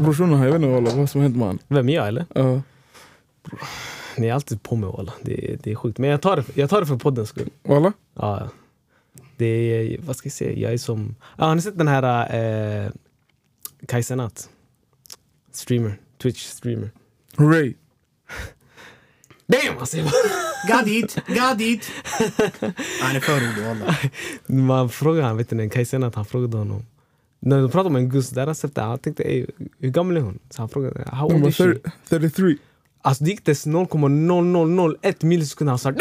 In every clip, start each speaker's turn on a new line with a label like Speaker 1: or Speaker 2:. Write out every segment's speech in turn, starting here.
Speaker 1: Brorsan han, jag vet inte walla vad som hänt med han.
Speaker 2: Vem, jag eller?
Speaker 1: Ja.
Speaker 2: Ni är alltid på mig walla. Det, det är sjukt. Men jag tar, det, jag tar det för poddens skull.
Speaker 1: Walla?
Speaker 2: Ja. ja. Det är, vad ska jag säga, jag är som... Ah, har ni sett den här eh, Kai Cenat? Streamer. Twitch-streamer.
Speaker 1: Hurray!
Speaker 2: Damn! Alltså, jag bara-
Speaker 3: Got it, got it! Han är förord walla.
Speaker 2: man frågade han, vet ni, Kai Cenat, han frågade honom. När de pratade om en gus, där sett det, han tänkte "Ey, hur gammal är hon? Så han frågade how
Speaker 1: Han
Speaker 2: old
Speaker 1: bara
Speaker 2: is she?
Speaker 1: 30 33.
Speaker 2: Alltså det gick tills 0,0001 millisekund han sa damn!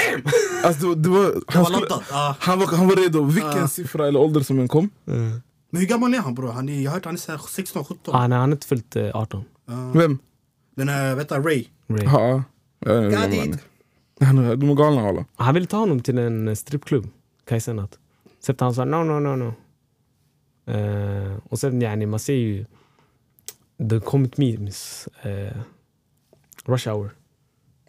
Speaker 1: Alltså det var...
Speaker 3: Det
Speaker 1: Han,
Speaker 3: var
Speaker 1: skulle,
Speaker 3: lottat. ja.
Speaker 1: han, var, han var redo vilken
Speaker 3: Ja.
Speaker 1: siffra eller ålder som än kom.
Speaker 3: Men hur gammal är han bror? Han är, jag har hört han är så här 16, 17.
Speaker 2: Ah, nej, han har inte fyllt eh, 18.
Speaker 3: Ja.
Speaker 1: Vem?
Speaker 3: Den här, vet du, Ray.
Speaker 2: Ray.
Speaker 1: Ja. ja. Jag vet inte
Speaker 3: Got
Speaker 1: vem han
Speaker 3: it!
Speaker 1: är. Han är- De är galna walla.
Speaker 2: Han ville ta honom till en eh, strippklubb, Kai Cenat. Sen han sa no, no, no, no. Eh, och sen yani, man ser ju the comic memes. eh, rush hour.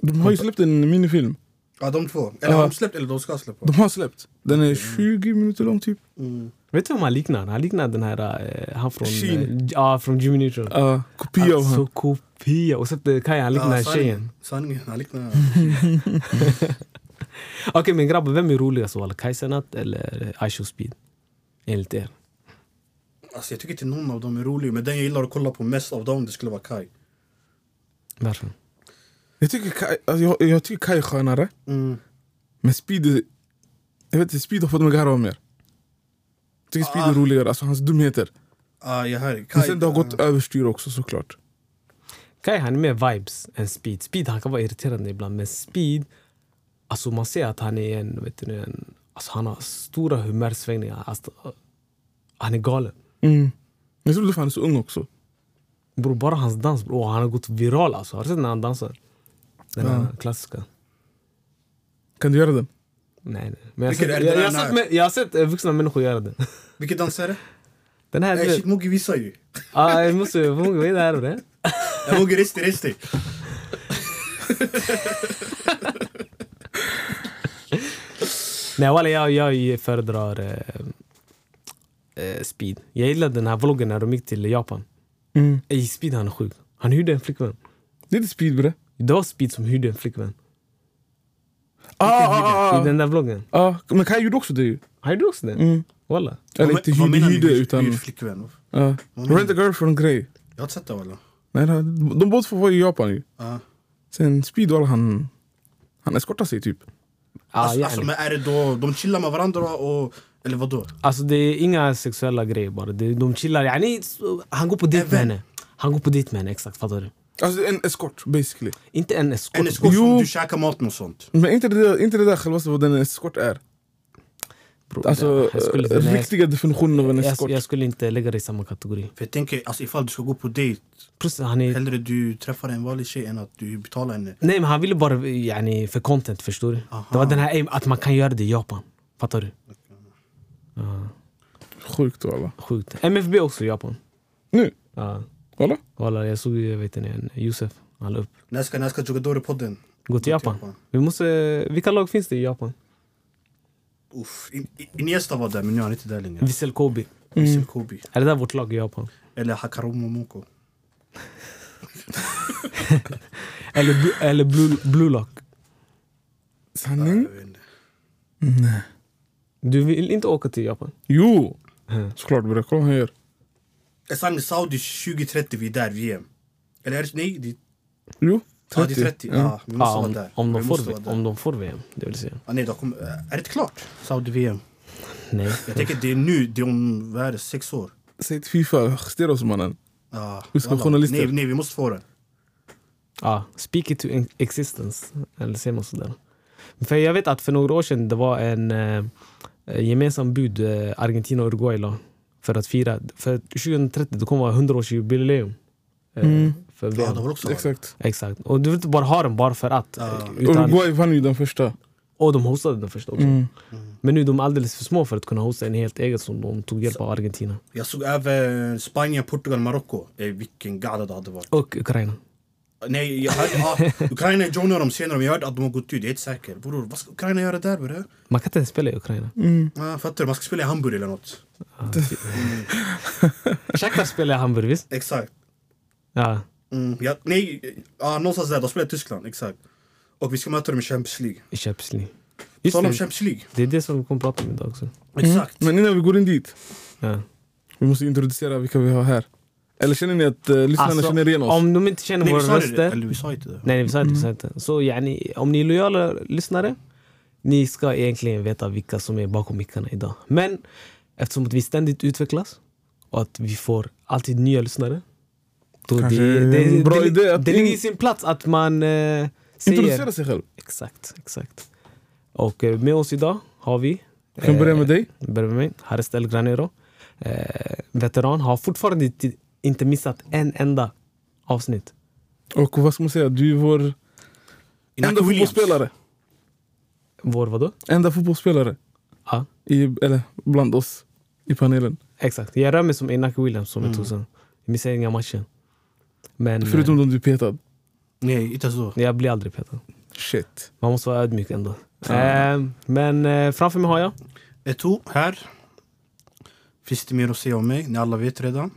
Speaker 1: De har ju släppt en minifilm.
Speaker 3: Ja de två. Eller
Speaker 1: Ja.
Speaker 3: har de släppt eller de ska släppa?
Speaker 1: De har släppt. Den är 20 minuter lång typ.
Speaker 3: Mm.
Speaker 2: Vet du vem han liknar? Han liknar den här, eh, han från,
Speaker 1: Sheen.
Speaker 2: eh, ja, från Jimmy Neutron.
Speaker 1: Ja, kopia av
Speaker 2: alltså
Speaker 1: han.
Speaker 2: kopia. Och sen eh, Kai han liknar
Speaker 3: Ja,
Speaker 2: tjejen.
Speaker 3: sanningen. Sanningen, han liknar...
Speaker 2: Okej men grabbar, vem är roligast av alla? Kai Cenat eller Aisho Speed? Enligt er.
Speaker 3: Alltså jag tycker inte någon av dem är rolig, men den jag gillar att kolla på mest av dem det skulle vara Kai.
Speaker 2: Varför?
Speaker 1: Jag tycker Kai, alltså, jag, jag tycker Kai är skönare.
Speaker 3: Mm.
Speaker 1: Men Speed är, Jag vet inte, Speed har fått mig att garva mer. Jag tycker Speed är
Speaker 3: Ah.
Speaker 1: roligare, alltså hans dumheter.
Speaker 3: Ja, jag hör
Speaker 1: Men
Speaker 3: Kai.
Speaker 1: sen det har gått överstyr också såklart.
Speaker 2: Kai han är mer vibes än speed. Speed han kan vara irriterande ibland men speed, alltså man ser att han är en, vet du, en alltså han har stora humörsvängningar. Alltså, han är galen.
Speaker 1: Mm. Jag tror därför han är så ung också.
Speaker 2: Bror bara hans dans, bror, han har gått viral alltså. Har du sett när han dansar? Den här klassiska.
Speaker 1: Kan du göra den?
Speaker 2: Nej, nej. Men jag, har
Speaker 3: Vilken
Speaker 2: sett,
Speaker 3: är
Speaker 2: jag,
Speaker 3: det
Speaker 2: jag, har
Speaker 3: den
Speaker 2: sett,
Speaker 3: här?
Speaker 2: med- jag har sett eh, vuxna människor göra den.
Speaker 3: Vilken dans är det?
Speaker 2: Den här,
Speaker 3: Ey
Speaker 2: du
Speaker 3: shit,
Speaker 2: vet.
Speaker 3: Mogge visar ju.
Speaker 2: Ah, jag måste, vad är det här och det?
Speaker 3: Ey, Mogge, res dig, res dig.
Speaker 2: Nej walla, jag, jag föredrar eh, eh, speed. Jag gillade den här vloggen när de gick till Japan.
Speaker 1: Mm.
Speaker 2: Ey, speed han är sjuk. Han hyrde en flickvän.
Speaker 1: Det är inte Speed bre.
Speaker 2: Det var Speed som hyrde en flickvän
Speaker 1: Ah, ah,
Speaker 2: i
Speaker 1: ah,
Speaker 2: den där vloggen.
Speaker 1: ah. Men Kai gjorde också det ju.
Speaker 2: Han gjorde också det?
Speaker 1: Mm.
Speaker 2: Walla.
Speaker 1: Eller
Speaker 3: Vad
Speaker 1: inte
Speaker 3: men- vad
Speaker 1: hyrde,
Speaker 3: menar ni,
Speaker 1: hyrde
Speaker 3: hyr-
Speaker 1: utan...
Speaker 3: hyr flickvän?
Speaker 1: Ja.
Speaker 3: Vad menar
Speaker 1: Rent a girlfriend-grej.
Speaker 3: Jag har inte sett det walla.
Speaker 1: Nej, nej, de båda får vara i Japan ju.
Speaker 3: Ja.
Speaker 1: Sen Speed walla, han... Han eskortar sig typ.
Speaker 2: Ah,
Speaker 3: alltså,
Speaker 2: alltså,
Speaker 3: alltså, men är det då, de chillar med varandra och... Eller vadå?
Speaker 2: alltså det är inga sexuella grejer bara. Det- De chillar. Yani, han går på dejt med
Speaker 3: Event.
Speaker 2: henne. Han går på dejt med henne, exakt. Fattar du?
Speaker 1: Alltså en eskort basically.
Speaker 2: Inte en eskort.
Speaker 3: En skål
Speaker 1: Jo.
Speaker 3: som du käkar mat och sånt.
Speaker 1: Men inte det där, inte det där självaste vad en eskort är.
Speaker 2: Bro,
Speaker 1: Alltså
Speaker 2: jag, skulle,
Speaker 1: eh,
Speaker 2: nej,
Speaker 1: riktiga definitionen av en
Speaker 2: jag,
Speaker 1: eskort.
Speaker 2: jag, jag skulle inte lägga det i samma kategori.
Speaker 3: För jag tänker, alltså, ifall du ska gå på dejt,
Speaker 2: Plus, han är,
Speaker 3: hellre du träffar en vanlig tjej än att du betalar henne.
Speaker 2: nej, men han ville bara yani, för content, förstår du?
Speaker 3: Aha.
Speaker 2: Det var den här aim, att man kan göra det i Japan. Fattar du?
Speaker 1: Sjukt walla.
Speaker 2: Sjukt. MFB också i Japan.
Speaker 1: Nu,
Speaker 2: Ja.
Speaker 1: walla.
Speaker 2: Walla, jag såg ju, vet ni, en Josef. Han la upp.
Speaker 3: När ska, när ska Jogadore-podden?
Speaker 2: Gå till Japan.
Speaker 3: Japan.
Speaker 2: Vi måste, vilka lag finns det i Japan?
Speaker 3: Uff, In- In- Iniesta var där men nu är han inte där längre.
Speaker 2: Vissel Kobe.
Speaker 3: Vissel Kobe.
Speaker 2: Är det där vårt lag i Japan?
Speaker 3: Eller Hakaru Momoko.
Speaker 2: Eller, bl- eller blue, blue Lock?
Speaker 1: Sanning?
Speaker 2: Mm.
Speaker 3: Jag vet inte.
Speaker 2: Du vill inte åka till Japan?
Speaker 1: Jo! Såklart bre, kolla vad han gör.
Speaker 3: Eh, Sanne, Saudi 2030, vi är där, VM. Eller är det, nej, det,
Speaker 1: Jo, 30.
Speaker 3: ja, det är 30.
Speaker 1: Ja.
Speaker 3: Ja, vi måste
Speaker 2: Ah,
Speaker 3: vara
Speaker 2: om,
Speaker 3: där.
Speaker 2: om, de får,
Speaker 3: vi måste vara
Speaker 2: V-
Speaker 3: där.
Speaker 2: om de får VM, det vill säga.
Speaker 3: Ah, nej, då kommer, eh, är det inte klart? Saudi-VM.
Speaker 2: Nej.
Speaker 3: Jag tänker det är nu, det är om, vad är det, sex år?
Speaker 1: Säg till Fifa, justera oss mannen.
Speaker 3: Ah,
Speaker 1: Vi ska
Speaker 3: wallah.
Speaker 1: journalister.
Speaker 3: Nej, nej, vi måste få det.
Speaker 2: Ah, speak it to in- existence. Eller säger man sådär? För jag vet att för några år sedan det var en eh, gemensam bud eh, Argentina och Uruguay la för att fira. För 2030 det kommer vara 100-årsjubileum. Eh,
Speaker 1: Mm.
Speaker 2: För
Speaker 3: Ja, det
Speaker 2: VM.
Speaker 3: var också
Speaker 1: Exakt.
Speaker 2: Exakt. Och du vill inte bara ha den bara för att.
Speaker 3: Ja.
Speaker 2: Utan,
Speaker 1: Uruguay vann ju den första.
Speaker 2: och de hostade den första också.
Speaker 1: Mm.
Speaker 2: Men nu är de alldeles för små för att kunna hosta en helt eget som de tog hjälp av Argentina.
Speaker 3: Jag såg även Spanien, Portugal, Marocko. Eh, vilken gada det hade varit.
Speaker 2: Och Ukraina.
Speaker 3: Nej, jag hörde... Ah, Ukraina joinar dem senare, men jag hörde att de har gått ut. Jag är inte säker. Bror, vad ska Ukraina göra där bre?
Speaker 2: Man kan inte ens spela i Ukraina.
Speaker 1: Mm.
Speaker 3: Ah, fattar du? Man ska spela i Hamburg eller något.
Speaker 2: Ja. Shakhtar spelar i Hamburg, visst?
Speaker 3: Exakt.
Speaker 2: Ja.
Speaker 3: Mm, ja, nej, ja, någonstans där. De spelar i Tyskland, exakt. Och vi ska möta dem i Champions League.
Speaker 2: I Champions League.
Speaker 3: På
Speaker 2: Just
Speaker 3: tal om
Speaker 2: det, Mm.
Speaker 3: Champions League.
Speaker 2: det är det som vi kommer prata om idag också.
Speaker 3: Exakt.
Speaker 1: Men innan vi går in dit,
Speaker 2: Ja.
Speaker 1: Alltså, vi måste introducera vilka vi har här. Eller känner ni att eh, lyssnarna
Speaker 2: Alltså,
Speaker 1: känner igen oss?
Speaker 2: Om de inte känner
Speaker 3: Nej, vi
Speaker 2: våra
Speaker 3: sa det.
Speaker 2: röster...
Speaker 3: Eller vi sa inte det.
Speaker 2: Nej, vi sa inte, vi sa
Speaker 1: Mm.
Speaker 2: inte. Så yani, om ni är lojala lyssnare, ni ska egentligen veta vilka som är bakom mickarna idag. Men eftersom att vi ständigt utvecklas och att vi får alltid nya lyssnare. Då
Speaker 1: Kanske
Speaker 2: det,
Speaker 1: en
Speaker 2: det,
Speaker 1: bra
Speaker 2: det,
Speaker 1: idé
Speaker 2: det,
Speaker 1: att
Speaker 2: ligger i
Speaker 1: in-
Speaker 2: sin plats att man eh,
Speaker 1: Introducera
Speaker 2: säger...
Speaker 1: sig själv.
Speaker 2: Exakt, exakt. Och eh, med oss idag har vi...
Speaker 1: Vi kan börja med dig.
Speaker 2: Vi börjar med mig, Haris El Granero. Eh, veteran, har fortfarande inte- inte missat en enda avsnitt.
Speaker 1: Och vad ska man säga, du är vår enda
Speaker 3: Inaki Williams.
Speaker 1: fotbollsspelare.
Speaker 2: Vår vadå?
Speaker 1: Enda fotbollsspelare.
Speaker 2: Ja.
Speaker 1: I, eller bland oss i panelen.
Speaker 2: Exakt. Jag rör mig som Inaki Williams som är tusen. Jag missar inga matcher. Men
Speaker 1: Mm. Förutom de du petad.
Speaker 3: Nej, inte så.
Speaker 2: eh, jag blir aldrig petad.
Speaker 1: Shit.
Speaker 2: Man måste vara ödmjuk ändå.
Speaker 1: Ja.
Speaker 2: Eh, men eh, framför mig har jag...
Speaker 3: Eto, här. Finns det mer att säga om mig? Ni alla vet redan.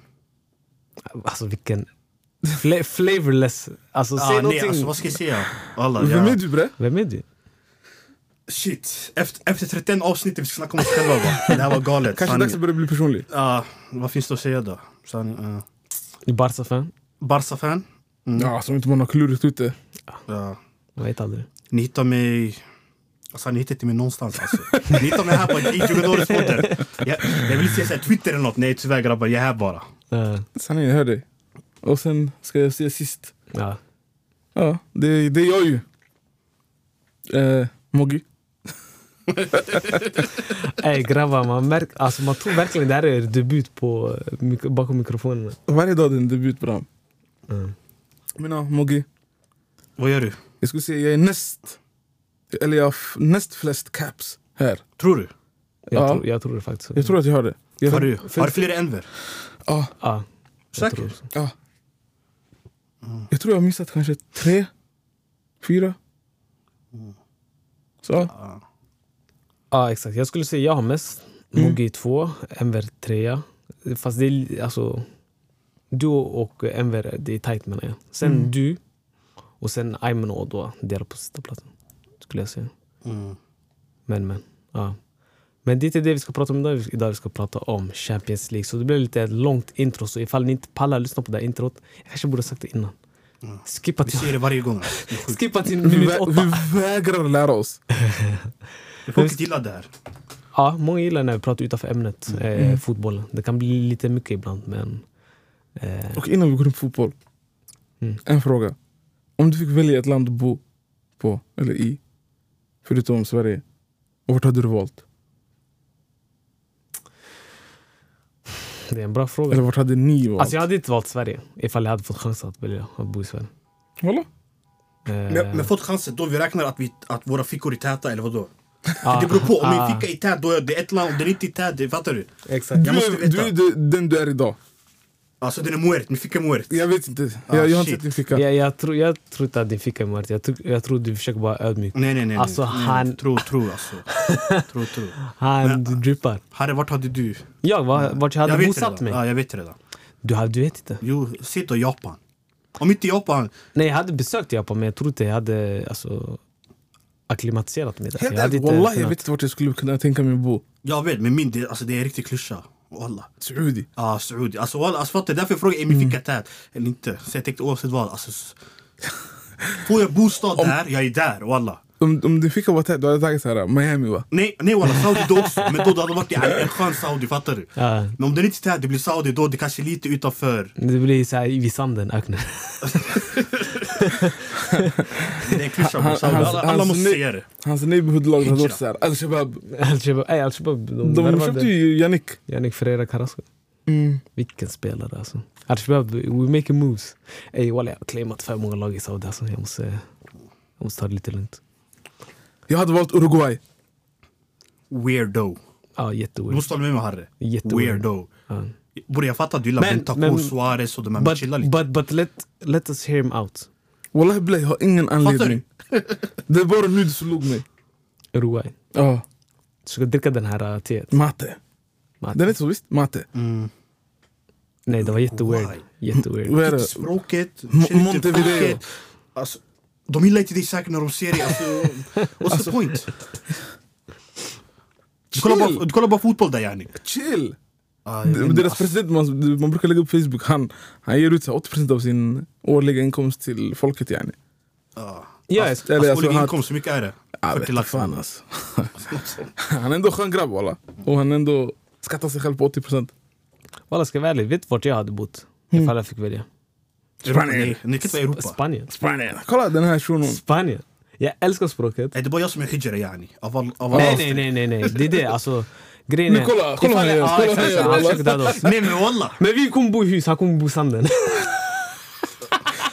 Speaker 2: Alltså vilken... Fla- flavorless. Alltså säg
Speaker 3: Ah, nej,
Speaker 2: någonting.
Speaker 3: alltså, vad ska jag säga? Alla,
Speaker 1: Vem är
Speaker 3: ja.
Speaker 1: du bre?
Speaker 2: Vem är du?
Speaker 3: Shit, efter, efter 31 avsnitt vi ska snacka om oss själva va? Det här var galet.
Speaker 1: Kanske
Speaker 3: Sanning.
Speaker 1: dags att börja bli personlig.
Speaker 3: Ja, vad finns det att säga då? Sanning, ja.
Speaker 2: Du är Barca-fan?
Speaker 3: Barca-fan. Mm.
Speaker 1: Ja, som inte man har klurigt ut det.
Speaker 3: Ja.
Speaker 2: Jag vet aldrig.
Speaker 3: Ni hittar mig... Alltså ni hittar inte mig någonstans alltså. Ni hittar mig här på i Djurgårdens podden. Jag, jag vill säga såhär Twitter eller något. Nej tyvärr grabbar, jag är här bara.
Speaker 2: Eh,
Speaker 1: Sanningen, jag hör dig. Och sen ska jag säga sist.
Speaker 2: ja.
Speaker 1: Ja, det, det är jag ju. Eh, Moggi.
Speaker 2: Ey grabbar, man, märk, alltså, man tror verkligen det här är er debut på, eh, mik- bakom mikrofonerna.
Speaker 1: Varje dag är det en debut Bram.
Speaker 2: Mm.
Speaker 1: Men ja, Moggi.
Speaker 3: Vad gör du?
Speaker 1: Jag skulle säga jag är näst... Eller jag har f- näst flest caps här.
Speaker 3: Tror du?
Speaker 2: Jag,
Speaker 1: Ja.
Speaker 2: tror, jag tror det faktiskt.
Speaker 1: Jag tror att jag har det. Jag
Speaker 3: Har du,
Speaker 1: för-
Speaker 3: har du fler Enver?
Speaker 1: Ja,
Speaker 2: Ja, jag
Speaker 3: Säker?
Speaker 2: tror så.
Speaker 1: ja.
Speaker 3: Mm.
Speaker 1: Jag tror jag har missat kanske tre, fyra. Så, ja.
Speaker 3: Mm. Ja.
Speaker 2: Ja, exakt. Jag skulle säga jag har mest.
Speaker 1: Mm.
Speaker 2: Mogi 2, Enver 3. Fast det är alltså... Du och Enver, det är tajt menar jag. Sen
Speaker 1: Mm.
Speaker 2: du och sen Ayman och Odwa delar på sista platsen. Skulle jag säga.
Speaker 3: Mm.
Speaker 2: Men men. Ja. Men det är inte det vi ska prata om idag. Idag vi ska prata om Champions League. Så det blir lite ett långt intro. Så ifall ni inte pallar lyssna på det här introt. Jag kanske borde ha sagt det innan. Skippa
Speaker 3: Vi
Speaker 2: till,
Speaker 3: ser det varje gång. alltså. Det är sjukt.
Speaker 2: skippa till
Speaker 1: Mm. vi,
Speaker 2: minut
Speaker 1: vä-
Speaker 2: åtta.
Speaker 1: vi vägrar lära oss.
Speaker 3: Folk gillar det här.
Speaker 2: Ja, många gillar när vi pratar utanför ämnet. Eh,
Speaker 1: Mm.
Speaker 2: Fotbollen. Det kan bli lite mycket ibland men... Eh,
Speaker 1: Och innan vi går in på fotboll.
Speaker 2: Mm.
Speaker 1: En fråga. Om du fick välja ett land att bo på, eller i, förutom Sverige. Och vart hade du valt?
Speaker 2: Det är en bra fråga.
Speaker 1: Eller vart hade ni valt?
Speaker 2: Alltså jag hade inte valt Sverige ifall jag hade fått chansen att välja att bo i Sverige.
Speaker 1: Voilà.
Speaker 2: Eh,
Speaker 3: Men, men fått chansen då vi räknar att, vi, att våra fickor är täta eller vadå?
Speaker 2: ah,
Speaker 3: det beror på. Om
Speaker 2: ah,
Speaker 3: min ficka är tät då är det ett land. Om den inte är tät, det- fattar du?
Speaker 2: Exakt.
Speaker 1: Du,
Speaker 3: Jag måste
Speaker 1: är,
Speaker 3: veta.
Speaker 1: du är de- den du är idag.
Speaker 3: Alltså den är muert. Min ficka är muert.
Speaker 1: Jag vet inte.
Speaker 3: Ah,
Speaker 1: jag, jag har inte
Speaker 3: shit.
Speaker 1: sett din ficka.
Speaker 2: Jag, jag, tror, jag tror inte att din ficka är mörkt. Jag, tror- jag tror du försöker vara ödmjuk.
Speaker 1: Mm.
Speaker 3: Nej nej nej.
Speaker 2: Alltså,
Speaker 3: nej.
Speaker 2: han-
Speaker 3: Tro, tro alltså. tro, tro.
Speaker 2: Han du drippar.
Speaker 3: Harry, vart hade du?
Speaker 2: Jag, var,
Speaker 1: Mm.
Speaker 2: vart jag hade
Speaker 3: vet
Speaker 2: bosatt
Speaker 3: redan.
Speaker 2: mig?
Speaker 3: Ja, jag vet redan.
Speaker 2: Du, hade- du vet inte?
Speaker 3: Jo, säg då Japan. Om inte Japan.
Speaker 2: Nej, jag hade besökt Japan men jag tror inte jag hade alltså, akklimatiserat mig där.
Speaker 1: Helt
Speaker 2: jag hade
Speaker 1: ärligt, wallah, jag vet inte vart jag skulle kunna tänka mig att bo.
Speaker 3: Jag vet, men min det, alltså, det är en riktig klyscha. Walla.
Speaker 1: Saudi.
Speaker 3: Ja, ah, Saudi. Alltså walla, alltså fattar du? Därför jag frågade, är
Speaker 2: Mm.
Speaker 3: min ficka tät? Eller inte. Så jag tänkte oavsett vad. Alltså, s- får jag bostad där, jag är där walla.
Speaker 1: Om, om din ficka var tät, du hade tagit så här, Miami va?
Speaker 3: Nej, nej walla, Saudi då också. Men då det hade varit en, en skön Saudi, fattar du?
Speaker 2: Ja,
Speaker 3: Men om den inte är tät, det blir Saudi då, det kanske är lite utanför.
Speaker 2: det blir så här vid sanden, öknen.
Speaker 3: Det är en klyscha
Speaker 1: Han-
Speaker 3: bror. Saudi.
Speaker 1: hans-
Speaker 3: Alla, alla
Speaker 1: hans
Speaker 3: måste
Speaker 1: ne-
Speaker 3: se det.
Speaker 1: Hans neighborhood-lag hade
Speaker 3: Hijra.
Speaker 1: varit såhär, al-Shabab.
Speaker 3: Mm,
Speaker 2: Al-Shabab, ey, Al-Shabab, de,
Speaker 1: De
Speaker 2: värvade
Speaker 1: köpte ju Yannick.
Speaker 2: Yannick Ferreira Carrasco.
Speaker 3: Mm.
Speaker 2: Vilken spelare alltså. Al-Shabab, we making moves. Ey walla, jag har claimat för många lag i Saudi alltså. Jag måste, jag måste ta det lite lugnt.
Speaker 1: Jag hade valt Uruguay.
Speaker 3: Weirdo.
Speaker 2: Ja,
Speaker 3: Du
Speaker 2: jätteweird.
Speaker 3: måste hålla med mig Harry.
Speaker 2: Jätteweird.
Speaker 3: Weirdo.
Speaker 2: Ja.
Speaker 3: Bror jag fattar att du gillar
Speaker 2: Men-
Speaker 3: Bentancur,
Speaker 2: men-
Speaker 3: Suarez och de här, men
Speaker 2: But,
Speaker 3: chilla lite.
Speaker 2: but, but let, let us hear him out.
Speaker 1: Wallahi Blay har ingen anledning. Det är bara nu du slog mig.
Speaker 2: Uruguay.
Speaker 1: Ja,
Speaker 2: Du ska dricka den här äh, teet.
Speaker 1: mate.
Speaker 2: Mate.
Speaker 1: Den heter så visst? Mate.
Speaker 3: Mm.
Speaker 2: Nej, det var jätteweird.
Speaker 3: Uruguay.
Speaker 2: Jätteweird.
Speaker 1: Vad är det?
Speaker 3: Språket,
Speaker 1: Mo-
Speaker 3: känner inte
Speaker 1: Montevideo.
Speaker 3: folket. Alltså, de gillar inte dig säkert när de ser dig. Alltså, what's the point? Du kollar, bara, du kollar bara fotboll där yani.
Speaker 1: Chill!
Speaker 3: Ah,
Speaker 1: D- Deras president, man, man brukar lägga upp Facebook, han, han ger ut så här 80% av sin årliga inkomst till folket yani.
Speaker 2: Ja, jag
Speaker 3: alltså,
Speaker 1: eller
Speaker 3: alltså,
Speaker 1: alltså,
Speaker 3: årlig
Speaker 1: han-
Speaker 3: inkomst, hur mycket är det?
Speaker 1: Jag
Speaker 3: 40
Speaker 1: vet inte
Speaker 3: lax.
Speaker 1: fan alltså. Han är ändå en skön grabb walla. Och han ändå skattar sig själv på 80%.
Speaker 2: Walla, ska jag vara ärlig, vet du vart jag hade bott? Ifall jag fick välja.
Speaker 3: Europa,
Speaker 1: Spanien.
Speaker 3: nej, nej, det kan inte vara Europa.
Speaker 2: Spanien.
Speaker 1: Spanien. Kolla den här shunon.
Speaker 2: Spanien. Jag älskar språket.
Speaker 3: Nej, det är bara jag som är hijra yani. Av all, av
Speaker 2: Nej,
Speaker 3: all
Speaker 2: nej, nej, nej, nej. Det är det. Alltså, grejen
Speaker 1: Men kolla, kolla
Speaker 2: Ifall
Speaker 1: här,
Speaker 2: jag-
Speaker 1: kolla
Speaker 2: ja, exakt,
Speaker 1: här,
Speaker 2: han
Speaker 1: kolla.
Speaker 2: försöker döda oss.
Speaker 3: nej men walla!
Speaker 2: Men vi kommer bo i hus, han kommer bo i sanden.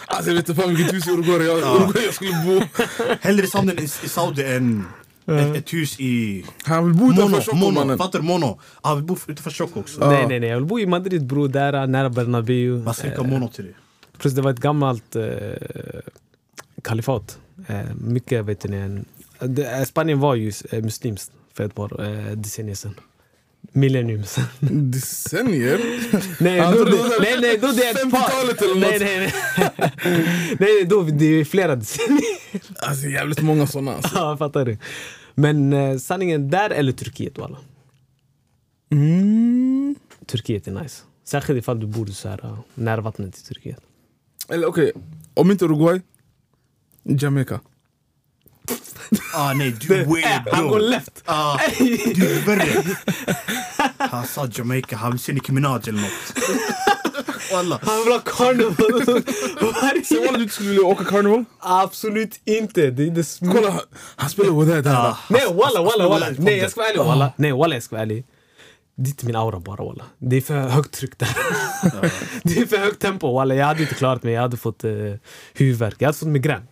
Speaker 1: Alltså jag vet inte fan vilket hus i Uruguay jag, Uruguay jag skulle bo.
Speaker 3: Hellre sanden i, i Saudi än ett, ett hus i...
Speaker 1: Han vill bo utanför
Speaker 3: Mono,
Speaker 1: Tjockholm
Speaker 3: mono.
Speaker 1: mannen.
Speaker 3: Fattar du? Mono. Ja, vi bor utanför Tjock också.
Speaker 2: Nej, nej, nej. Jag vill bo i Madrid bror, där nära Bernabéu.
Speaker 3: Vad ska jag skicka mono till dig?
Speaker 2: Plus det var ett gammalt eh, kalifat. Eh, mycket vet ni, en, det, eh, Spanien var ju eh, muslimskt för ett par eh, decennier sedan. Millennium sedan.
Speaker 1: Decennier?
Speaker 2: Nej,
Speaker 1: Ja,
Speaker 2: då,
Speaker 1: då-
Speaker 2: det-
Speaker 1: då- då-
Speaker 2: nej, nej, då det är ett par.
Speaker 1: 50-talet eller
Speaker 2: nej,
Speaker 1: något.
Speaker 2: nej, nej. nej, nej, då det är flera decennier.
Speaker 1: Alltså jävligt många såna alltså.
Speaker 2: ja, fattar du? Men eh, sanningen, där eller Turkiet walla.
Speaker 1: Mm.
Speaker 2: Turkiet är nice. Särskilt ifall du bor så här, eh, nära vattnet i Turkiet.
Speaker 1: Eller okej, om inte Uruguay, Jamaica.
Speaker 3: Ah nej, du är
Speaker 2: Han går
Speaker 3: weirdo.
Speaker 2: left!
Speaker 3: Ah, du är värre. Han sa Jamaica, han vill se Nicki Minaj eller något. Walla.
Speaker 2: Han vill ha carnival
Speaker 1: Sen
Speaker 2: varje
Speaker 1: walla du inte skulle vilja åka karneval?
Speaker 2: Absolut inte! Det är det sm-
Speaker 1: Kolla, han- han spelar Wadad här.
Speaker 3: Ah,
Speaker 2: Nej walla walla walla! Nej jag ska vara ärlig walla!
Speaker 1: Ah.
Speaker 2: Nej walla jag ska vara ärlig. Det är inte min aura bara walla. Det är för högt tryck där. det är för högt tempo walla. Jag hade inte klarat mig. Jag hade fått eh, huvudvärk. Jag hade fått migrän.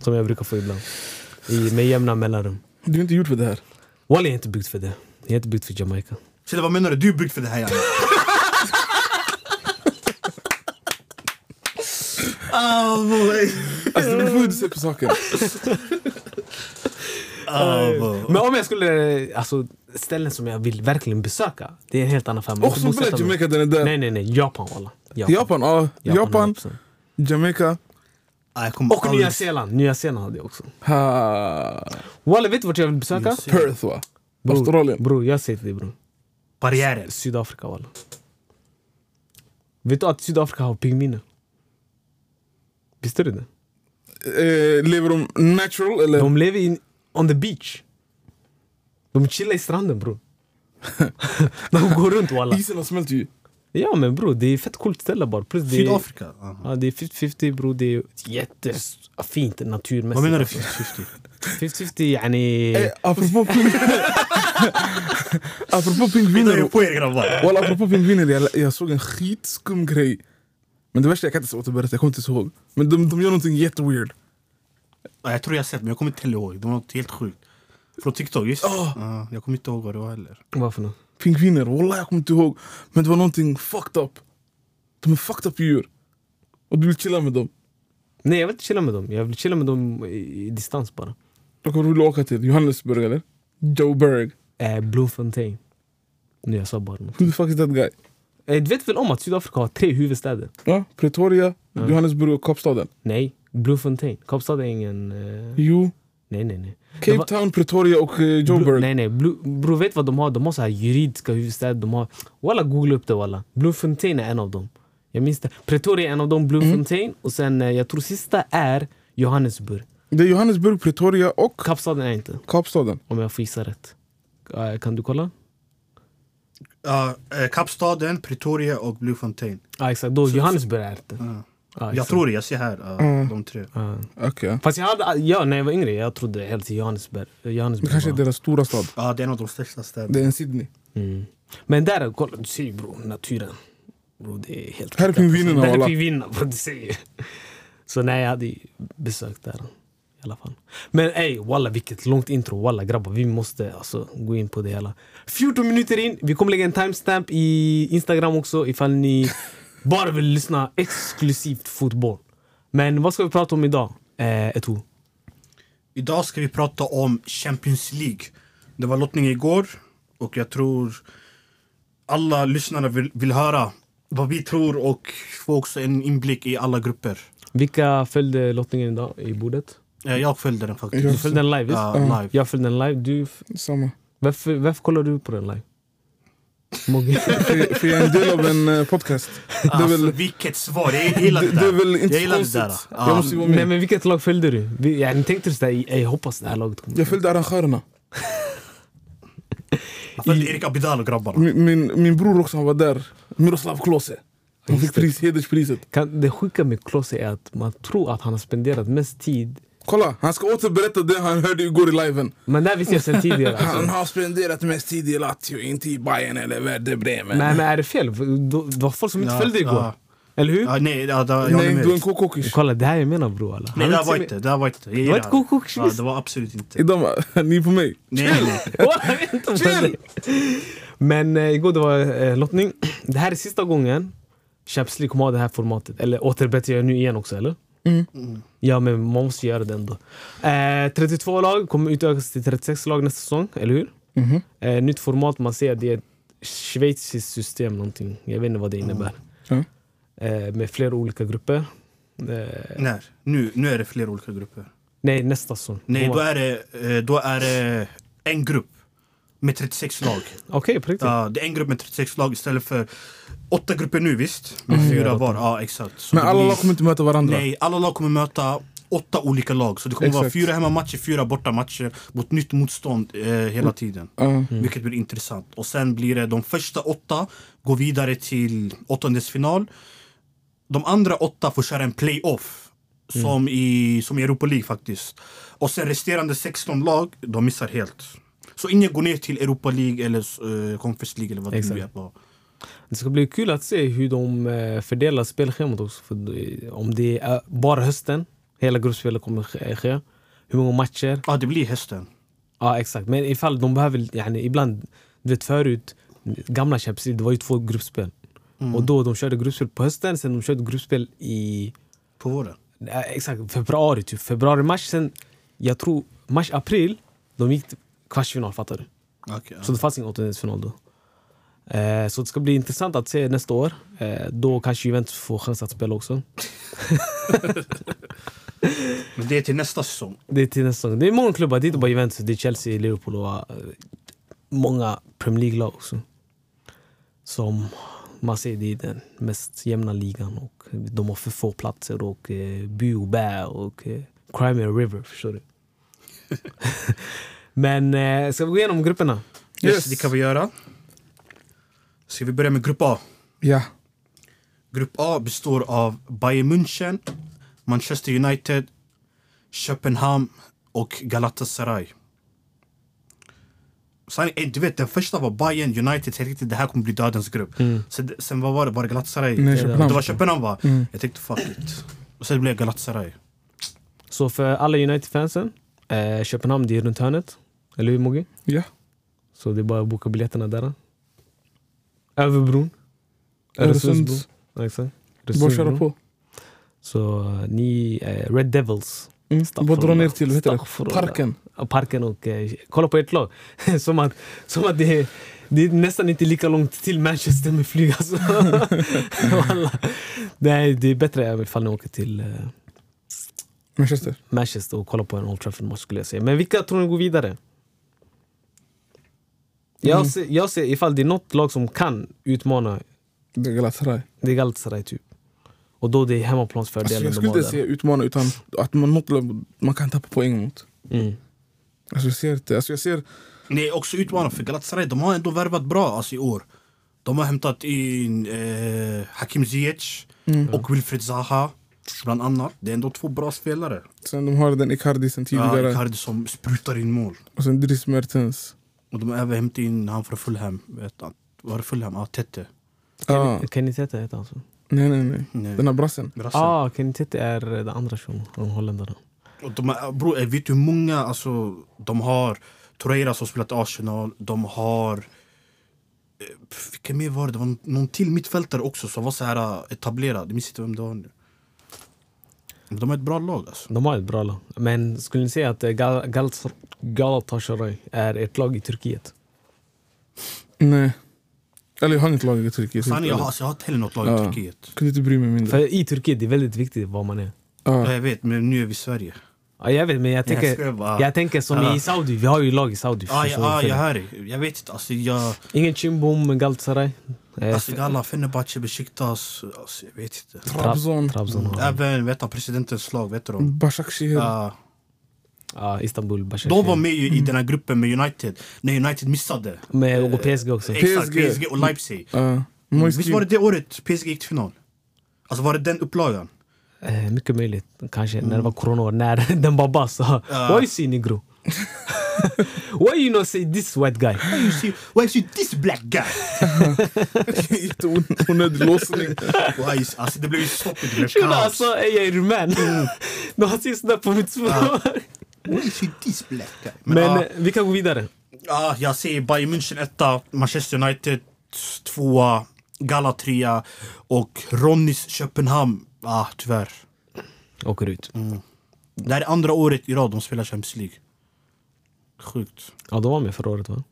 Speaker 2: Som jag brukar få ibland. I, med jämna mellanrum.
Speaker 1: Du är inte gjort för det här.
Speaker 2: Walla jag är inte byggd för det. Jag är inte byggd för Jamaica.
Speaker 3: Chille, vad menar du? Du är byggd för det här yani. Ah boy.
Speaker 1: Alltså det beror på hur du ser på saken.
Speaker 3: Ah, boy.
Speaker 2: Men om jag skulle... eh, Alltså ställen som jag vill verkligen besöka. Det är en helt annan femma.
Speaker 1: Och som spelar Jamaica, den är där.
Speaker 2: Nej nej nej. Japan walla.
Speaker 1: Japan, ja. Japan,
Speaker 2: 100%.
Speaker 1: Jamaica.
Speaker 3: Ah, jag kommer
Speaker 2: Och
Speaker 3: aldrig-
Speaker 2: Nya Zeeland. Nya Zeeland hade jag också.
Speaker 1: Ha.
Speaker 2: Walla, vet du vart jag vill besöka?
Speaker 1: Perth va?
Speaker 2: Bror,
Speaker 1: Australien.
Speaker 2: Bror, jag säger till dig bror.
Speaker 3: Barriären.
Speaker 2: Sydafrika walla. Vet du att Sydafrika har pingviner? Visste du det?
Speaker 1: Eh, lever de natural eller?
Speaker 2: De lever in, on the beach. De chillar i stranden bror. De går runt walla.
Speaker 1: Isen har smält ju.
Speaker 2: Ja men bror, det är fett coolt ställe bara. Plus det är,
Speaker 3: Sydafrika. Ah.
Speaker 2: ja, det är 50-50 bror. Det är jättefint naturmässigt.
Speaker 3: Vad menar du
Speaker 2: alltså.
Speaker 3: 50-50?
Speaker 2: 50-50 yani...
Speaker 1: Eh, apropå pingviner. apropå
Speaker 3: Vi drar
Speaker 1: pingviner.
Speaker 3: ju på er grabbar.
Speaker 1: Walla, apropå pingviner, jag, jag såg en skitskum grej. Men det värsta, jag kan inte återberätta, jag kommer inte ihåg. Men de, de gör någonting jätteweird.
Speaker 3: Ah, Jag tror jag har sett men jag kommer inte heller ihåg. Det var något helt sjukt. Från TikTok, just
Speaker 1: Ah.
Speaker 3: ah, Jag kommer inte ihåg vad det var heller.
Speaker 2: Varför nu?
Speaker 1: Pingviner, walla jag kommer inte ihåg. Men det var någonting fucked up. De är fucked up djur. Och du vill chilla med dem.
Speaker 2: Nej jag vill inte chilla med dem. Jag vill chilla med dem i, i distans bara.
Speaker 1: Då kommer du vilja åka till Johannesburg eller? Joburg.
Speaker 2: Eh, Bloemfontein. Nu jag sa bara något.
Speaker 1: Who the fuck is that guy?
Speaker 2: Eh, du vet väl om att Sydafrika har tre huvudstäder?
Speaker 1: Ja, Pretoria,
Speaker 2: Ja.
Speaker 1: Johannesburg och Kapstaden.
Speaker 2: Nej, Bloemfontein. Kapstad är ingen... Eh,
Speaker 1: Jo,
Speaker 2: nej, nej, nej. Det
Speaker 1: Cape
Speaker 2: var-
Speaker 1: Town, Pretoria och eh,
Speaker 2: Blu-
Speaker 1: Joburg.
Speaker 2: nej, nej. Blu, bro, vet vad de har? De har så här juridiska huvudstäder. De har... Walla, googla upp det walla. Bloemfontein är en av dem. Jag minns det. Pretoria är en av dem,
Speaker 1: Mm.
Speaker 2: Bloemfontein. Och sen, eh, jag tror sista är Johannesburg.
Speaker 1: Det är Johannesburg, Pretoria och
Speaker 2: Kapstaden är inte,
Speaker 1: Kapstaden.
Speaker 2: om jag får gissa rätt. Eh, kan du kolla?
Speaker 3: Ja, eh, Kapstaden, Pretoria och Bloemfontein.
Speaker 2: Ja, ah, exakt. Då Johannesburg är det. Ah,
Speaker 3: Jag
Speaker 2: exakt.
Speaker 3: tror det, jag ser här eh,
Speaker 1: Mm.
Speaker 3: de tre.
Speaker 2: Ah.
Speaker 1: Okej.
Speaker 2: Fast jag hade, ja, när jag var yngre jag trodde helt Johannesburg.
Speaker 1: Det
Speaker 2: Johannesburg
Speaker 1: kanske är
Speaker 2: bara.
Speaker 1: deras stora stad.
Speaker 3: Ja, det är en av de största städerna.
Speaker 1: Det är en Sydney.
Speaker 2: Mm. Men där, kolla, du ser ju bror, naturen. Bro, det är helt
Speaker 1: Här är pingvinerna,
Speaker 2: Där är
Speaker 1: walla.
Speaker 2: pingvinerna, bro, du ser ju. Så nej, jag hade ju besökt där. I alla fall. Men ey, walla vilket långt intro. Walla grabbar, vi måste alltså gå in på det hela. 14 minuter in, vi kommer lägga en timestamp i Instagram också ifall ni bara vill lyssna exklusivt fotboll. Men vad ska vi prata om idag? Eh, Eto'o?
Speaker 3: Idag ska vi prata om Champions League. Det var lottning igår och jag tror alla lyssnare vill, vill höra vad vi tror och få också en inblick i alla grupper.
Speaker 2: Vilka följde lottningen idag i bordet?
Speaker 3: Eh, Jag följde den faktiskt.
Speaker 2: Du följde den live, visst?
Speaker 3: Ja,
Speaker 1: Ja.
Speaker 3: live.
Speaker 2: Jag följde den live. Du, f-
Speaker 1: Samma.
Speaker 2: varför, varför kollar du på den live? Mogge?
Speaker 1: För, för jag är en del av en eh, podcast. Det är
Speaker 3: Alltså,
Speaker 1: väl,
Speaker 3: vilket svar! Jag gillar
Speaker 1: det,
Speaker 3: det
Speaker 1: det är väl
Speaker 3: där.
Speaker 1: inte
Speaker 3: Jag
Speaker 1: så
Speaker 3: gillar det
Speaker 1: konstigt.
Speaker 3: där.
Speaker 1: Jag
Speaker 3: Ja.
Speaker 1: måste ju vara
Speaker 2: Nej,
Speaker 1: med.
Speaker 2: men vilket lag följde du? Vi- Jag tänkte du sådär, jag hoppas det här laget kommer.
Speaker 1: Jag följde arrangörerna.
Speaker 3: Jag följde Erik Abidal och grabbarna.
Speaker 1: Min, min, min bror också, han var där. Miroslav Klose. Han fick
Speaker 2: Just det.
Speaker 1: pris, hederspriset.
Speaker 2: Kan, det sjuka med Klose är att man tror att han har spenderat mest tid.
Speaker 1: Kolla, han ska återberätta det han hörde igår i liven.
Speaker 2: Men det här visste jag sedan tidigare.
Speaker 1: Han
Speaker 2: Alltså.
Speaker 1: har spenderat mest tid i Lazio, inte i Bayern eller Werder Bremen.
Speaker 2: Men, men är det fel? Då- Det var folk som inte
Speaker 3: Ja,
Speaker 2: följde igår.
Speaker 3: ja.
Speaker 2: Eller hur?
Speaker 3: Ja, nej, ja, där, jag håller
Speaker 1: Nej,
Speaker 3: med
Speaker 1: du är en
Speaker 3: dig.
Speaker 1: kokokis.
Speaker 2: Kolla, det här är mina bror. alla.
Speaker 3: Nej,
Speaker 2: Han
Speaker 3: det
Speaker 2: har
Speaker 3: där var
Speaker 2: sett
Speaker 3: inte. Det där var inte. Jag
Speaker 2: var
Speaker 3: gillar
Speaker 2: ett kokokis.
Speaker 3: Ja, det var absolut inte.
Speaker 1: Idag var ni på mig.
Speaker 3: Nej, nej, nej.
Speaker 2: mig. Åh, jag vet inte om det- Men eh, igår det var eh, lottning. Det här är sista gången Champions League kommer ha det här formatet. Eller återberättar jag nu igen också, eller?
Speaker 1: Mm.
Speaker 2: Ja, men man måste göra det ändå. Eh, 32 lag kommer utökas till 36 lag nästa säsong, eller hur?
Speaker 1: Mhm.
Speaker 2: Eh, nytt format, man ser att det är ett schweiziskt system någonting. Jag vet inte vad det innebär.
Speaker 1: Mm.
Speaker 2: Eh, med flera olika grupper. Eh,
Speaker 3: När? Nu, nu är det flera olika grupper.
Speaker 2: nej, nästa säsong.
Speaker 3: Nej,
Speaker 2: Kommer-
Speaker 3: då är det, eh, då är det en grupp med 36 lag.
Speaker 2: Okej, på riktigt?
Speaker 3: Ja, det är en grupp med 36 lag istället för åtta grupper nu visst. Med
Speaker 2: Mm.
Speaker 3: fyra
Speaker 2: Fyra,
Speaker 3: var. Ja, exakt. Så
Speaker 1: Men
Speaker 3: det
Speaker 1: alla
Speaker 3: blir-
Speaker 1: lag kommer inte möta varandra.
Speaker 3: Nej, alla lag kommer möta åtta olika lag. Så det kommer vara
Speaker 1: Exakt.
Speaker 3: fyra hemmamatcher, fyra bortamatcher mot nytt motstånd eh, hela tiden.
Speaker 1: Ja.
Speaker 3: Vilket blir intressant. Och sen blir det de första åtta går vidare till åttondelsfinal. De andra åtta får köra en playoff. Som, i, som i Europa League faktiskt. Och sen resterande 16 lag, de missar helt. Så ingen går ner till Europa League eller uh, Conference League eller vad det nu är.
Speaker 2: Exakt.
Speaker 3: på.
Speaker 2: Det ska bli kul att se hur de eh, fördelar spelschemat också. För eh, om det är bara hösten, hela gruppspelet kommer ske- ske. Hur många matcher?
Speaker 3: Ja, det blir hösten.
Speaker 2: Ja, exakt. Men ifall de behöver, yani, ibland, du vet förut, gamla Champions League, det var ju två gruppspel. Och då de körde gruppspel på hösten, sen de körde gruppspel i
Speaker 3: På våren.
Speaker 2: eh, exakt, februari, typ. Februari-mars. Sen, jag tror, mars-april, de gick till kvartsfinal, fattar du?
Speaker 3: Okay,
Speaker 2: Så det fanns ingen åttondelsfinal då. Eh, så det ska bli intressant att se nästa år. Eh, då kanske Juventus får chans att spela också.
Speaker 3: Men det är till nästa säsong.
Speaker 2: Det är till nästa gång. Det är många klubbar, det är inte bara Juventus. Det är Chelsea, Liverpool och eh, många Premier League-lag också. Som man ser, det är den mest jämna ligan. Och de har för få platser och eh, bu och bä och eh, Crimea River, förstår du? Men eh, ska vi gå igenom grupperna?
Speaker 3: Yes.
Speaker 1: Yes.
Speaker 3: det kan vi göra. Ska vi börja med Grupp A?
Speaker 1: Ja.
Speaker 3: Grupp A består av Bayern München, Manchester United, Köpenhamn och Galatasaray. Sen, eh, du vet, den första var Bayern, United. Jag tänkte det här kommer bli dödens grupp. Sen, sen vad var det? Var det Galatasaray?
Speaker 1: Mm. Nej,
Speaker 3: det var
Speaker 1: Köpenhamn.
Speaker 3: Köpenhamn va?
Speaker 1: Mm.
Speaker 3: Jag tänkte fuck it. Och sen blev det Galatasaray.
Speaker 2: Så för alla United-fansen, eh, Köpenhamn det är runt hörnet. Eller hur Mogge?
Speaker 1: Ja.
Speaker 2: Så det är bara att boka biljetterna där. Över bron. Öresundsbron.
Speaker 1: Öresunds.
Speaker 2: Ja, exakt.
Speaker 1: Bara köra
Speaker 2: Öresundsbron.
Speaker 1: på.
Speaker 2: Så eh, ni, eh, Red Devils,
Speaker 1: Mm. Bara dra ner till vad heter det?
Speaker 2: Staffrolanda.
Speaker 1: parken.
Speaker 2: ja, parken och eh, kolla på ert lag. som att, som att det, är, det är nästan inte lika långt till Manchester med flyg. Alltså. Wallah. Nej, det är bättre ifall ni åker till eh,
Speaker 1: Manchester.
Speaker 2: Manchester och kolla på en Old Trafford-match skulle jag säga. Men vilka tror ni går vidare?
Speaker 1: Mm.
Speaker 2: Jag, ser, jag ser ifall det är något lag som kan utmana,
Speaker 1: Det är Galatasaray.
Speaker 2: det är Galatasaray typ. Och då det är
Speaker 1: Alltså,
Speaker 2: hemmaplansfördelen
Speaker 1: jag skulle
Speaker 2: de har
Speaker 1: inte
Speaker 2: där.
Speaker 1: säga utmana utan att man, något, lag- man kan tappa poäng mot.
Speaker 2: Mm.
Speaker 1: Alltså, jag ser inte. Alltså, jag ser
Speaker 3: Nej, också utmanande för Galatasaray. De har ändå värvat bra alltså, i år. De har hämtat in eh, Hakim Ziyech och Wilfred Zaha. Bland annat. Det är ändå två bra spelare.
Speaker 1: sen de har den Icardi sen
Speaker 3: Ja,
Speaker 1: tidigare.
Speaker 3: Icardi som sprutar in mål.
Speaker 1: Och sen Dries Mertens.
Speaker 3: Och de har även hämtat in han från Fulham. Vet han. Var det Fulham? Ja, Tete.
Speaker 1: Ah.
Speaker 2: Kenny Tete heter han så?
Speaker 1: Nej, nej, nej.
Speaker 3: Nej.
Speaker 1: Den här brassen.
Speaker 3: Brassen.
Speaker 2: Ah, Kenny Tete är den andra shunon, den holländaren.
Speaker 3: Och de har, bro, eh, vet du hur många alltså, de har? Torreira som spelat i Arsenal. De har... eh, pff, Vilka mer var det? Det var någon till mittfältare också som var så här eh, etablerad. Jag minns inte vem det var nu. De är ett bra lag alltså.
Speaker 2: De har ett bra lag. Men skulle ni säga att eh, Gal- Gal- Galatasaray är ett lag i Turkiet?
Speaker 1: Nej. Eller jag har inget lag i Turkiet.
Speaker 3: Fan,
Speaker 1: helt
Speaker 3: jag,
Speaker 1: ärligt.
Speaker 3: har, alltså, jag har inte heller något lag i
Speaker 1: Ja.
Speaker 3: Turkiet.
Speaker 1: Kunde inte bry mig mindre.
Speaker 2: För i Turkiet det är väldigt viktigt vad man är.
Speaker 1: Ja.
Speaker 3: Ja, jag vet, men nu är vi i Sverige.
Speaker 2: Ja, jag vet, men jag
Speaker 3: Jag,
Speaker 2: tänker,
Speaker 3: skojar bara.
Speaker 2: jag tänker som
Speaker 3: Ja. Ah,
Speaker 2: i Saudi. Vi har ju lag i Saudi.
Speaker 3: Ja,
Speaker 2: förstår
Speaker 3: ja,
Speaker 2: du?
Speaker 3: ja, jag hör dig. Jag vet inte. Alltså, jag,
Speaker 2: Ingen Chimbom, Galatasaray. Eh,
Speaker 3: alltså, alla Fenerbahce, Besiktas. Alltså, jag vet inte.
Speaker 1: Trabzon.
Speaker 2: Trabzon har lag.
Speaker 3: Även vet du, presidentens lag, vet du Ah. dem?
Speaker 1: Başakşehir.
Speaker 3: Ja,
Speaker 2: Ja, Ah, Istanbul, Başakşehir.
Speaker 3: de var med ju i
Speaker 2: Mm.
Speaker 3: den här gruppen med United, när United missade.
Speaker 2: Med och PSG också.
Speaker 3: Exakt,
Speaker 1: PSG.
Speaker 3: PSG
Speaker 2: Mm.
Speaker 3: och Leipzig.
Speaker 1: Ja.
Speaker 3: Visst
Speaker 1: Moiski.
Speaker 3: var det det året PSG gick till final? Alltså var det den upplagan?
Speaker 2: Eh, mycket möjligt. Kanske när det
Speaker 3: Mm.
Speaker 2: var corona. När den bara bara sa Why you see negro? Why you not say this white guy?
Speaker 3: Why you see, why you see this black guy?
Speaker 1: Onödig låsning.
Speaker 3: Why you see- alltså det blev ju stopp, det blev
Speaker 2: Tjena
Speaker 3: kaos.
Speaker 2: alltså, är jag är rumän. Du har sist där på mitt spår.
Speaker 3: Why you see this black guy? Men,
Speaker 2: Men
Speaker 3: ja,
Speaker 2: eh, vi kan gå vidare.
Speaker 3: ja, jag ser Bayern München etta, Manchester United tvåa, Gala trea och Ronnys Köpenhamn. Ah, tyvärr.
Speaker 2: Åker ut.
Speaker 3: Det här är andra året i rad de spelar Champions League. Sjukt.
Speaker 2: Ja, de var med förra året va?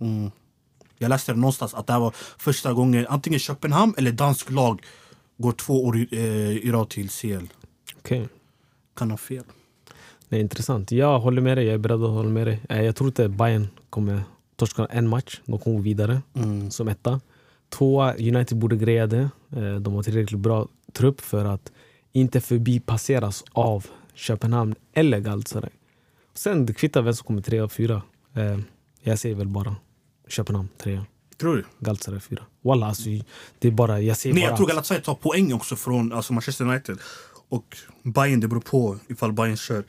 Speaker 3: Jag läste det någonstans att det här var första gången antingen Köpenhamn eller dansk lag går två år i, eh, i rad till CL.
Speaker 2: Okej.
Speaker 3: Kan ha fel.
Speaker 2: Det är intressant. Jag håller med dig. Jag är beredd att hålla med dig. Eh, Jag tror inte Bayern kommer torska en match. De kommer gå vidare som etta. Tvåa, United borde greja det. Eh, De har tillräckligt bra trupp för att inte förbipasseras av Köpenhamn eller Galatasaray. Sen det kvittar vem som kommer trea och fyra. Eh, Jag säger väl bara Köpenhamn trea,
Speaker 3: Tror du?
Speaker 2: Galatasaray fyra. Walla, alltså, det är bara... Jag säger
Speaker 3: Nej,
Speaker 2: bara...
Speaker 3: jag tror Galatasaray tar poäng också från alltså Manchester United. Och Bayern, det beror på ifall Bayern kör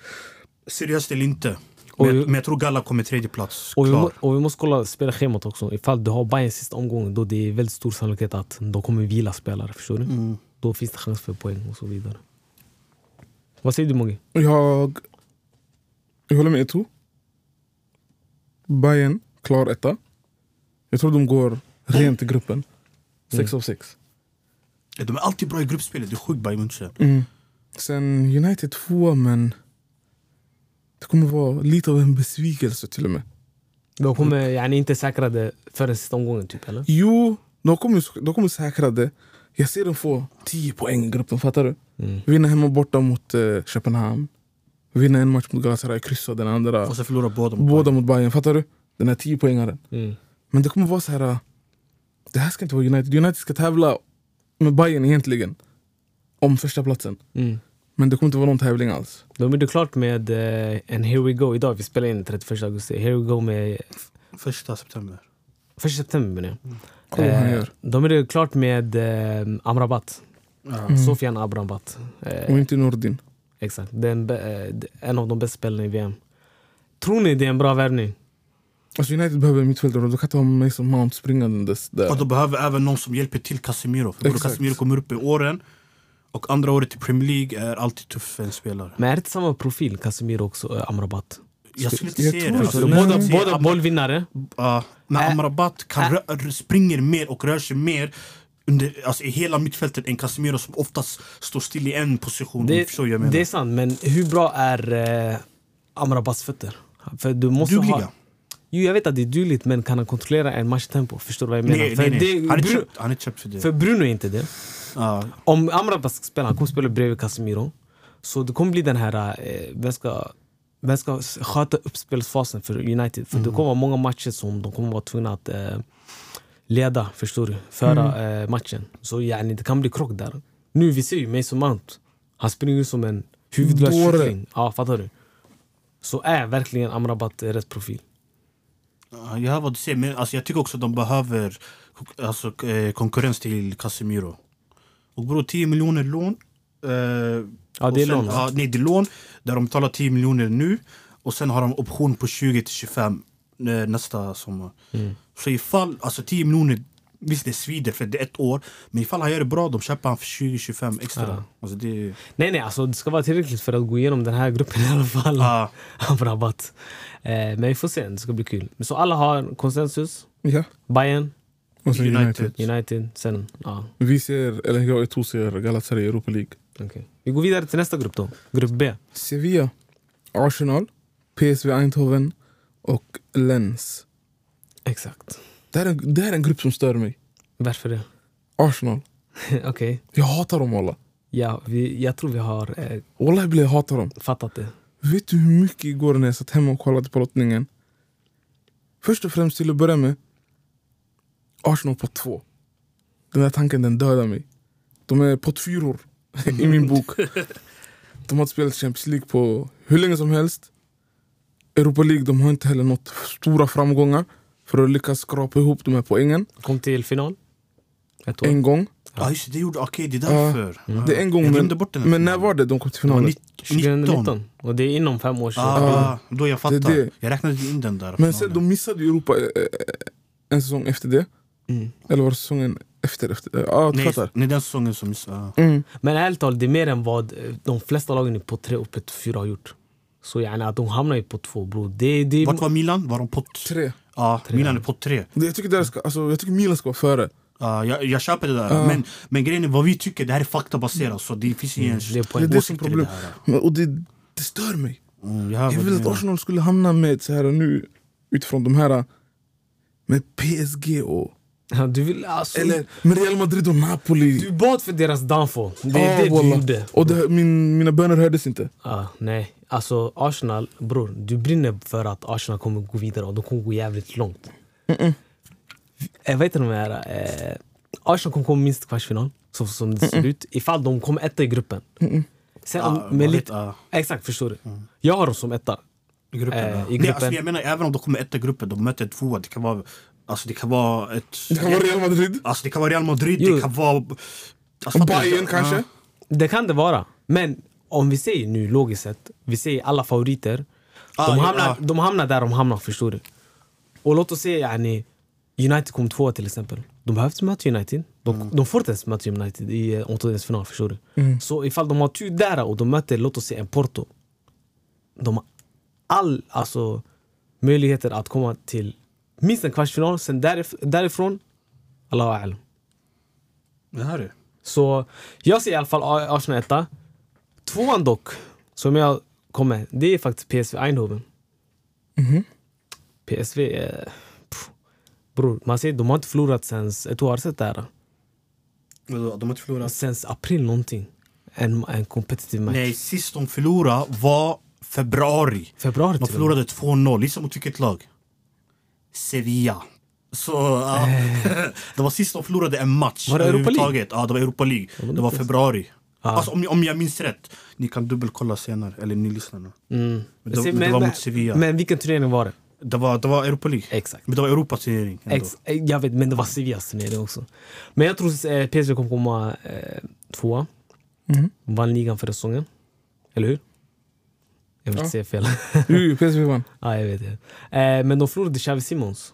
Speaker 3: seriöst eller inte.
Speaker 2: Och-
Speaker 3: Men, jag- men jag tror Galla kommer tredje plats
Speaker 2: Och vi, må,
Speaker 3: klar.
Speaker 2: och vi måste kolla spelschemat också. Ifall du har Bayern sista omgången då det är väldigt stor sannolikhet att de kommer vila spelare. Förstår du? Då finns det chans för poäng och så vidare. Vad säger du Mogge?
Speaker 1: Jag, jag håller med Eto. Bayern klar etta. Jag tror de går rent i gruppen. Sex av sex.
Speaker 3: De är alltid bra i gruppspelet, det är sjukt Bayern München.
Speaker 1: Mm. Sen United två men det kommer vara lite av en besvikelse till och med.
Speaker 2: De kommer yani, inte säkra det förrän sista omgången typ, eller?
Speaker 1: Jo, de kommer, de kommer säkra det. Jag ser dem få 10 poäng i gruppen, fattar du? Vinna hemma borta mot eh, Köpenhamn. Vinna en match mot Galatasaray, kryssa den andra.
Speaker 3: Och så förlorar båda mot
Speaker 1: Båda
Speaker 3: Bayern.
Speaker 1: mot Bayern, fattar du? Den här 10 poängaren.
Speaker 2: Mm.
Speaker 1: Men det kommer vara så här. äh, Det här ska inte vara United. United ska tävla med Bayern egentligen. Om första platsen.
Speaker 2: Mm.
Speaker 1: Men det kommer inte vara någon tävling alls.
Speaker 2: De gjorde klart med eh, en Here We Go idag. Vi spelar in den 31 augusti. Here We Go med
Speaker 3: Första september.
Speaker 2: 1 september menar jag.
Speaker 1: Kolla
Speaker 2: Eh,
Speaker 1: vad han gör.
Speaker 2: de gjorde klart med eh, Amrabat.
Speaker 3: Ja.
Speaker 2: Sofian Amrabat. Eh,
Speaker 1: Och inte Nordin.
Speaker 2: Exakt. Det är en, be- eh, d- en av de bästa spelarna i VM. Tror ni det är en bra värvning?
Speaker 1: Alltså United behöver mittfältare och då kan inte ha Mason Mount springandes
Speaker 3: Och
Speaker 1: där.
Speaker 3: de behöver även någon som hjälper till Casemiro. För både
Speaker 1: Exakt.
Speaker 3: Casemiro kommer upp i åren och andra året i Premier League är alltid tufft för en spelare.
Speaker 2: Men är det inte samma profil, Casemiro också, eh, Amrabat?
Speaker 3: Jag skulle inte
Speaker 1: jag
Speaker 3: se
Speaker 1: tror
Speaker 3: det.
Speaker 1: inte det.
Speaker 3: Alltså, när
Speaker 2: båda
Speaker 3: man ser
Speaker 2: båda
Speaker 3: Am-
Speaker 2: bollvinnare.
Speaker 3: ja, när
Speaker 2: Ä-
Speaker 3: Amrabat kan rö- r- springer mer och rör sig mer under, alltså, i hela mittfältet än Casemiro som oftast står still i en position. om du
Speaker 2: Det,
Speaker 3: förstår vad jag menar.
Speaker 2: det är sant, men hur bra är eh, Amrabats fötter? För du måste
Speaker 3: Dugliga.
Speaker 2: ha... Jo, jag vet att det är dugligt, men kan han kontrollera en matchtempo? Förstår du vad jag menar?
Speaker 3: Nej,
Speaker 2: för,
Speaker 3: nej, nej.
Speaker 2: Det,
Speaker 3: Han är
Speaker 2: Bru-
Speaker 3: köpt, han är köpt för det.
Speaker 2: för Bruno är inte det.
Speaker 3: Ja.
Speaker 2: Om Amrabat ska spela, han kommer spela bredvid Casemiro. Så det kommer bli den här, eh, vem ska, vem ska sköta uppspelsfasen för United? För det kommer vara många matcher som de kommer vara tvungna att eh, leda, förstår du? Föra eh, matchen. Så yani, det kan bli krock där. Nu, vi ser ju Mason Mount. Han springer ju som en huvudlös
Speaker 1: Dåre.
Speaker 2: kyckling. Ja, fattar du? Så är verkligen Amrabat eh, rätt profil.
Speaker 3: Ja, Jag hör vad du säger, men alltså, jag tycker också att de behöver konk- alltså, k- eh, konkurrens till Casemiro. Och bror, 10 miljoner lån. eh,
Speaker 2: Ja,
Speaker 3: och
Speaker 2: det är
Speaker 3: sen,
Speaker 2: lån.
Speaker 3: Ja, nej, det är lån. Där de betalar 10 miljoner nu och sen har de option på 20 till 25 eh, nästa sommar.
Speaker 2: Mm.
Speaker 3: Så ifall, alltså 10 miljoner, visst det svider för det är ett år, men ifall han gör det bra, de köper han för 20-25 extra.
Speaker 2: Ja.
Speaker 3: Alltså, det,
Speaker 2: Nej, nej, alltså det ska vara tillräckligt för att gå igenom den här gruppen i alla fall.
Speaker 3: Ja.
Speaker 2: Han får rabatt. Eh, men vi får se, det ska bli kul. Men Så alla har konsensus.
Speaker 1: Ja.
Speaker 2: Bayern,
Speaker 1: Och sen United.
Speaker 3: United.
Speaker 2: United, sen... Ja.
Speaker 1: Vi ser, eller jag och Eto ser Galatasaray i Europa League.
Speaker 2: Okej. Vi går vidare till nästa grupp då. Grupp B.
Speaker 1: Sevilla, Arsenal, PSV Eindhoven och Lens.
Speaker 2: Exakt.
Speaker 1: Det här, är, det här är en grupp som stör mig.
Speaker 2: Varför det?
Speaker 1: Arsenal.
Speaker 2: Okej.
Speaker 1: Jag hatar dem alla.
Speaker 2: Ja, vi, jag tror vi har eh,
Speaker 1: Wallahi billah, jag hatar dem.
Speaker 2: fattat det.
Speaker 1: Vet du hur mycket igår när jag satt hemma och kollade på lottningen? Först och främst till att börja med, Arsenal på två. Den där tanken den dödar mig. De är på fyror i min bok. De har inte spelat Champions League på hur länge som helst. Europa League, de har inte heller nått stora framgångar för att lyckas skrapa ihop de här poängen.
Speaker 2: Kom till final. Ett år.
Speaker 1: En gång.
Speaker 3: Ja, just det, det gjorde... Okej, det är
Speaker 1: Ja.
Speaker 3: därför.
Speaker 2: Mm.
Speaker 3: Ja.
Speaker 1: Det är en gång,
Speaker 3: jag glömde
Speaker 1: men,
Speaker 3: bort den här
Speaker 1: men när
Speaker 3: finalen.
Speaker 1: var det de kom till
Speaker 3: Det var
Speaker 1: finalen?
Speaker 3: 19.
Speaker 2: 2019. Och det är inom fem års...
Speaker 3: Ah, då jag fattar.
Speaker 1: Det är det.
Speaker 3: Jag räknade in den där.
Speaker 1: Men
Speaker 3: finalen.
Speaker 1: sen, de missade ju Europa eh, eh, en säsong efter det.
Speaker 2: Mm.
Speaker 1: Eller var det säsongen efter? efter eh, ja, du
Speaker 3: nej,
Speaker 1: fattar.
Speaker 3: nej, den säsongen som ah. missade.
Speaker 1: Mm.
Speaker 2: Men ärligt talat, det är mer än vad eh, de flesta lagen i på tre och på fyra har gjort. Så gärna att de hamnar ju på två bror. Det, det,
Speaker 3: Vart var Milan? Var de på... Tre.
Speaker 1: Tre.
Speaker 3: Ja,
Speaker 2: Tre.
Speaker 3: Milan är på tre.
Speaker 1: Det, jag, tycker där ska, alltså, jag tycker Milan ska vara före.
Speaker 3: Ja, jag, jag köper det där.
Speaker 1: Ja.
Speaker 3: Men, men grejen är vad vi tycker, det här är faktabaserat. Så det finns ingen
Speaker 2: Mm, det är
Speaker 1: Det är
Speaker 2: poäng.
Speaker 1: det som
Speaker 3: åsikt i
Speaker 1: problem.
Speaker 3: det här.
Speaker 1: Men- Och det, det stör mig.
Speaker 3: Mm, jag hör
Speaker 1: Jag
Speaker 3: vad du
Speaker 1: vill att
Speaker 3: menar.
Speaker 1: Arsenal skulle hamna med så här nu utifrån de här eh, med PSG och...
Speaker 2: Ja, Du vill alltså...
Speaker 1: Eller med Real Madrid och Napoli.
Speaker 2: Du bad för deras downfall. Det är
Speaker 1: Ah,
Speaker 2: det du
Speaker 1: wallah.
Speaker 2: gjorde.
Speaker 1: Och det, min, mina böner hördes inte.
Speaker 2: Ah, nej, alltså Arsenal, bror. Du brinner för att Arsenal kommer gå vidare och de kommer gå jävligt långt. Eh, vad heter de här? Eh, Arsenal kommer komma minst kvartsfinal, så som det ser ut. Ifall de kommer etta i gruppen. Sen, om-
Speaker 3: Ja,
Speaker 1: Ah,
Speaker 2: med
Speaker 3: man
Speaker 2: lite,
Speaker 3: vet, ja.
Speaker 2: Exakt, förstår du?
Speaker 1: Mm.
Speaker 2: Jag har dem som etta.
Speaker 3: Gruppen,
Speaker 2: Eh,
Speaker 3: ja.
Speaker 2: i
Speaker 3: Nej,
Speaker 2: gruppen.
Speaker 3: alltså, jag menar, även om de kommer etta i gruppen, de möter en tvåa. Det kan vara, alltså, det kan vara ett...
Speaker 1: Det kan vara Real Madrid,
Speaker 3: Alltså, det kan vara Real Madrid,
Speaker 2: Jo.
Speaker 3: det kan vara... Alltså, fattar du?
Speaker 1: Bayern
Speaker 3: Ja.
Speaker 1: kanske.
Speaker 2: Det kan det vara. Men om vi säger nu logiskt sett, vi säger alla favoriter.
Speaker 3: Ah,
Speaker 2: de,
Speaker 3: ja,
Speaker 2: hamnar,
Speaker 3: ah.
Speaker 2: de hamnar där de hamnar, förstår du? Och låt oss säga yani, United kom tvåa till exempel. De behöver inte möta United. De,
Speaker 3: Mm.
Speaker 2: de får inte ens möta United i eh, åttondelsfinal, förstår du? Så ifall de har tur där och de möter, låt oss säga en Porto. De har all, alltså, möjligheter att komma till minst en kvartsfinal. Sen därif- därifrån, Allahu a'lam.
Speaker 3: Det här är...
Speaker 2: Så jag ser i alla fall A- Arsenal etta. Tvåan dock, som jag kommer, det är faktiskt PSV Eindhoven.
Speaker 1: Mhm.
Speaker 2: PSV, eh, pff, bror, man ser de har inte förlorat sen, jag tror jag har sett det här,
Speaker 3: Vadå, De har inte förlorat?
Speaker 2: sen april någonting. En, en competitive match.
Speaker 3: Nej, sist de förlorade var februari.
Speaker 2: Februari
Speaker 3: De
Speaker 2: till och med.
Speaker 3: förlorade 2-0, liksom mot vilket lag? Sevilla. Så, ja. det var sist de förlorade en match.
Speaker 2: Eh. Var det Europa League?
Speaker 3: överhuvudtaget. Ja, det var Europa League. Det var februari.
Speaker 2: Ah.
Speaker 3: Alltså, om, om jag minns rätt. Ni kan dubbelkolla senare, eller ni lyssnar nu. Men, det,
Speaker 2: Mm. Se,
Speaker 3: men, det var mot Sevilla.
Speaker 2: Men Eh. vilken turnering var det?
Speaker 3: det, var, det var Europa League.
Speaker 2: Exakt.
Speaker 3: Men det var Europas turnering. ändå.
Speaker 2: Ex, eh, jag vet, men det var Sevillas turnering också. Men jag tror eh, PSV kommer komma eh, tvåa.
Speaker 3: Mhm.
Speaker 2: Vann ligan förra säsongen. Eller hur? Jag vill inte säga fel.
Speaker 1: Jo, PSV vann.
Speaker 2: ja, jag vet det. Eh, men de förlorade Xavi Simons.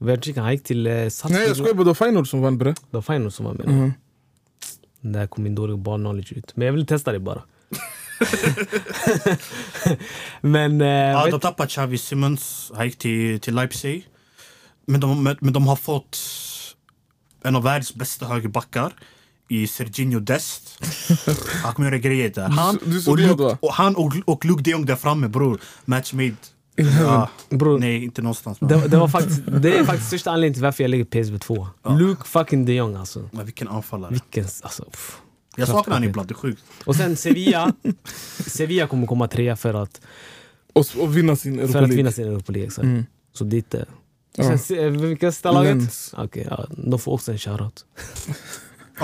Speaker 2: Världskickan, han gick till eh,
Speaker 1: Nej jag skojar
Speaker 2: Salzburg.
Speaker 1: bara, det var Feyenoord som vann bre.
Speaker 2: Det var Feyenoord som var med.
Speaker 1: Mhm.
Speaker 2: Där kom min dåliga barnknowledge ut. Men jag ville testa det bara. men... Eh,
Speaker 3: Ja,
Speaker 2: vet-
Speaker 3: de tappade Xavi Simmons. Han gick till, till Leipzig. Men de, men men de har fått en av världens bästa högerbackar i Serginho Dest. Han kommer göra grejer där. Han,
Speaker 1: Du- du såg
Speaker 3: och,
Speaker 1: det,
Speaker 3: Luke,
Speaker 1: va?
Speaker 3: och, han och, och Luke de Jong där framme, bror. Match made. Ja,
Speaker 2: Bror.
Speaker 3: nej, inte någonstans. Men.
Speaker 2: det, det, var faktiskt, det är faktiskt största anledningen till varför jag lägger PSV 2 Luke fucking de Jong alltså.
Speaker 3: Men vilken anfallare.
Speaker 2: Vilken... Alltså, pff.
Speaker 3: Jag saknar honom ibland, det är sjukt.
Speaker 2: Och sen Sevilla. Sevilla kommer komma trea för att,
Speaker 1: Och, s- och vinna sin Europa
Speaker 2: för att
Speaker 1: League.
Speaker 2: vinna sin Europa League. exakt.
Speaker 1: Mm.
Speaker 2: Så dit är
Speaker 1: Ja.
Speaker 2: Sen se- eh, vilka sista laget?
Speaker 1: Lens.
Speaker 2: Okej, ja, de får också en shoutout.
Speaker 3: Ja,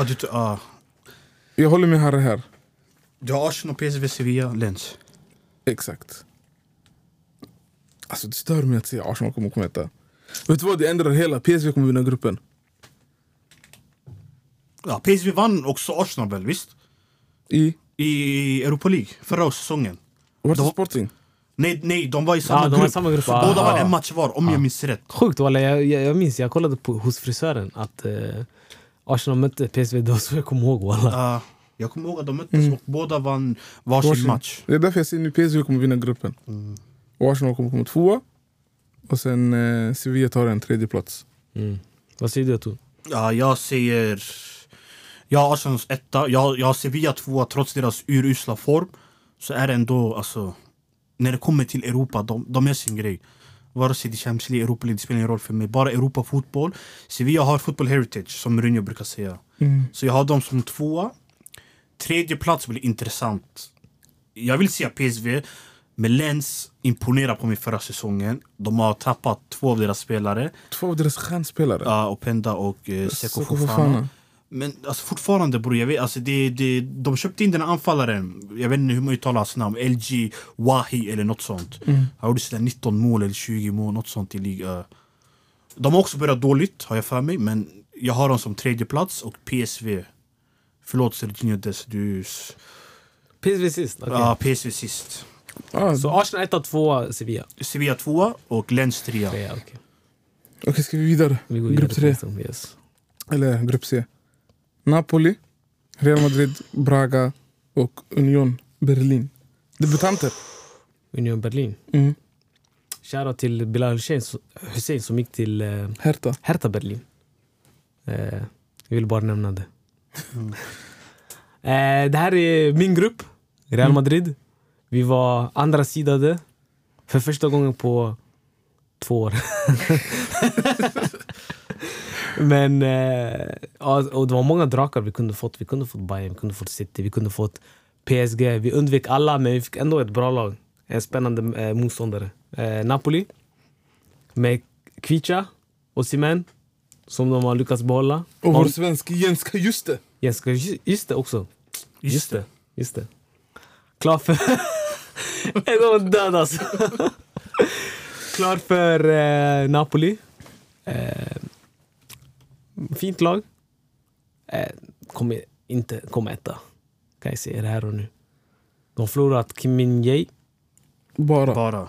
Speaker 3: Ah, du, ja.
Speaker 1: Jag håller med Harry här.
Speaker 3: du har Arsenal, PSV, Sevilla, Lens.
Speaker 1: Exakt. Alltså det stör mig att se Arsenal kommer komma etta. Vet du vad, det ändrar hela. PSV kommer vinna gruppen.
Speaker 3: Ja, PSV vann också Arsenal väl, visst?
Speaker 1: I...
Speaker 3: I Europa League, förra säsongen.
Speaker 1: Vart är
Speaker 3: Då-
Speaker 1: Sporting?
Speaker 3: Nej, nej, de var i samma
Speaker 2: Ja, de var i
Speaker 3: grupp.
Speaker 2: samma grupp.
Speaker 3: Så
Speaker 2: Ah,
Speaker 3: båda var
Speaker 2: ah.
Speaker 3: en match var, om jag minns rätt.
Speaker 2: Sjukt walla, jag, jag, jag minns, jag kollade på, hos frisören att eh, Arsenal mötte PSV, det var så jag kommer ihåg walla.
Speaker 3: Ah, jag kommer ihåg att de möttes
Speaker 2: Mm.
Speaker 3: och båda vann varsin
Speaker 1: Varsin.
Speaker 3: match.
Speaker 1: Det är därför jag säger nu PSV kommer vinna gruppen.
Speaker 2: Mm.
Speaker 1: Och Arsenal kommer komma tvåa. Och sen eh, Sevilla tar en tredje plats.
Speaker 2: Mm. Vad säger du Tor?
Speaker 3: Ja, jag säger... Jag har Arsenal etta, jag, har- jag har Sevilla tvåa trots deras urusla form. Så är det ändå, alltså, när det kommer till Europa, de, de gör sin grej. Vare sig det är Champions League, Europa League, det spelar ingen roll för mig. Bara Europa-fotboll. Sevilla har football heritage, som Mourinho brukar säga. Så jag har dem som tvåa. Tredje plats blir intressant. Jag vill se PSV, men Lens imponerade på mig förra säsongen. De har tappat två av deras spelare,
Speaker 1: Två av deras stjärnspelare.
Speaker 3: uh, Openda och uh, Seko
Speaker 1: Seko
Speaker 3: Fofana.
Speaker 1: Fofana.
Speaker 3: Men alltså, fortfarande bror, jag vet, alltså, det, det, de köpte in den här anfallaren, jag vet inte hur man uttalar hans namn, LG Wahi eller något sånt. Han gjorde sådär 19 mål eller 20 mål, något sånt i liga. De har också börjat dåligt har jag för mig, men jag har dem som tredje plats och PSV. Förlåt Serginho Dess, du... s-
Speaker 2: PSV sist. okej.
Speaker 3: Ja, PSV sist.
Speaker 1: Ah,
Speaker 2: Så Arsenal etta, tvåa, Sevilla
Speaker 3: Sevilla tvåa och Lens trea.
Speaker 2: trea. okej.
Speaker 1: Okej, ska vi vidare?
Speaker 2: Vi går
Speaker 1: grupp
Speaker 2: vidare.
Speaker 1: tre.
Speaker 2: liksom, Yes.
Speaker 1: Eller grupp C. Napoli, Real Madrid, Braga och Union Berlin. Debutanter.
Speaker 2: Union Berlin.
Speaker 1: Mm.
Speaker 2: Shoutout till Bilal Hussein, Hussein som gick till eh,
Speaker 1: Hertha.
Speaker 2: Hertha Berlin. Eh, jag vill bara nämna det.
Speaker 1: Mm.
Speaker 2: Eh, det här är min grupp, Real
Speaker 1: Mm.
Speaker 2: Madrid. Vi var andra sidade för första gången på två år. Men eh, ja, och det var många drakar vi kunde fått. Vi kunde fått Bayern, vi kunde fått City, vi kunde fått PSG. Vi undvek alla, men vi fick ändå ett bra lag. En spännande eh, motståndare. Eh, Napoli med Kvicha och Simen som de har lyckats behålla.
Speaker 1: Och vår
Speaker 2: Om-
Speaker 1: svensk Jenska, just det!
Speaker 2: Jens ska ju- just det också.
Speaker 3: Just det.
Speaker 2: Just det. Klar för... en gång död alltså. Klar för eh, Napoli. Eh, fint lag. Eh, kommer inte komma etta. Kan jag säga det här och nu. De förlorat Kim Min-Jae.
Speaker 1: Bara.
Speaker 3: Bara.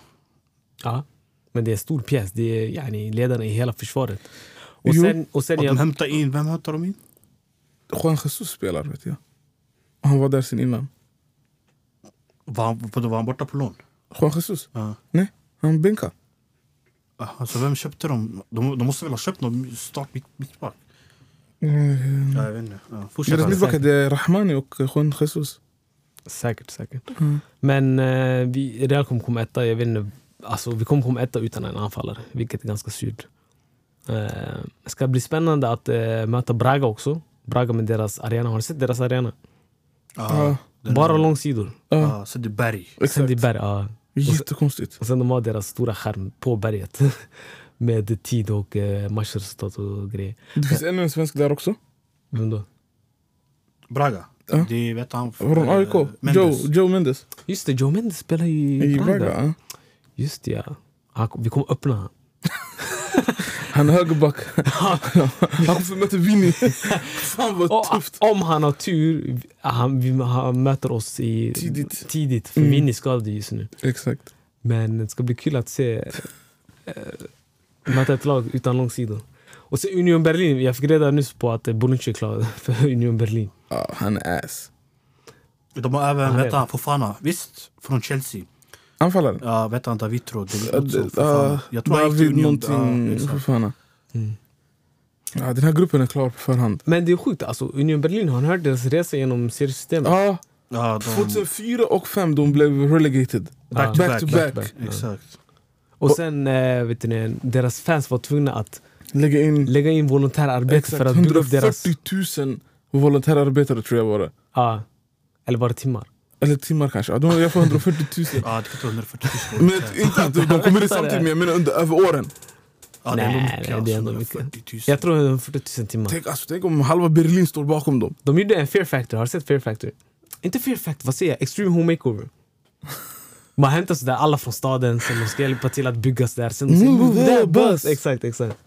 Speaker 2: Ja. Men det är en stor pjäs. Det är yani, ledarna i hela försvaret. Och
Speaker 1: Jo.
Speaker 2: sen, och sen
Speaker 3: Och de
Speaker 2: jag,
Speaker 3: hämtar in, vem hämtar de in?
Speaker 1: Juan Jesus spelar, vet jag. Han var där sen innan.
Speaker 3: Var han, vadå, var han borta på lån?
Speaker 1: Juan Jesus?
Speaker 3: Ja.
Speaker 1: Nej, han bänkar.
Speaker 3: Aha, så vem köpte de? de? De måste väl ha köpt någon start mitt, mittback?
Speaker 1: Mm.
Speaker 3: Ja, jag vet inte. Ja. Fortsätt.
Speaker 1: Deras
Speaker 2: Köpa
Speaker 1: mittbackar
Speaker 2: säkert.
Speaker 1: det är Rahmani och Juan Jesus.
Speaker 2: säkert, säkert.
Speaker 1: Mm.
Speaker 2: Men eh, vi, Real kommer komma etta. Jag vet inte, alltså, vi kommer komma etta utan en anfallare, vilket är ganska surt. Eh, ska bli spännande att eh, möta Braga också. Braga med deras arena. Har du sett deras arena?
Speaker 1: Ja,
Speaker 3: den
Speaker 2: Bara
Speaker 3: här-
Speaker 2: långsidor.
Speaker 1: ja,
Speaker 3: Ja, så det är berg.
Speaker 2: Sen
Speaker 1: exakt.
Speaker 2: det är berg, ja.
Speaker 1: Jättekonstigt.
Speaker 2: Och sen de har deras stora skärm på berget. med tid och eh, matchresultat och grejer.
Speaker 1: Det finns ännu en svensk där också.
Speaker 2: Vem då?
Speaker 3: Braga.
Speaker 1: Ja.
Speaker 3: Det vet han.
Speaker 1: Från
Speaker 3: eh,
Speaker 1: AIK. Joe,
Speaker 3: Mendes.
Speaker 1: Joe Mendes.
Speaker 2: Just det, Joe Mendes spelar i,
Speaker 1: I
Speaker 2: Braga.
Speaker 1: Braga. ja.
Speaker 2: Just det, ja. Han, vi kommer öppna han.
Speaker 1: Han är högerback. han kommer få möta Vinny. Fan vad
Speaker 2: Och
Speaker 1: tufft.
Speaker 2: Om han har tur, han, vi, han möter oss i,
Speaker 1: Tidigt.
Speaker 2: tidigt för
Speaker 1: Mm.
Speaker 2: Vinny är skadad just nu.
Speaker 1: Exakt.
Speaker 2: Men det ska bli kul att se eh, möta ett lag utan långsidor. Och sen Union Berlin. Jag fick reda nyss på att eh, Bonucci är klar för Union Berlin.
Speaker 1: Ja, han är ass.
Speaker 3: De har även,
Speaker 2: Ja,
Speaker 3: vet han, Fofana. Visst, från Chelsea.
Speaker 1: Anfallaren.
Speaker 3: Ja, vet han, Davitro. Det är
Speaker 1: Ja,
Speaker 3: något så,
Speaker 1: det-
Speaker 3: Fofana.
Speaker 1: ja,
Speaker 3: Jag tror han gick till
Speaker 1: David
Speaker 3: Union.
Speaker 1: någonting,
Speaker 3: Ja, exakt.
Speaker 1: Fofana.
Speaker 2: Mm.
Speaker 1: Ja, den här gruppen är klar på förhand.
Speaker 2: Men det är sjukt, alltså, Union Berlin har hört deras resa genom seriesystemet.
Speaker 1: Ja,
Speaker 3: Ja, de,
Speaker 1: 2004 och 5 de blev relegated.
Speaker 2: Back
Speaker 3: back,
Speaker 2: to
Speaker 1: Back to back.
Speaker 2: back. Ja.
Speaker 3: Exakt.
Speaker 2: Och sen, eh, vet ni, deras fans var tvungna att
Speaker 1: Lägga in
Speaker 2: lägga in volontärarbete
Speaker 1: exakt
Speaker 2: för att bygga upp deras...
Speaker 1: 140 000 volontärarbetare tror jag var det.
Speaker 2: Ja. eller var det timmar?
Speaker 1: Eller timmar kanske. Ja, de, jag får 140 000.
Speaker 3: Ja, det kan 140
Speaker 1: Men inte att de kommer i samtidigt, men jag menar under över åren.
Speaker 3: Ja, det är ändå
Speaker 2: Nej,
Speaker 3: mycket.
Speaker 2: det är
Speaker 3: alltså,
Speaker 2: ändå mycket.
Speaker 3: 140 000.
Speaker 2: Jag tror det var 40 000 timmar.
Speaker 1: Tänk, alltså, tänk om halva Berlin står bakom dem.
Speaker 2: De gjorde en Fear Factor, har du sett Fear Factor? Inte Fear Factor, vad säger jag? Extreme Home Makeover. Man hämtar sådär alla från staden som de ska hjälpa till att bygga sådär. Sen de säger
Speaker 1: Move
Speaker 2: move
Speaker 1: that
Speaker 2: that bus!
Speaker 1: bus."
Speaker 2: Exakt, exakt.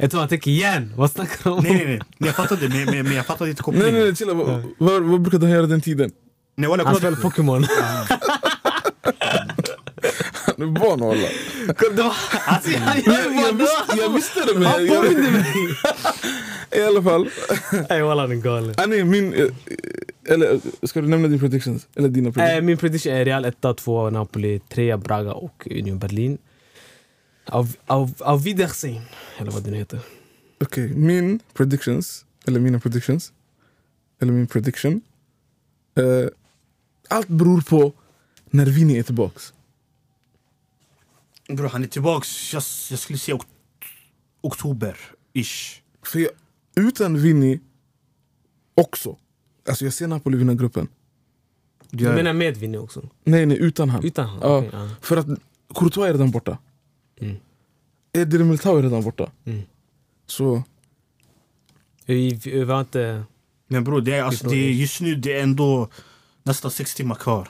Speaker 2: Jag tror han tänker igen, vad snackar de om?
Speaker 3: Nej, nej, nej. Men Jag fattade, men, men, men jag fattade inte
Speaker 1: Nej
Speaker 3: kopplingen.
Speaker 1: nej nej, chilla. Vad, vad, vad brukade han göra den tiden?
Speaker 3: Nej, walla,
Speaker 2: Han
Speaker 3: kolla-
Speaker 2: spelar Pokémon.
Speaker 1: Han är barn walla.
Speaker 2: Det var- alltså, jag- jag-
Speaker 1: Jag, jag, visste, jag visste det men
Speaker 2: Han
Speaker 1: jag, jag,
Speaker 2: påminde mig!
Speaker 1: i alla fall.
Speaker 2: Nej walla han är galen.
Speaker 1: Ah, nej, min, eh, eller eh, ska du nämna dina predictions? Eller dina
Speaker 2: Eh,
Speaker 1: predictions?
Speaker 2: min prediction är Real 1, 2, Napoli 3, Braga och Union Berlin. Av, av, av Wiedersehen, eller vad den heter.
Speaker 1: Okej, min predictions, eller mina predictions eller min prediction. Eh, allt beror på när Vini är tillbaks.
Speaker 3: Bror, han är tillbaks. Jag, jag skulle säga ok- oktober-ish.
Speaker 1: För jag, utan Vini också. Alltså jag ser Napoli vinna gruppen.
Speaker 2: Du menar med Vinny också?
Speaker 1: Nej, nej, utan han.
Speaker 2: Utan han?
Speaker 1: Ja.
Speaker 2: Okej, ja.
Speaker 1: För att Courtois är redan borta.
Speaker 2: Mm.
Speaker 1: Edir Militao är redan borta.
Speaker 2: Mm.
Speaker 1: Så
Speaker 2: Vi, vi var inte...
Speaker 3: Men bror, det är, alltså, det är, just nu det är ändå nästan 6 timmar kvar.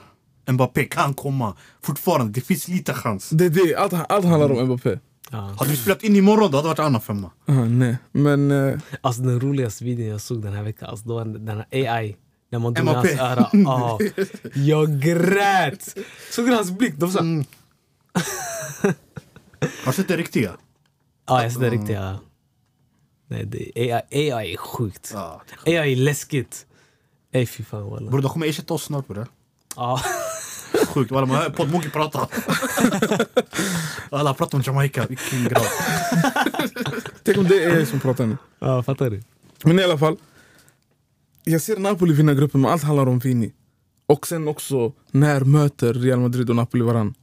Speaker 3: Mbappé kan komma. Fortfarande, det finns lite chans.
Speaker 1: det är det. Allt, allt handlar
Speaker 2: Mm.
Speaker 1: om Mbappé.
Speaker 2: Ja.
Speaker 3: Hade vi spelat in imorgon, det hade varit en annan femma.
Speaker 1: Ah, nej. Men eh,
Speaker 2: Alltså den roligaste videon jag såg den här veckan, alltså, det var den den här AI. När man drog i
Speaker 3: MAP.
Speaker 2: hans öra. Ja. jag grät! Såg du hans blick? De sa,
Speaker 3: Mm. Har du sett det riktiga?
Speaker 2: ja jag ser det riktigt. Ja. Nej, det, AI, AI är sjukt.
Speaker 3: Ja.
Speaker 2: AI är läskigt. Ey fy fan walla.
Speaker 3: Bror, de kommer ersätta oss snart bror.
Speaker 2: Ja.
Speaker 3: Sjukt, walla man hör poddmonkey prata. Alla pratar om Jamaica, vilken grabb.
Speaker 1: tänk om det är jag som pratar nu.
Speaker 2: ja, fattar du?
Speaker 1: Men i alla fall. Jag ser Napoli vinna gruppen, men allt handlar om Vini. Och sen också, när möter Real Madrid och Napoli varann?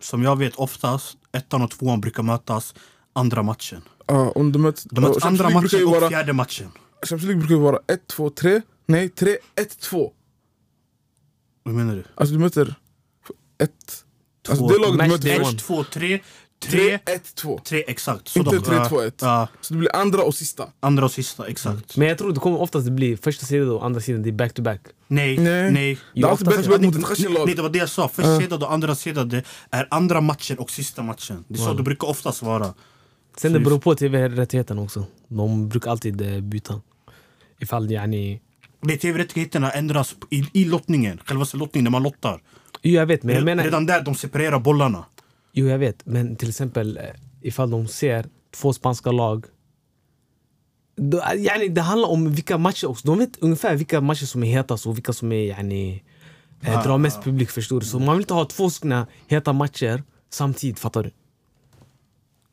Speaker 3: Som jag vet oftast, ettan och tvåan brukar mötas andra matchen.
Speaker 1: Ja, Ah, om de möts...
Speaker 3: De möts
Speaker 1: och Champions
Speaker 3: andra
Speaker 1: League brukar
Speaker 3: matchen
Speaker 1: ju
Speaker 3: och
Speaker 1: vara-
Speaker 3: fjärde matchen.
Speaker 1: Champions League brukar ju vara 1, 2, 3. Nej, 3, 1, 2.
Speaker 3: Hur menar du?
Speaker 1: Alltså du möter 1... Alltså
Speaker 3: Två-
Speaker 1: det laget du
Speaker 2: match
Speaker 1: möter
Speaker 2: day
Speaker 1: först.
Speaker 2: one.
Speaker 3: 1, 2, 3.
Speaker 1: 3,
Speaker 3: 3,
Speaker 1: 1, 2.
Speaker 3: 3 exakt.
Speaker 1: Inte
Speaker 3: de-
Speaker 1: tre,
Speaker 3: ja,
Speaker 1: två, ett. Mm.
Speaker 3: ja,
Speaker 1: Så det blir andra och sista.
Speaker 3: andra och sista, exakt.
Speaker 2: Men jag tror det kommer oftast bli första sidan och andra sidan, det är back to back.
Speaker 3: Nej,
Speaker 1: Nej.
Speaker 3: nej.
Speaker 1: Det är alltid
Speaker 2: oftast-
Speaker 1: bättre mot ett
Speaker 3: Nej,
Speaker 1: skärsen lag.
Speaker 3: nej, det var det jag sa. Först sedad och andra sedade är andra matchen och sista matchen. Det är så
Speaker 2: Wow.
Speaker 3: det brukar oftast vara.
Speaker 2: Sen det beror på tv-rättigheten också. De brukar alltid eh, byta. Ifall yani...
Speaker 3: Det tv-rättigheterna ändras i, i lottningen, själva lottningen, när man lottar.
Speaker 2: Jo jag vet, men jag
Speaker 3: Red-
Speaker 2: menar...
Speaker 3: Redan där de separerar bollarna.
Speaker 2: Jo, jag vet. Men till exempel eh, ifall de ser två spanska lag. Då, eh, yani, det handlar om vilka matcher också. De vet ungefär vilka matcher som är hetast och vilka som är, yani,
Speaker 1: Ah,
Speaker 2: eh, drar mest publik. Förstår du? Så man vill inte ha två såna heta matcher samtidigt. Fattar du?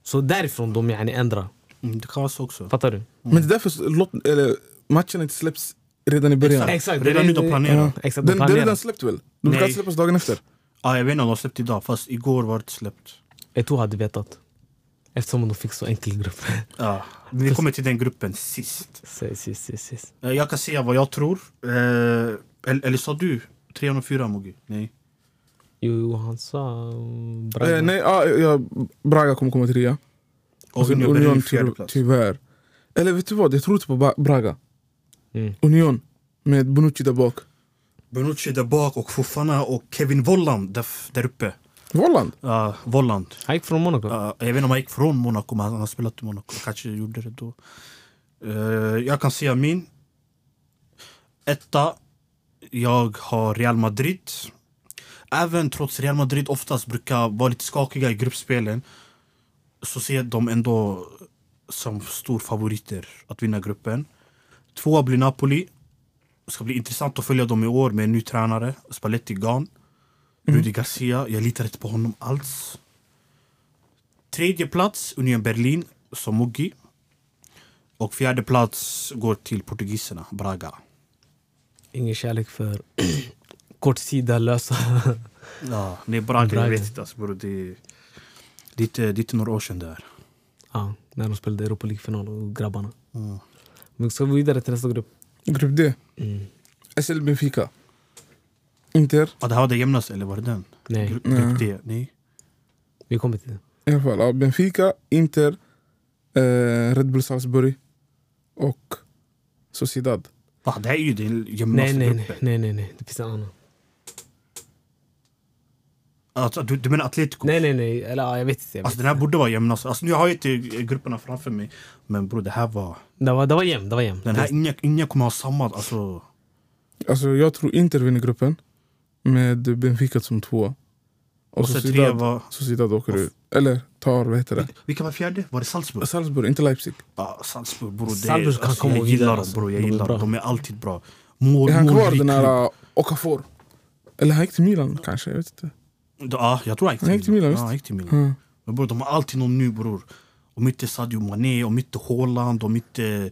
Speaker 2: Så därifrån de yani, ändrar.
Speaker 3: Mm, det kan vara så också.
Speaker 2: Fattar du?
Speaker 1: Men det är därför lot- eller, matchen inte släpps redan i början.
Speaker 3: Exakt.
Speaker 2: Exakt.
Speaker 3: Redan nu de planerar.
Speaker 2: Ja, Exakt, de
Speaker 1: Den, den är
Speaker 2: planerar.
Speaker 1: redan släppt väl? De brukar
Speaker 3: Nej.
Speaker 1: alltid släppas dagen efter.
Speaker 3: Ah, jag vet inte om de släppt idag, fast igår var det släppt.
Speaker 2: Eto'o hade vetat. Eftersom de fick så enkel grupp.
Speaker 3: Ja, men Ah, vi kommer till den gruppen sist.
Speaker 2: Så, så, så, så, så.
Speaker 3: Eh, Jag kan säga vad jag tror. Eh, eller, eller sa du 3 och 4 Mogi? Nej.
Speaker 2: Jo, han sa... mm, Braga.
Speaker 1: Eh, nej, ja, ja, Braga kommer komma trea.
Speaker 3: Och
Speaker 1: sen
Speaker 3: Union Berlin
Speaker 1: ty-
Speaker 3: fjärde plats.
Speaker 1: tyvärr. Eller vet du vad? Jag tror inte på Ba- Braga.
Speaker 2: Mm.
Speaker 1: Union med Bonucci där bak.
Speaker 3: Bonucci där bak och Fofana och Kevin Volland där, f- där uppe.
Speaker 1: Volland?
Speaker 3: Ja, Volland.
Speaker 2: Han gick från Monaco.
Speaker 3: Ja, jag vet inte om han gick från Monaco, men han har spelat i Monaco. Kanske gjorde det då. Eh, jag kan säga min. Etta. Jag har Real Madrid. Även trots Real Madrid oftast brukar vara lite skakiga i gruppspelen så ser jag dem ändå som storfavoriter att vinna gruppen. Tvåa blir Napoli. Det ska bli intressant att följa dem i år med en ny tränare, Spalletti Gan. Rudi Garcia, jag litar inte på honom alls. Tredje plats, Union Berlin, som Mugi. Och fjärde plats går till portugiserna, Braga.
Speaker 2: Ingen kärlek för kortsida lösa.
Speaker 3: Ja, nej, Braga,
Speaker 2: Braga.
Speaker 3: jag vet inte. Alltså, bro, det, det, är inte, det är inte några år sedan där.
Speaker 2: ja, när de spelade Europa League-final och grabbarna. Men ska vi vidare till nästa grupp?
Speaker 1: Grupp D.
Speaker 2: Mm.
Speaker 1: SL Benfica. Inter.
Speaker 3: Ah, det här var det jämnaste, eller var det den?
Speaker 2: Nej,
Speaker 3: Gru- Grupp D? Nej.
Speaker 2: vi kommer till det.
Speaker 1: I alla fall, ja, Benfica, Inter, eh, Red Bull Salzburg och Sociedad.
Speaker 3: Ah, det här är ju den
Speaker 2: Nej,
Speaker 3: jämnaste
Speaker 2: nej, nej,
Speaker 3: gruppen.
Speaker 2: nej, nej, nej, det finns en annan.
Speaker 3: Alltså, du, du menar Atletico?
Speaker 2: Nej, nej, nej, eller ja, jag vet inte. Jag vet.
Speaker 3: Alltså den här borde vara jämnast. Alltså, nu har jag inte grupperna framför mig. Men bror, det här var...
Speaker 2: Det var, det var jämnt, det var jämnt.
Speaker 3: Den här, inga, inga kommer ha samma... Alltså,
Speaker 1: Alltså, jag tror Inter vinner gruppen med Benfica som tvåa. Och,
Speaker 3: Och så
Speaker 1: Sociedad,
Speaker 3: tre var-
Speaker 1: Sociedad åker ut. Eller tar, vad heter det?
Speaker 3: vilka var fjärde? Var det Salzburg?
Speaker 1: Salzburg, inte Leipzig.
Speaker 3: Ja, Salzburg bror. Det,
Speaker 2: Salzburg kan
Speaker 3: alltså,
Speaker 2: komma
Speaker 3: jag
Speaker 2: och vinna,
Speaker 3: gillar dem
Speaker 2: alltså.
Speaker 3: bror. Jag
Speaker 2: De är
Speaker 3: gillar
Speaker 2: bra.
Speaker 3: dem. De är alltid bra. Mål,
Speaker 1: Är han kvar
Speaker 3: målrik
Speaker 1: den
Speaker 3: klubb.
Speaker 1: här eh, Okafor? Eller han gick till Milan kanske? Jag vet inte.
Speaker 3: Ja, jag tror han gick till
Speaker 1: Han gick till Milan,
Speaker 3: Milan.
Speaker 1: visst? Mm.
Speaker 3: Ja, han gick till Milan. Men bror, de har alltid någon ny bror. Om inte Sadio Mané, om inte Haaland, om inte...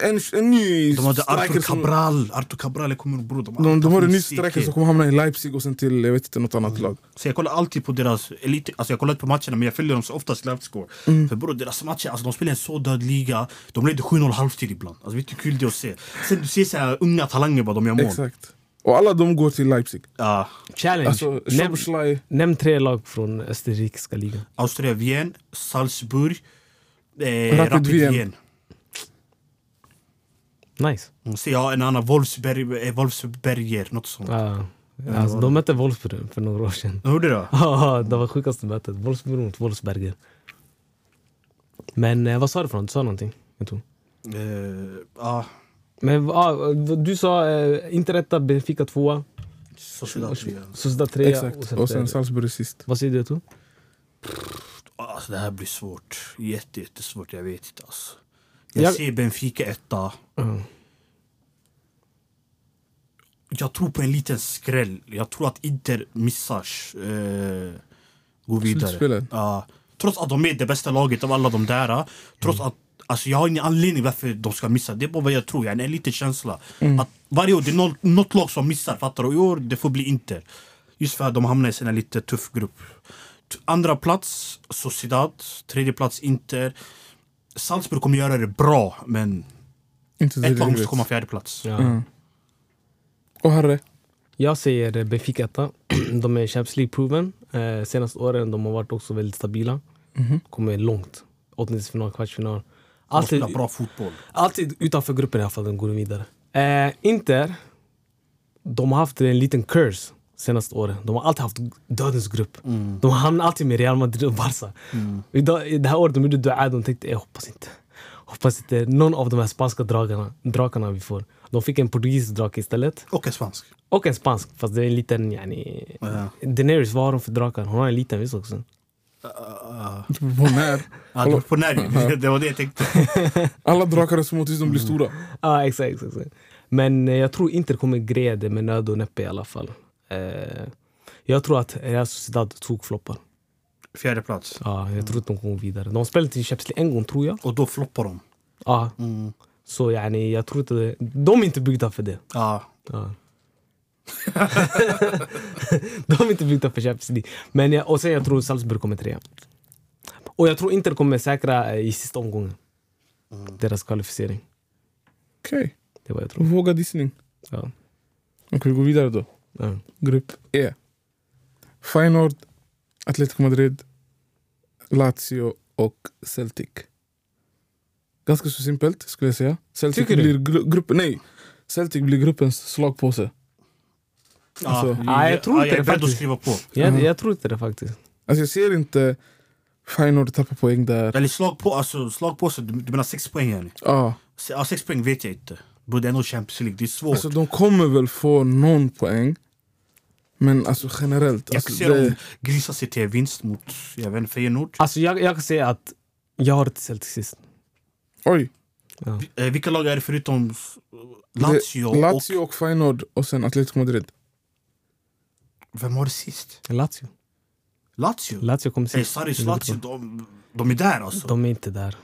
Speaker 1: En, en ny
Speaker 3: De hade
Speaker 1: striker
Speaker 3: Artur
Speaker 1: som...
Speaker 3: Cabral. Artur Cabral jag kommer bror. De, har
Speaker 1: De,
Speaker 3: alltid
Speaker 1: de har en
Speaker 3: haft
Speaker 1: ny
Speaker 3: musik
Speaker 1: striker
Speaker 3: i.
Speaker 1: som kommer hamna i Leipzig och sen till jag vet inte, något annat
Speaker 3: Mm.
Speaker 1: lag.
Speaker 3: Så jag kollar alltid på deras elit, alltså jag kollar inte på matcherna men jag följer dem så oftast Lapscore.
Speaker 1: Mm.
Speaker 3: För bror deras matcher, alltså de spelar i en så död liga. De leder 7-0 halvtid ibland. Alltså vet du hur kul det är att se? Sen du ser så här unga talanger bara, de gör mål.
Speaker 1: Exakt. Och alla de går till Leipzig.
Speaker 3: Ja,
Speaker 2: Challenge!
Speaker 1: Alltså,
Speaker 2: Nämn-
Speaker 1: Schobschlei,
Speaker 2: Nämn tre lag från österrikiska ligan.
Speaker 3: Austria Wien, Salzburg, eh,
Speaker 1: Rapid
Speaker 3: Rapid,
Speaker 1: Wien.
Speaker 3: Wien.
Speaker 2: Nice.
Speaker 3: Mm, Så jag har en annan, Wolfsberg, eh, Wolfsberger, något sånt.
Speaker 2: Ja. alltså, de mötte Wolfsburg för några år sedan.
Speaker 3: Hur gjorde du då?
Speaker 2: Ja, det var sjukaste mötet. Wolfsburg mot Wolfsberger. Men eh, vad sa du för något? Du sa någonting. Jag tror.
Speaker 3: Eh, Ja,
Speaker 2: Men ah, du sa eh, inte rätta Benfica tvåa,
Speaker 3: Sociedad Wien.
Speaker 2: Sociedad trea
Speaker 1: Exakt. Och sen Salzburg är sist.
Speaker 2: Vad säger du Tor?
Speaker 3: Alltså det här blir svårt. Jätte, jättesvårt, jag vet inte alltså. Jag,
Speaker 2: Jag-
Speaker 3: ser Benfica etta.
Speaker 2: Mm.
Speaker 3: Jag tror på en liten skräll. Jag tror att Inter missar eh, gå vidare.
Speaker 1: Slutspelet.
Speaker 3: Ja. trots att de är det bästa laget av alla de där. eh, Trots att Alltså jag har ingen anledning varför de ska missa. Det är bara vad jag tror. Jag har en liten känsla. Att varje år det är något, något lag som missar. Fattar du? Och I år det får bli Inter. Just för att de hamnar i en lite tuff grupp. T- Andra plats Sociedad. Tredje plats Inter. Salzburg kommer göra det bra men
Speaker 1: Inte
Speaker 3: ett lag måste
Speaker 1: direkt.
Speaker 3: komma fjärde plats.
Speaker 2: Ja.
Speaker 1: Mm. Och Harry.
Speaker 2: Jag säger eh, Benfica etta. De är Champions League-proven. Eh, senaste åren de har varit också väldigt stabila.
Speaker 1: Mhm.
Speaker 2: Kommer långt. Åttondelsfinal, kvartsfinal. Alltså,
Speaker 3: De
Speaker 2: Alltid,
Speaker 3: spelar bra fotboll.
Speaker 2: alltid utanför gruppen i alla fall, de går vidare. Eh, Inter, de har haft en liten curse senaste åren. De har alltid haft dödens grupp. De hamnar alltid med Real Madrid och Barca. Idag, i det här året de gjorde dua, de tänkte jag hoppas inte. Hoppas inte någon av de här spanska dragarna, drakarna vi får. De fick en portugisisk drake istället.
Speaker 3: Och en svensk.
Speaker 2: Och en spansk, fast det är en liten yani...
Speaker 3: Ja.
Speaker 2: Daenerys, vad har hon för drakar? Hon har en liten visst också.
Speaker 1: Bonär.
Speaker 3: Eh, Ja, du på nerv. Det var det jag tänkte.
Speaker 1: Alla drakar är små tills de
Speaker 3: Mm.
Speaker 1: blir stora.
Speaker 2: Ja, exakt, exakt, exakt. Men eh, jag tror inte det kommer greja det med nöd och näppe i alla fall. Eh, jag tror att Real Sociedad tokfloppar.
Speaker 3: Fjärde plats.
Speaker 2: Ja, jag tror att de kommer vidare. De spelade till Champions League en gång, tror jag.
Speaker 3: Och då floppar de.
Speaker 2: Ja,
Speaker 3: Mm.
Speaker 2: så yani, jag tror inte... det- De är inte byggda för det.
Speaker 3: Ja.
Speaker 2: Ja. de är inte byggda för Champions League. Men jag, och sen jag tror Salzburg kommer trea. Och jag tror Inter kommer säkra eh, i sista omgången. Deras kvalificering.
Speaker 1: Okej,
Speaker 2: Det var jag tror.
Speaker 1: våga gissning.
Speaker 2: Ja.
Speaker 1: Okej, vi går vidare då.
Speaker 2: Ja.
Speaker 1: Grupp E. Feyenoord, Atletico Madrid, Lazio och Celtic. Ganska så simpelt skulle jag säga. Celtic
Speaker 2: Tycker du?
Speaker 1: blir gru- gruppen... Nej! Celtic blir gruppens slagpåse.
Speaker 3: Ja.
Speaker 1: Alltså-
Speaker 2: Ja, jag tror
Speaker 3: ja,
Speaker 2: inte
Speaker 3: jag är
Speaker 2: det
Speaker 3: beredd att
Speaker 2: faktiskt.
Speaker 3: skriva på.
Speaker 2: Jag,
Speaker 1: Ja.
Speaker 2: jag tror inte det faktiskt.
Speaker 1: Alltså jag ser inte Feyenoord tappa poäng där. Ah,
Speaker 3: Eller slag på, alltså slag på sig. Du, du menar sex poäng yani?
Speaker 1: Ja,
Speaker 3: Se- Ja, sex poäng vet jag inte. Bror det är ändå Champions League, det är svårt.
Speaker 1: alltså de kommer väl få någon poäng. Men alltså generellt.
Speaker 3: jag kan
Speaker 1: Alltså
Speaker 3: se dem
Speaker 1: det,
Speaker 3: grisa sig till vinst mot, jag vet inte, Feyenoord.
Speaker 2: Alltså jag, jag kan säga att jag har ett Celtic sist.
Speaker 1: oj!
Speaker 3: Eh, vilka lag är det förutom s- Lazio,
Speaker 1: Det, Lazio och Feyenoord och sen Atletico Madrid.
Speaker 3: och... Vem var det sist?
Speaker 2: Lazio.
Speaker 3: Lazio?
Speaker 2: Lazio kommer
Speaker 3: Eh,
Speaker 2: sist.
Speaker 3: Sarris Lazio, de, de är där alltså. De,
Speaker 2: De är inte där.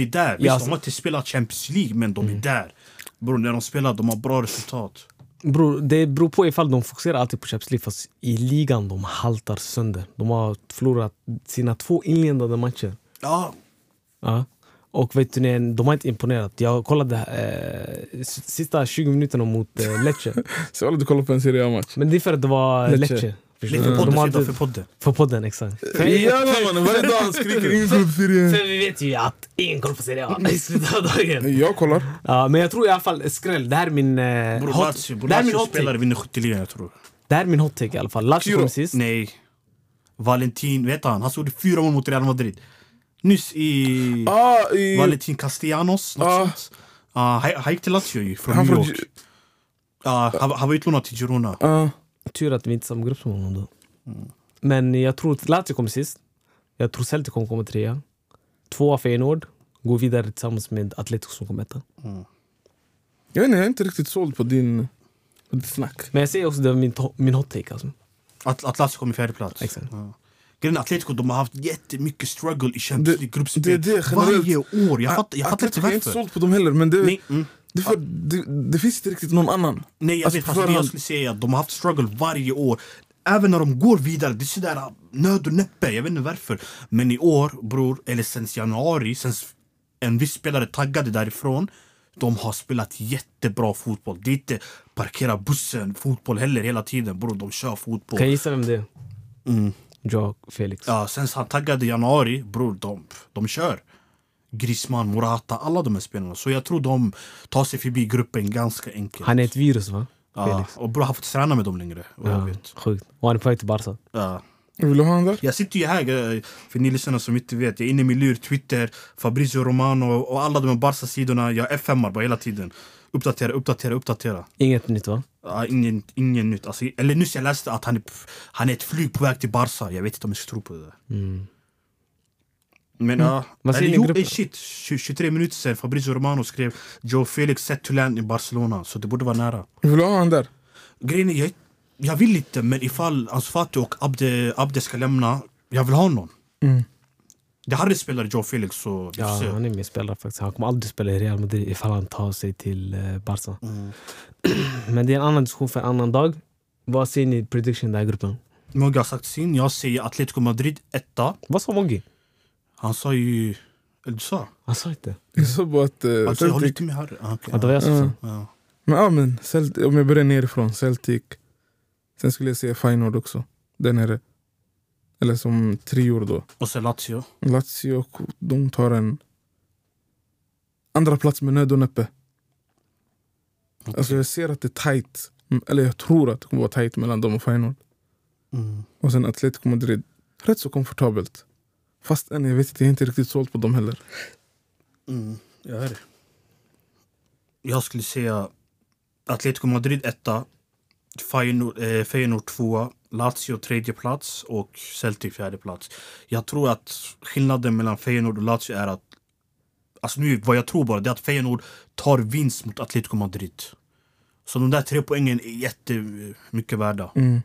Speaker 3: är där.
Speaker 2: Ja,
Speaker 3: Visst, de
Speaker 2: alltså- Mm.
Speaker 3: har inte spelat Champions League, men de är där. Bror, när de spelar, de har bra resultat.
Speaker 2: Bror, det beror på ifall de fokuserar alltid på Champions League. Fast i ligan de haltar sönder. De har förlorat sina två inledande matcher.
Speaker 3: Ja,
Speaker 2: Ja. Och vet du, nej, de har inte imponerat. Jag kollade eh, s- sista 20 minuterna mot eh, Lecce.
Speaker 1: Så alla du kollar på en Serie A-match.
Speaker 2: Men det är för att det var
Speaker 1: Lecce.
Speaker 2: Lecce. Förstår
Speaker 3: lite
Speaker 2: du? de
Speaker 3: podden, sidan
Speaker 2: hade,
Speaker 3: för podden.
Speaker 2: för podden, exakt.
Speaker 1: Jävlar mannen, varje dag han skriker ingen koll på serien.
Speaker 2: För vi vet ju att ingen koll på Serie A i slutet av dagen.
Speaker 1: Jag kollar.
Speaker 2: Ja, men jag tror i alla fall skräll. Det här är min eh,
Speaker 3: Bror,
Speaker 2: hot,
Speaker 3: Lazio, bror,
Speaker 2: det här är min
Speaker 3: Lazio
Speaker 2: hot
Speaker 3: spelare
Speaker 2: take.
Speaker 3: vinner skytteligan, jag tror.
Speaker 2: Det här är min hot take i alla fall. Lazio
Speaker 1: Kiro.
Speaker 2: kom sist.
Speaker 3: Nej. Valentin, vet han? Han gjorde fyra mål mot Real Madrid. Nyss i
Speaker 1: Ah, i,
Speaker 3: Valentin Castellanos, något
Speaker 1: Ah.
Speaker 3: sånt. Ja, han, han gick till Lazio ju, från
Speaker 1: Han
Speaker 3: New
Speaker 1: från
Speaker 3: York. Ja, han, han var utlånad till Girona.
Speaker 1: ah,
Speaker 2: Tur att vi inte är samma grupp som honom då.
Speaker 3: Mm.
Speaker 2: Men jag tror att Lazio kommer sist. Jag tror Celtic kommer komma trea. Tvåa Feyenoord. Går vidare tillsammans med Atletico som kommer etta.
Speaker 1: jag, vet inte, jag är inte riktigt såld på din på ditt snack.
Speaker 2: Men jag säger också det är min, to- min hot take alltså.
Speaker 3: Att, att Lazio kom i fjärde plats.
Speaker 2: Exakt.
Speaker 3: Ja. Grejen är Atletico de har haft jättemycket struggle i
Speaker 1: Det-
Speaker 3: Champions
Speaker 1: det är
Speaker 3: League-gruppspel.
Speaker 1: det generellt.
Speaker 3: Varje år. Jag, fatt, jag fattar inte
Speaker 1: Atletico, är inte
Speaker 3: varför.
Speaker 1: såld på dem heller, men det,
Speaker 3: Nej, mm.
Speaker 1: det, är för, det, det finns inte riktigt någon annan.
Speaker 3: Nej, jag
Speaker 1: Alltså,
Speaker 3: vet.
Speaker 1: på
Speaker 3: Fast det jag
Speaker 1: förhand.
Speaker 3: skulle säga är att de har haft struggle varje år. Även när de går vidare, det är sådär ah, nöd och näppe. Jag vet inte varför. Men i år, bror, eller sen januari, sen en viss spelare taggade därifrån. De har spelat jättebra fotboll. Det är inte parkera bussen fotboll heller hela tiden. Bror, de kör fotboll.
Speaker 2: Kan jag gissa vem det är?
Speaker 3: Mm.
Speaker 2: Ja, Felix.
Speaker 3: Ja, sen han taggade i januari, bror, de, de kör. Griezmann, Morata, alla de här spelarna. Så jag tror de tar sig förbi gruppen ganska enkelt.
Speaker 2: Han är ett virus va?
Speaker 3: ja, och bror, han får inte träna med dem längre. vad Jag,
Speaker 2: Ja,
Speaker 3: vet.
Speaker 2: sjukt. Och han är på väg till Barca.
Speaker 3: Ja.
Speaker 1: Vill du ha han där?
Speaker 3: jag sitter ju här, eh, för ni lyssnare som inte vet. Jag är inne i min lur, Twitter, Fabrizio Romano och alla de här Barca-sidorna. Jag fm bara hela tiden. Uppdatera, uppdatera, uppdatera.
Speaker 2: Inget nytt va?
Speaker 3: Ja, ingen, ingen nytt. Alltså, eller nyss jag läste att han är, han är ett flyg på väg till Barca. Jag vet inte om jag ska tro på det. där. Men ja.
Speaker 2: Mm. Vad säger
Speaker 3: Eller,
Speaker 2: ni i
Speaker 3: jo,
Speaker 2: gruppen?
Speaker 3: eh, shit. tju- 23 minuter sedan Fabrizio Romano skrev Joe Felix set to land i Barcelona. Så det borde vara nära.
Speaker 1: Vill du ha han där?
Speaker 3: Grejen är, jag, jag vill inte men ifall Ansfati och Abde, Abde ska lämna, jag vill ha någon.
Speaker 1: Mm.
Speaker 3: Det hade spelat Joe Felix så vi får
Speaker 2: Ja,
Speaker 3: se.
Speaker 2: han är min spelare faktiskt. Han kommer aldrig spela i Real Madrid ifall han tar sig till eh, Barca.
Speaker 3: Mm.
Speaker 2: Men det är en annan diskussion för en annan dag. Vad ser ni i prediction i den här gruppen?
Speaker 3: Mogge har sagt sin. Jag säger Atletico Madrid etta.
Speaker 2: Vad sa Moggi?
Speaker 3: Han sa ju... Eller du sa?
Speaker 2: Han sa inte.
Speaker 1: Jag sa bara att... eh,
Speaker 3: Han sa, Alltså, jag håller
Speaker 1: Celtic-
Speaker 3: inte med Harry. Ah, okej,
Speaker 2: Ja, det var jag som
Speaker 1: Ja.
Speaker 2: sa.
Speaker 3: ja.
Speaker 1: Men ja, men Celt- om jag börjar nerifrån. Celtic. Sen skulle jag säga Feyenoord också. Där nere. Eller som trior då.
Speaker 3: Och sen Lazio.
Speaker 1: Lazio, de tar en andra plats med nöd och näppe. Alltså jag ser att det är tight. Mm, Eller jag tror att det kommer vara tight mellan dem och Feyenoord.
Speaker 3: Mm.
Speaker 1: Och sen Atletico Madrid. Rätt så komfortabelt. Fast än, jag vet inte, jag är inte riktigt såld på dem heller.
Speaker 3: Mm. Jag är det. Jag skulle säga Atletico Madrid etta, Feyenoord, eh, Feyenoord tvåa, Lazio tredje plats och Celtic fjärde plats. Jag tror att skillnaden mellan Feyenoord och Lazio är att Alltså nu, vad jag tror bara, det är att Feyenoord tar vinst mot Atletico Madrid. Så de där tre poängen är jättemycket värda.
Speaker 1: Mm.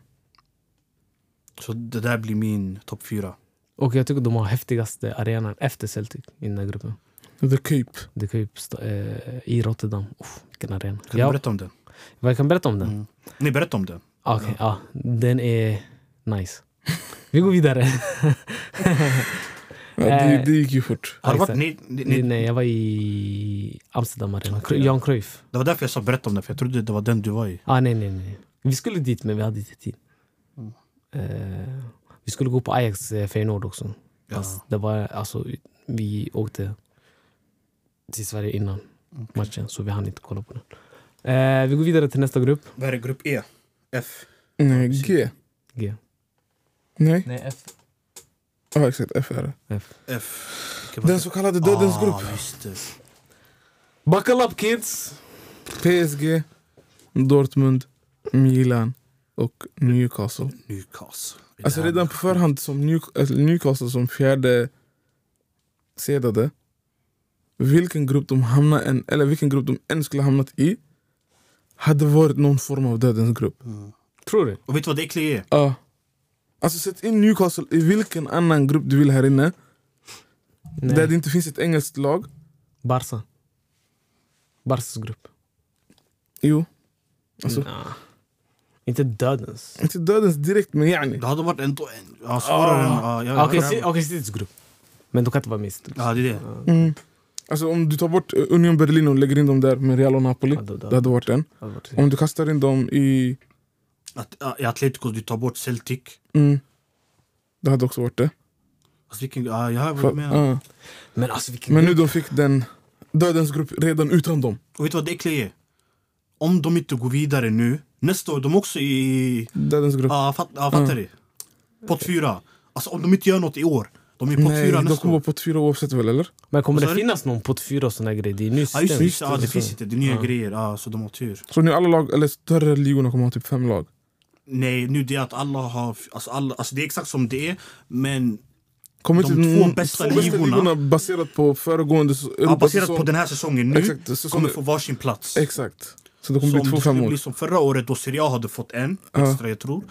Speaker 3: Så det där blir min topp fyra.
Speaker 2: Och jag tycker de har häftigaste arenan efter Celtic i den här gruppen.
Speaker 1: The Cape.
Speaker 2: Det kan ju uppstå, eh, I Rotterdam. Uff, vilken arena.
Speaker 3: Kan du
Speaker 2: Ja,
Speaker 3: berätta om den?
Speaker 2: vad jag kan berätta om den? Ah,
Speaker 3: Mm. Nej, berätta om den.
Speaker 2: Okej, ja. Den är nice. Vi går vidare.
Speaker 1: Ja, det,
Speaker 2: Eh,
Speaker 1: det gick ju fort.
Speaker 3: Har du varit...
Speaker 2: Exakt.
Speaker 3: Nej, nej, nej,
Speaker 2: Nej, jag var i Amsterdam arena.
Speaker 3: Okej.
Speaker 2: Jan Cruyff.
Speaker 3: Det var därför jag sa berätta om den, för jag trodde det var den du var i.
Speaker 2: Ah, nej, nej, nej. Vi skulle dit, men vi hade inte tid.
Speaker 3: Mm.
Speaker 2: Eh, vi skulle gå på Ajax eh, Feyenoord också.
Speaker 3: Ja.
Speaker 2: Fast det var, alltså, vi åkte till Sverige innan matchen, så vi hann inte kolla på den. Eh, vi går vidare till nästa grupp.
Speaker 3: Vad är det? Grupp E? F?
Speaker 1: Nej, G.
Speaker 2: G.
Speaker 1: Nej,
Speaker 2: Nej, F.
Speaker 1: ja, exakt. F är det.
Speaker 2: F.
Speaker 3: F.
Speaker 1: Den så kallade dödens grupp.
Speaker 3: Ah, just det.
Speaker 2: Buckle up kids!
Speaker 1: PSG, Dortmund, Milan och Newcastle.
Speaker 3: Newcastle. Det
Speaker 1: Alltså
Speaker 3: här-
Speaker 1: redan på förhand som New, alltså Newcastle som fjärde sedade. Vilken grupp de hamnar än, eller vilken grupp de än skulle hamnat i hade varit någon form av dödens grupp.
Speaker 2: Tror du?
Speaker 3: Och vet du vad det äckliga är? E?
Speaker 1: Ja. Alltså sätt in Newcastle i vilken annan grupp du vill här inne
Speaker 2: Nej.
Speaker 1: där det inte finns ett engelskt lag.
Speaker 2: Barca. Barcas grupp.
Speaker 1: Jo. Alltså,
Speaker 2: Nja. Inte dödens.
Speaker 1: Inte dödens direkt men yani.
Speaker 3: Det hade varit ändå en,
Speaker 1: Ah.
Speaker 3: ja, svårare än... Ja, jag,
Speaker 2: Okej,
Speaker 3: jag-
Speaker 2: si- okej, Citys grupp. Men de kan inte vara med i Citys grupp.
Speaker 3: ja, det är det.
Speaker 1: Mm. Alltså om du tar bort eh, Union Berlin och lägger in dem där med Real och Napoli.
Speaker 2: Ja, då- då-
Speaker 1: Det hade varit en.
Speaker 2: hade varit-
Speaker 1: Om du kastar in dem i...
Speaker 3: Att, ja, I Atletico, du tar bort Celtic.
Speaker 1: Mm, det hade också varit det. ah.
Speaker 3: Alltså, vilken, ja, jag har
Speaker 1: För,
Speaker 3: varit med.
Speaker 1: ja.
Speaker 2: Men alltså vilken
Speaker 1: Men nu de fick den dödens grupp redan utan dem.
Speaker 3: Och vet du vad det äckliga är? E? Om de inte går vidare nu, nästa år, de är också i...
Speaker 1: Dödens grupp.
Speaker 3: Ja, fatt, ja
Speaker 1: Mm.
Speaker 3: fattar du? Pott fyra. Alltså om de inte gör något i år, de är i pott
Speaker 1: Nej,
Speaker 3: fyra
Speaker 1: de
Speaker 3: nästa
Speaker 1: kommer
Speaker 3: år.
Speaker 1: vara på fyra oavsett väl eller?
Speaker 2: Men kommer
Speaker 3: Vad
Speaker 2: det
Speaker 3: sa du?
Speaker 2: finnas någon pott 4 och såna här grejer? Det är ju nyss
Speaker 3: Ja, just, det, just, det. ja,
Speaker 2: den.
Speaker 3: det finns inte. Det är nya grejer. Ja, så de har tur.
Speaker 1: Så nu alla lag, eller större ligorna kommer ha typ fem lag.
Speaker 3: Nej, nu det är att alla har... Alltså, alla, alltså det är exakt som det är, men
Speaker 1: Kommer
Speaker 3: De
Speaker 1: inte
Speaker 3: två
Speaker 1: någon-
Speaker 3: bästa
Speaker 1: två bästa
Speaker 3: ligorna-
Speaker 1: ligorna baserat på föregående s-
Speaker 3: ja, baserat
Speaker 1: Europasäsong.
Speaker 3: på den här säsongen nu
Speaker 1: Exakt, säsongen-
Speaker 3: kommer få varsin plats.
Speaker 1: Exakt. Så det
Speaker 3: Så
Speaker 1: kommer
Speaker 3: om
Speaker 1: bli två
Speaker 3: det skulle
Speaker 1: femmor.
Speaker 3: bli som förra året då Serie A hade fått en extra, jag tror.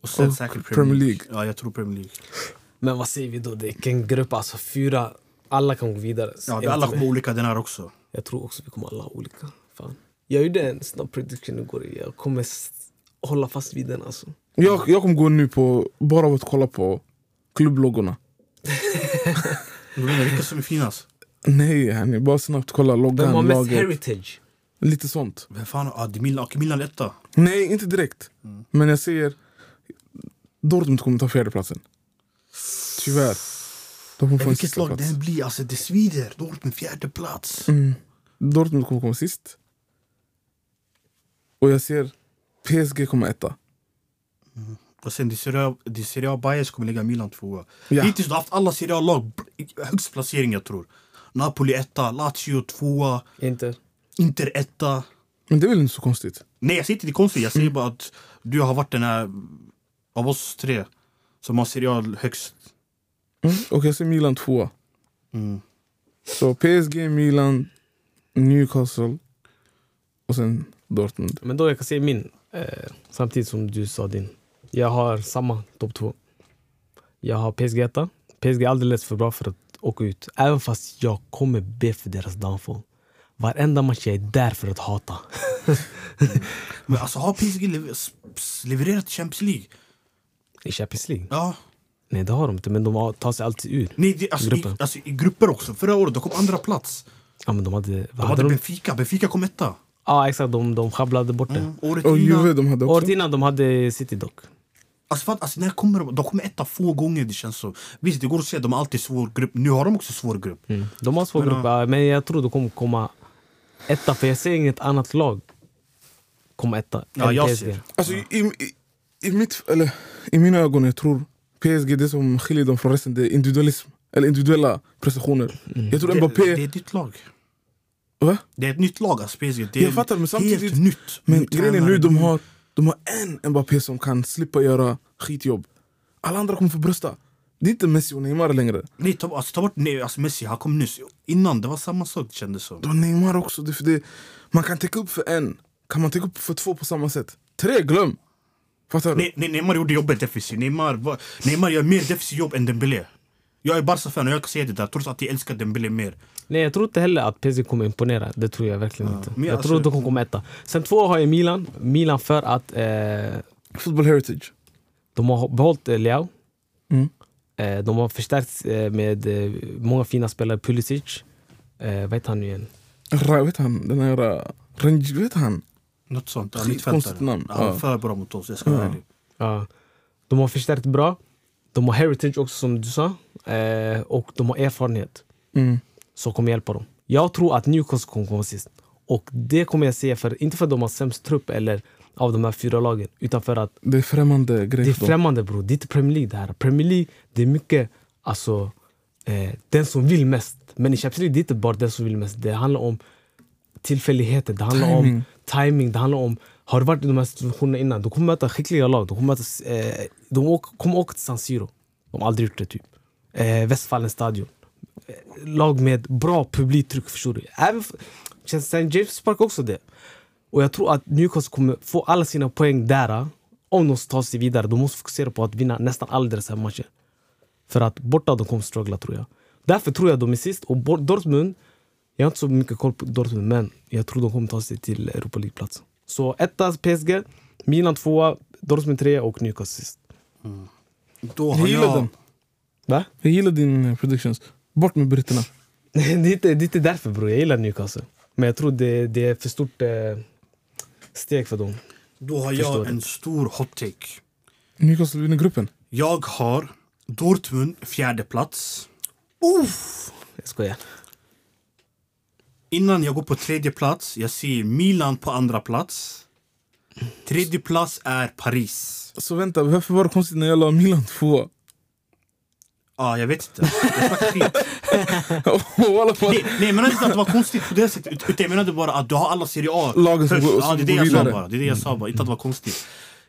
Speaker 3: Och sen
Speaker 1: Och
Speaker 3: säkert
Speaker 1: Premier
Speaker 3: Premier League. Ja, jag tror Premier League.
Speaker 2: Men vad säger vi då? Det är en grupp, alltså fyra. Alla kan gå vidare. Så
Speaker 3: Ja, det
Speaker 2: jag
Speaker 3: är alla
Speaker 2: vet inte.
Speaker 3: kommer olika den här också.
Speaker 2: Jag tror också vi kommer alla ha olika. Fan. Jag gjorde en snabb prediction igår. Jag kommer s- hålla fast vid den. Alltså.
Speaker 1: Jag, jag kommer gå nu på bara av att kolla på klubbloggarna.
Speaker 3: Men Vilka som är finast?
Speaker 1: Nej, hörni, bara snabbt kolla
Speaker 2: Vem har
Speaker 1: loggan,
Speaker 2: mest
Speaker 1: laget.
Speaker 2: heritage?
Speaker 1: Lite sånt.
Speaker 3: Vem fan? Ah, det är Milan. Okej, Milan är etta.
Speaker 1: Nej, inte direkt. Men jag säger Dortmund kommer ta fjärdeplatsen. Tyvärr. De kommer
Speaker 3: Men
Speaker 1: få en
Speaker 3: Vilket
Speaker 1: sista
Speaker 3: lag det
Speaker 1: plats.
Speaker 3: än blir, alltså det svider. Dortmund fjärde plats.
Speaker 1: Mm. Dortmund kommer komma sist. Och jag ser PSG kommer etta.
Speaker 3: Och sen det Serie A- det Serie A-Bayern kommer lägga Milan tvåa.
Speaker 1: Ja.
Speaker 3: Hittills har haft alla Serie A-lag br- högst placering jag tror. Napoli etta, Lazio tvåa,
Speaker 2: Inte.
Speaker 3: Inter etta.
Speaker 1: Men det är väl inte så konstigt?
Speaker 3: Nej jag säger inte det är konstigt, jag
Speaker 1: Mm.
Speaker 3: säger bara att du har varit den här av oss tre som har Serie A högst.
Speaker 1: Mm. Och jag ser Milan tvåa.
Speaker 3: Mm.
Speaker 1: Så PSG, Milan, Newcastle och sen Dortmund.
Speaker 2: Men då jag kan säga min, eh, samtidigt som du sa din. Jag har samma topp två. Jag har PSG etta. PSG är alldeles för bra för att åka ut. Även fast jag kommer be för deras downfall. Varenda match jag är där för att hata.
Speaker 3: Men alltså har PSG lever- s- s- levererat i Champions League?
Speaker 2: I Champions League?
Speaker 3: Ja.
Speaker 2: Nej, det har de inte. Men de har- tar sig alltid ur.
Speaker 3: Nej, det, alltså, i,
Speaker 2: Grupper.
Speaker 3: alltså i grupper också. Förra året de kom andra plats.
Speaker 2: Ja, men de hade... Vad
Speaker 3: De
Speaker 2: hade
Speaker 3: hade
Speaker 2: de?
Speaker 3: Benfica, Benfica kom etta.
Speaker 2: Ja, exakt. De, de sjabblade bort det.
Speaker 3: Mm. Året
Speaker 1: Och
Speaker 3: innan.
Speaker 1: Juve de hade också.
Speaker 2: Året innan de hade City dock.
Speaker 3: Alltså, fan, alltså när kommer de? De kommer etta få gånger det känns så. Visst det går att säga att de har alltid svår grupp. Nu har de också svår grupp.
Speaker 2: Mm. De har svår
Speaker 3: Men,
Speaker 2: grupp, ja, men jag tror de kommer komma etta. För jag ser inget annat lag komma etta.
Speaker 3: Ja,
Speaker 2: än
Speaker 3: jag
Speaker 2: PSG.
Speaker 3: ser.
Speaker 1: Alltså, i, i, i, mitt, eller, I mina ögon, jag tror PSG, det som skiljer dem från resten, det är individualism. Eller individuella prestationer. Jag tror
Speaker 3: Mm. Det,
Speaker 1: Mbappé...
Speaker 3: det är ett nytt lag.
Speaker 1: Va?
Speaker 3: Det är ett nytt lag alltså PSG. Det är
Speaker 1: Jag fattar, men samtidigt-
Speaker 3: Helt nytt.
Speaker 1: Men
Speaker 3: Ny
Speaker 1: grejen är
Speaker 3: tränare,
Speaker 1: nu, de
Speaker 3: ny-
Speaker 1: har, de har en Mbappé som kan slippa göra skitjobb. Alla andra kommer få brösta. Det är inte Messi och Neymar längre.
Speaker 3: Nej, ta, alltså, ta bort nej, alltså, Messi, han kom nyss. Innan det var samma sak kändes som.
Speaker 1: De har Neymar också. Det är för det, man kan täcka upp för en, kan man täcka upp för två på samma sätt? Tre, glöm! Fattar du?
Speaker 3: Nej, nej, Neymar gjorde jobbet defensivt. Neymar, var- Neymar gör mer defensivt jobb än Dembélé. Jag är Barca-fan och jag kan säga det där trots att jag älskar Dembélé mer.
Speaker 2: Nej, jag tror inte heller att PSG kommer imponera. Det tror jag verkligen inte.
Speaker 3: men
Speaker 2: jag
Speaker 3: alltså-
Speaker 2: tror att de kommer komma etta. Sen två har jag Milan. Milan för att eh,
Speaker 1: Football heritage.
Speaker 2: de har behållit eh, Leao.
Speaker 1: Mm.
Speaker 2: Eh, de har förstärkt eh, med eh, många fina spelare. Pulisic. Eh, vad heter han nu igen?
Speaker 1: Ra, vet han? Den här... Rangi, vet han?
Speaker 3: Något sånt. ja,
Speaker 1: Skitkonstigt
Speaker 3: mittfältare.
Speaker 1: namn,
Speaker 3: Alltså, Ja, Han är
Speaker 1: ja.
Speaker 3: för bra mot oss, jag ska vara
Speaker 1: Ja.
Speaker 3: ärlig.
Speaker 2: Ja. De har förstärkt bra. De har heritage också som du sa. Eh, och de har erfarenhet
Speaker 1: Mm.
Speaker 2: som kommer hjälpa dem. Jag tror att Newcastle kommer komma sist. Och det kommer jag säga, för, inte för att de har sämst trupp eller av de här fyra lagen, utan för att
Speaker 1: Det är främmande grej
Speaker 2: det är
Speaker 1: för dem.
Speaker 2: främmande bror. Det är inte Premier League det här. Premier League, det är mycket alltså, eh, den som vill mest. Men i Champions League, det är inte bara den som vill mest. Det handlar om tillfälligheter, det handlar om
Speaker 1: Timing.
Speaker 2: timing, det handlar om har du varit i de här situationerna innan, de kommer möta skickliga lag. De kommer, möta, eh, de åk, kommer åka till San Siro. De har aldrig gjort det, typ. Eh, Westfallen stadion. Eh, lag med bra publiktryck, förstår du. Även f- känns St. James Park också det. Och jag tror att Newcastle kommer få alla sina poäng där. eh, Om de tar sig vidare. De måste fokusera på att vinna nästan alla deras matcher. För att borta de kommer struggla tror jag. Därför tror jag de är sist. Och Bor- Dortmund, jag har inte så mycket koll på Dortmund men jag tror de kommer ta sig till Europa League-plats. Så etta PSG, Milan tvåa, Dortmund trea och Newcastle sist.
Speaker 3: Då har
Speaker 1: Jag gillar
Speaker 3: jag...
Speaker 1: den.
Speaker 2: Va?
Speaker 1: Jag gillar din eh, predictions. Bort med britterna.
Speaker 2: det, är inte, det är inte därför bror, jag gillar Newcastle. Men jag tror det, det är för stort eh, steg för dem.
Speaker 3: Då har
Speaker 2: Förstår
Speaker 3: jag
Speaker 2: det.
Speaker 3: en stor hot take.
Speaker 1: Newcastle vinner gruppen.
Speaker 3: Jag har Dortmund fjärde plats.
Speaker 2: Jag skojar.
Speaker 3: Innan jag går på tredje plats, jag ser Milan på andra plats. Tredje plats är Paris.
Speaker 1: Så vänta, varför var det konstigt när jag la Milan två?
Speaker 3: Ja, ah, jag vet inte. Jag snackar skit.
Speaker 1: Och alla fall-
Speaker 3: nej, nej, jag menade inte att det var konstigt på det sättet. ut- Utan jag menade bara att du har alla Serie A
Speaker 1: Lagen som
Speaker 3: först.
Speaker 1: går-
Speaker 3: Ja, det
Speaker 1: som
Speaker 3: är det
Speaker 1: går
Speaker 3: jag sa
Speaker 1: vidare. Mm.
Speaker 3: bara. Det är det jag sa bara. Inte att det var konstigt.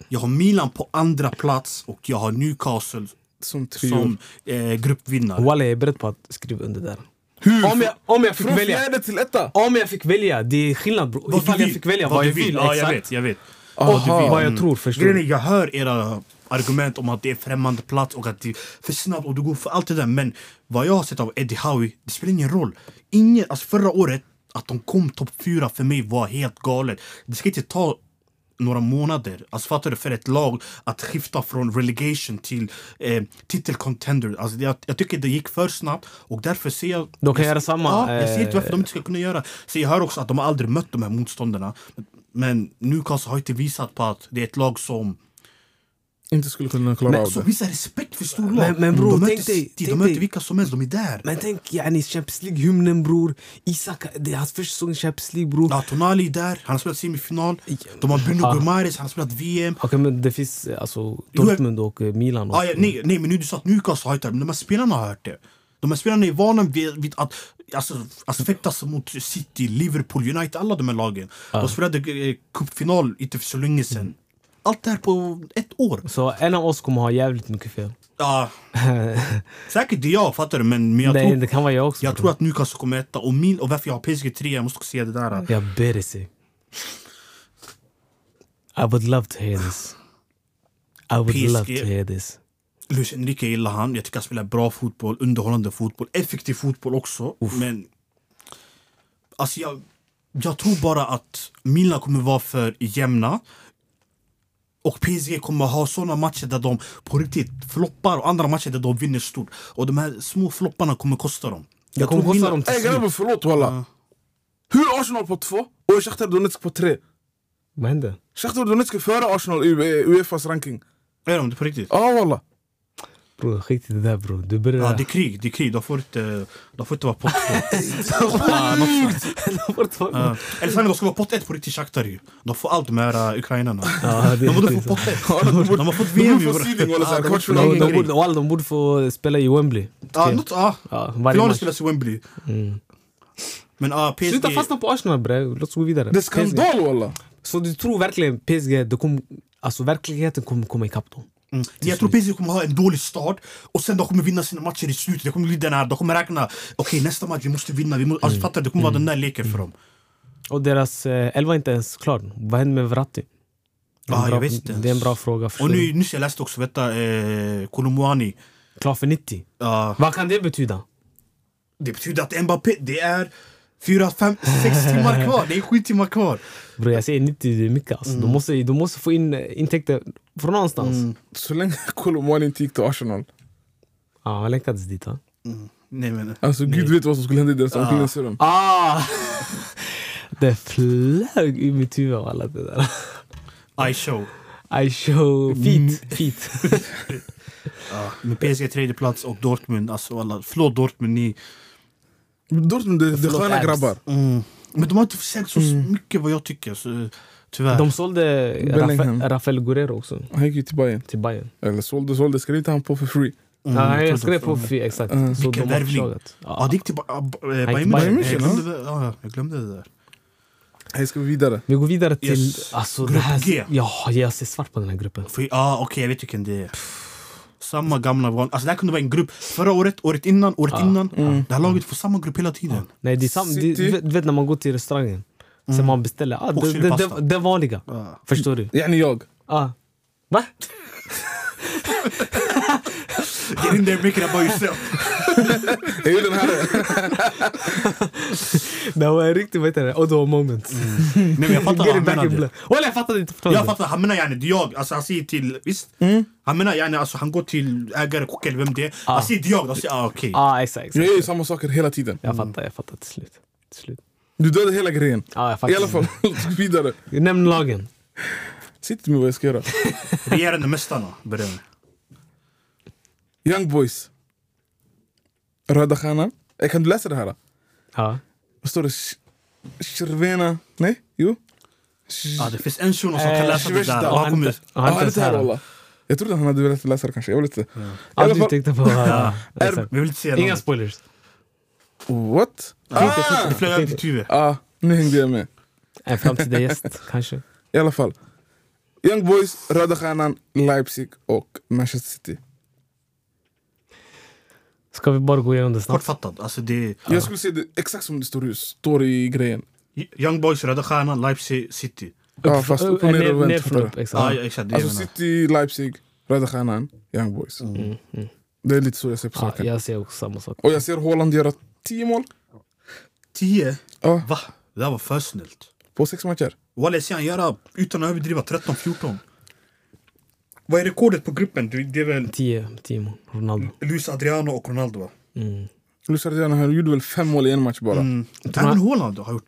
Speaker 3: Jag har Milan på andra plats och jag har Newcastle
Speaker 1: Som trio.
Speaker 3: som eh, gruppvinnare.
Speaker 2: Walla, jag är beredd på att skriva under där.
Speaker 1: Hur?
Speaker 2: Om jag, om jag fick
Speaker 1: Från
Speaker 2: välja.
Speaker 1: fjärde till etta?
Speaker 2: Om jag fick välja, det är skillnad bror. Ifall jag fick välja vad,
Speaker 3: du
Speaker 2: jag vill.
Speaker 3: Ja, jag
Speaker 2: exakt.
Speaker 3: vet, jag vet.
Speaker 2: Och
Speaker 1: Aha.
Speaker 2: vad jag tror förstår
Speaker 3: mm. Grejen är,
Speaker 2: du?
Speaker 3: jag hör era argument om att det är främmande plats och att det är för snabbt och du går för allt det där. Men vad jag har sett av Eddie Howe, det spelar ingen roll. Ingen, alltså förra året, att de kom topp fyra för mig var helt galet. Det ska inte ta några månader, alltså fattar du, för ett lag att skifta från relegation till eh, titelcontender. Alltså jag, jag tycker det gick för snabbt och därför ser jag...
Speaker 2: De kan
Speaker 3: jag,
Speaker 2: göra samma,
Speaker 3: Ja, jag ser
Speaker 2: eh,
Speaker 3: inte varför de inte ska kunna göra. Så jag hör också att de har aldrig mött de här motståndarna. Men Newcastle har inte visat på att det är ett lag som
Speaker 1: Inte skulle kunna klara
Speaker 2: Men
Speaker 1: av
Speaker 3: så
Speaker 1: det.
Speaker 3: visa respekt för storlag.
Speaker 2: Men- men bror,
Speaker 3: de möter
Speaker 2: tänk dig-
Speaker 3: City,
Speaker 2: tänk
Speaker 3: de möter
Speaker 2: dig-
Speaker 3: vilka som helst, de är där.
Speaker 2: Men tänk yani Champions League-hymnen bror. Isak, det är hans första säsong i Champions League bror.
Speaker 3: Ja, Tonali är där, han har spelat semifinal. De har Bruno
Speaker 2: Ja. Ah.
Speaker 3: Gomares, han har spelat VM.
Speaker 2: Okej men det finns eh, alltså Dortmund och eh, Milan. Och,
Speaker 3: Ah, ja, nej, nej, men nu du sa att Newcastle har hört det, men de här spelarna har hört det. De här spelarna är vana vid, vid att alltså, alltså, fäktas mot City, Liverpool, United, alla de här lagen.
Speaker 2: Ah.
Speaker 3: De spelade eh, cupfinal inte för så länge sedan. Allt det här på ett år.
Speaker 2: Så en av oss kommer ha jävligt mycket fel.
Speaker 3: Ja, säkert det är jag, fattar du? Men, men jag,
Speaker 2: Nej,
Speaker 3: tror,
Speaker 2: det kan vara jag också.
Speaker 3: jag
Speaker 2: bror.
Speaker 3: tror att Newcastle kommer etta. Och, min, och varför jag har PSG 3, jag måste också säga det där.
Speaker 2: Jag ber dig. se. I would love to hear this. I would
Speaker 3: PSG.
Speaker 2: love to hear this.
Speaker 3: Luis Enrique gillar han. Jag tycker han spelar bra fotboll, underhållande fotboll, effektiv fotboll också. Men alltså jag, jag tror bara att Milan kommer vara för jämna. Och PSG kommer ha såna matcher där de på riktigt floppar och andra matcher där de vinner stort. Och de här små flopparna kommer kosta dem.
Speaker 2: Det kommer
Speaker 3: tror
Speaker 2: kosta
Speaker 3: Milan-
Speaker 2: dem till
Speaker 1: Ey
Speaker 2: slut.
Speaker 1: grabbar förlåt walla. Hur är Arsenal på två och Shakhtar Donetsk på tre?
Speaker 2: Vad hände?
Speaker 1: Shakhtar Donetsk är före Arsenal i eh, Uefas ranking.
Speaker 3: Är de det på riktigt?
Speaker 1: Ja walla.
Speaker 2: Bror, skit i det där bror. Du börjar...
Speaker 3: Ja, det är krig, det är krig. De får inte, de får inte vara pott två. Ja, något sånt. Ja. Eller sanningen, de ska vara pott ett på riktigt Shakhtar ju. De får allt de här uh, ukrainarna.
Speaker 2: Ja, det
Speaker 3: De
Speaker 2: är
Speaker 3: borde få
Speaker 2: riktigt.
Speaker 3: pott ett.
Speaker 1: Ja, de borde-
Speaker 3: De har fått
Speaker 1: De
Speaker 3: VM
Speaker 1: borde
Speaker 3: i
Speaker 1: få
Speaker 3: år.
Speaker 1: seeding eller så
Speaker 3: Ja,
Speaker 1: här,
Speaker 3: de
Speaker 1: kvartsfinal.
Speaker 3: borde-
Speaker 2: De, de,
Speaker 3: grej.
Speaker 2: borde, och alla, de borde få spela i Wembley.
Speaker 3: Ja,
Speaker 2: Okej.
Speaker 3: något, ja.
Speaker 2: ja, varje
Speaker 3: Finalen
Speaker 2: match.
Speaker 3: spelas i Wembley.
Speaker 2: Mm.
Speaker 3: Men ja, PSG...
Speaker 2: Sluta fastna på Arsenal bre, låt oss gå vidare.
Speaker 1: Det är
Speaker 2: PSG.
Speaker 1: skandal walla.
Speaker 2: Så du tror verkligen PSG, det kom, alltså verkligheten kommer komma ikapp dem?
Speaker 3: Mm. Jag tror PSG kommer ha en dålig start och sen de kommer vinna sina matcher i slutet. Det kommer bli den här, de kommer räkna. Okej, nästa match, vi måste vinna. Vi
Speaker 2: Mm.
Speaker 3: måste, alltså, fattar du? Det kommer vara den där leken för dem.
Speaker 2: Och deras eh, elva är inte ens klar. Vad händer med Verratti? Det är en
Speaker 3: Ja, jag
Speaker 2: bra-
Speaker 3: vet inte ens.
Speaker 2: Det är en bra fråga.
Speaker 3: Och
Speaker 2: förstår
Speaker 3: nu,
Speaker 2: du.
Speaker 3: nyss jag läste också, vet du, eh, Kolomouani.
Speaker 2: Klar för 90.
Speaker 3: Ja,
Speaker 2: Vad kan det betyda?
Speaker 3: det betyder att Mbappé, det är fyra, fem, sex timmar kvar. Det är sju timmar kvar.
Speaker 2: Bro, jag säger 90, det är mycket alltså. de, måste, de måste få in eh, intäkter från någonstans.
Speaker 1: Så länge Kolomani inte gick till Arsenal.
Speaker 2: Ja, han länkades dit va?
Speaker 3: Nej men...
Speaker 1: Alltså gud vet vad som skulle hända i deras omklädningsrum.
Speaker 2: Ah! det flög ur mitt huvud alla det där.
Speaker 3: I show.
Speaker 2: I show feet. feet.
Speaker 3: Ja. Men PSG tredje plats och Dortmund, alltså alla, förlåt Dortmund ni.
Speaker 1: Dortmund, det, det är
Speaker 2: Förlåt,
Speaker 1: sköna
Speaker 2: Abs.
Speaker 1: grabbar.
Speaker 3: Mm. Men de har inte försökt så mycket vad jag tycker, så, tyvärr.
Speaker 2: De sålde
Speaker 1: Bellingham.
Speaker 2: Rafa- Rafael Guerrero också
Speaker 1: Han gick ju till Bayern.
Speaker 2: till Bayern.
Speaker 1: Eller sålde, sålde. Skrev inte han på för free?
Speaker 3: Mm,
Speaker 2: Nej,
Speaker 3: jag tror
Speaker 2: jag skrev
Speaker 3: det.
Speaker 2: på fri, exakt.
Speaker 1: Mm.
Speaker 2: Så
Speaker 3: Vilken
Speaker 2: de har
Speaker 3: värvning.
Speaker 2: förslaget.
Speaker 3: Ja,
Speaker 2: Ja.
Speaker 3: det gick till Ba- Ba- eh,
Speaker 2: Bayern
Speaker 3: Bayern München.
Speaker 1: München,
Speaker 3: Jag glömde det- ja, Jag glömde det där.
Speaker 1: Hej, ska vi vidare?
Speaker 2: Vi går vidare till...
Speaker 3: Yes.
Speaker 2: Alltså,
Speaker 3: Grupp
Speaker 2: det här,
Speaker 3: G.
Speaker 2: Ja, jag ser svart på den här gruppen.
Speaker 3: För, ja, okej, jag vet vilken det är. Samma gamla van. Alltså det här kunde vara en grupp förra året, året innan, året innan. Det här laget får samma grupp hela tiden.
Speaker 2: Nej, det är sam, det,
Speaker 1: City.
Speaker 2: du vet- du vet när man går till restaurangen, sen man beställer. Ah,
Speaker 3: Mm. Och
Speaker 2: det, det,
Speaker 3: chilipasta.
Speaker 2: det, det vanliga.
Speaker 3: Ja.
Speaker 2: Förstår du?
Speaker 1: Yani jag.
Speaker 2: Ah. Va?
Speaker 3: Get in there, make it about yourself.
Speaker 1: Jag är den här.
Speaker 2: Det var en riktig vad heter det, Ottawa moment.
Speaker 3: Nej Mm. men jag fattar vad
Speaker 2: Get it
Speaker 3: han
Speaker 2: back in
Speaker 3: menade.
Speaker 2: blood. Walla, jag fattade inte.
Speaker 3: Jag fattar, han menar yani det är jag. Alltså han säger till, visst?
Speaker 2: Hmm?
Speaker 3: Han menar yani alltså han går till ägare, kock eller vem det är.
Speaker 2: آه.
Speaker 3: Han säger det är jag, de säger ah, okej.
Speaker 2: Ah, exakt. exakt.
Speaker 1: Jag gör ju samma saker hela tiden.
Speaker 2: Jag fattar, jag fattar till slut. Till slut.
Speaker 1: Du dödade hela grejen.
Speaker 2: Ah, jag fattar.
Speaker 1: I alla fall, låt oss gå vidare.
Speaker 2: Nämn lagen.
Speaker 1: Sitt med vad jag ska göra.
Speaker 3: Regerande mästarna börjar med.
Speaker 1: Young Boys. Röda Stjärnan. Eh, Kan du läsa det här?
Speaker 2: Ja.
Speaker 1: Vad står det? Sh- Shirvena? Nej? Jo?
Speaker 3: Ja, det finns en shuno som kan
Speaker 2: Eh,
Speaker 3: läsa det
Speaker 1: Schwester,
Speaker 3: där. Och han kommer...
Speaker 2: han har
Speaker 1: Ah,
Speaker 2: inte ens
Speaker 1: det här,
Speaker 2: här.
Speaker 1: walla. Jag trodde han hade velat läsa det kanske. Jag vet inte. I
Speaker 2: Ah,
Speaker 1: alla
Speaker 2: du
Speaker 1: fall,
Speaker 2: tänkte på... Ja,
Speaker 3: Ja.
Speaker 2: exakt.
Speaker 3: Vi vill inte säga
Speaker 2: Inga
Speaker 3: något.
Speaker 2: spoilers.
Speaker 1: what?
Speaker 3: آه،
Speaker 2: آه.
Speaker 3: Det flög över ditt huvud.
Speaker 1: Ah, nu hängde jag med.
Speaker 2: En framtida gäst, kanske.
Speaker 1: I alla fall. Young Boys, Röda Stjärnan, Leipzig och Manchester City.
Speaker 2: Ska vi bara gå igenom det snabbt?
Speaker 3: Kortfattat. Alltså det är
Speaker 1: Jag skulle säga det exakt som det står i, står i grejen.
Speaker 3: Young Boys, Röda Stjärnan, Leipzig, City. آه،
Speaker 1: Ja, fast
Speaker 2: eh,
Speaker 1: upp och ner och vänt.
Speaker 2: från
Speaker 1: fattar
Speaker 2: upp.
Speaker 1: du?
Speaker 2: Exakt.
Speaker 3: Ja, ja, exakt. Det
Speaker 1: Alltså
Speaker 3: jag menar.
Speaker 1: City, Leipzig, Röda Stjärnan, Young Boys.
Speaker 2: Mm, mm.
Speaker 1: Det är lite så jag ser på
Speaker 2: Ja,
Speaker 1: saken.
Speaker 2: jag ser också samma sak.
Speaker 1: Och jag ser Haaland göra 10 mål
Speaker 3: Tio?
Speaker 1: ja,
Speaker 3: Va? Det där var för snällt.
Speaker 1: på sex matcher.
Speaker 3: Walla, ser han göra, utan att överdriva, 13-14. Vad är rekordet på gruppen? Det det är väl
Speaker 2: 10 Timo, Ronaldo.
Speaker 3: Luis Adriano och Ronaldo? va?
Speaker 2: Mm.
Speaker 1: Luis Adriano han gjorde väl fem mål i en match bara.
Speaker 3: Mm. Även Haaland har gjort...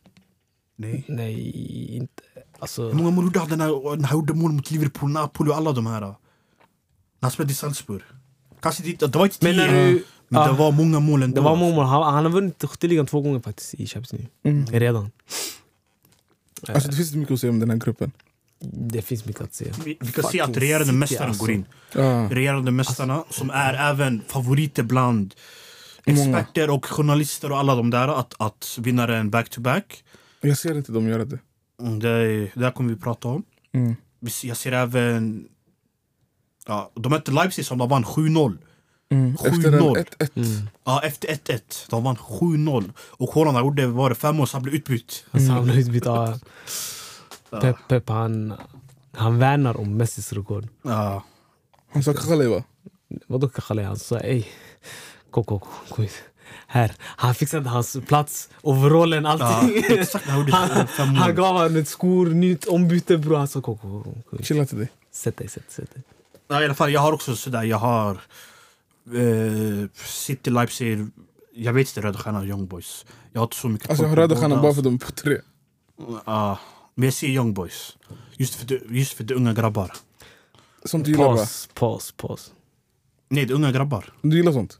Speaker 3: Nej.
Speaker 2: Nej, inte...
Speaker 1: Mm.
Speaker 3: Hur
Speaker 2: Alltså,
Speaker 3: många mål gjorde han när när han gjorde mål mot Liverpool, Napoli och alla de här? När han spelade i Salzburg. Kanske det, det var inte tio,
Speaker 2: Men när du-
Speaker 3: men det
Speaker 2: ja.
Speaker 3: var många mål ändå.
Speaker 2: det var många mål. Han, han har vunnit skytteligan två gånger faktiskt i Champions League.
Speaker 1: Mm.
Speaker 2: Redan.
Speaker 1: Alltså det finns inte mycket att säga om den här gruppen.
Speaker 2: Det finns mycket att se.
Speaker 3: Vi, vi kan se
Speaker 2: Fucking
Speaker 3: att regerande
Speaker 2: City,
Speaker 3: mästaren
Speaker 2: alltså.
Speaker 3: går in.
Speaker 1: Ja.
Speaker 3: Regerande mästarna som är även favoriter bland
Speaker 1: Många.
Speaker 3: experter och journalister och alla de där att, att vinna den back-to-back.
Speaker 1: Jag ser inte dem göra det.
Speaker 3: Mm, Det, är- det här kommer vi prata om.
Speaker 1: Mm.
Speaker 3: Vi- Jag ser även... Ja, de mötte Leipzig som de vann 7-0.
Speaker 1: Mm. Efter
Speaker 3: 7-0.
Speaker 1: en 1-1.
Speaker 2: Mm.
Speaker 3: Ja, efter 1-1. De vann 7-0. Och Haaland han gjorde, var det fem mål så han blev utbytt.
Speaker 2: Alltså, han blev utbytt av
Speaker 3: Ja.
Speaker 2: Pep. Pep han, han värnar om Messis rekord.
Speaker 3: Ja.
Speaker 1: Han sa Kakale va?
Speaker 2: Vadå Kakale? Han sa ey, kom, kom, kom, kom hit. Här. Han fixade hans plats, overallen,
Speaker 3: Ja,
Speaker 2: allting.
Speaker 3: exakt när han gjorde
Speaker 2: Han,
Speaker 3: fem
Speaker 1: Mm.
Speaker 2: han
Speaker 3: mål.
Speaker 2: gav honom ett skor, nytt ombyte Alltså, bror. Han sa kom, kom, kom, kom. hit.
Speaker 1: Chilla till dig.
Speaker 2: Sätt dig, sätt dig, sätt dig.
Speaker 3: Ja, I alla fall, jag har också sådär, jag har eh, City, Leipzig, jag vet inte Röda Stjärnan och Young Boys. Jag har inte så mycket
Speaker 1: Alltså jag
Speaker 3: koll
Speaker 1: har
Speaker 3: på
Speaker 1: Röda Stjärnan
Speaker 3: båda.
Speaker 1: bara för dem på tre.
Speaker 3: Ja, men jag ser Young Boys. Just för, de, just för de unga grabbar.
Speaker 1: Sånt du gillar va?
Speaker 2: Paus, paus, paus.
Speaker 3: Nej, de unga grabbar.
Speaker 1: Du gillar sånt?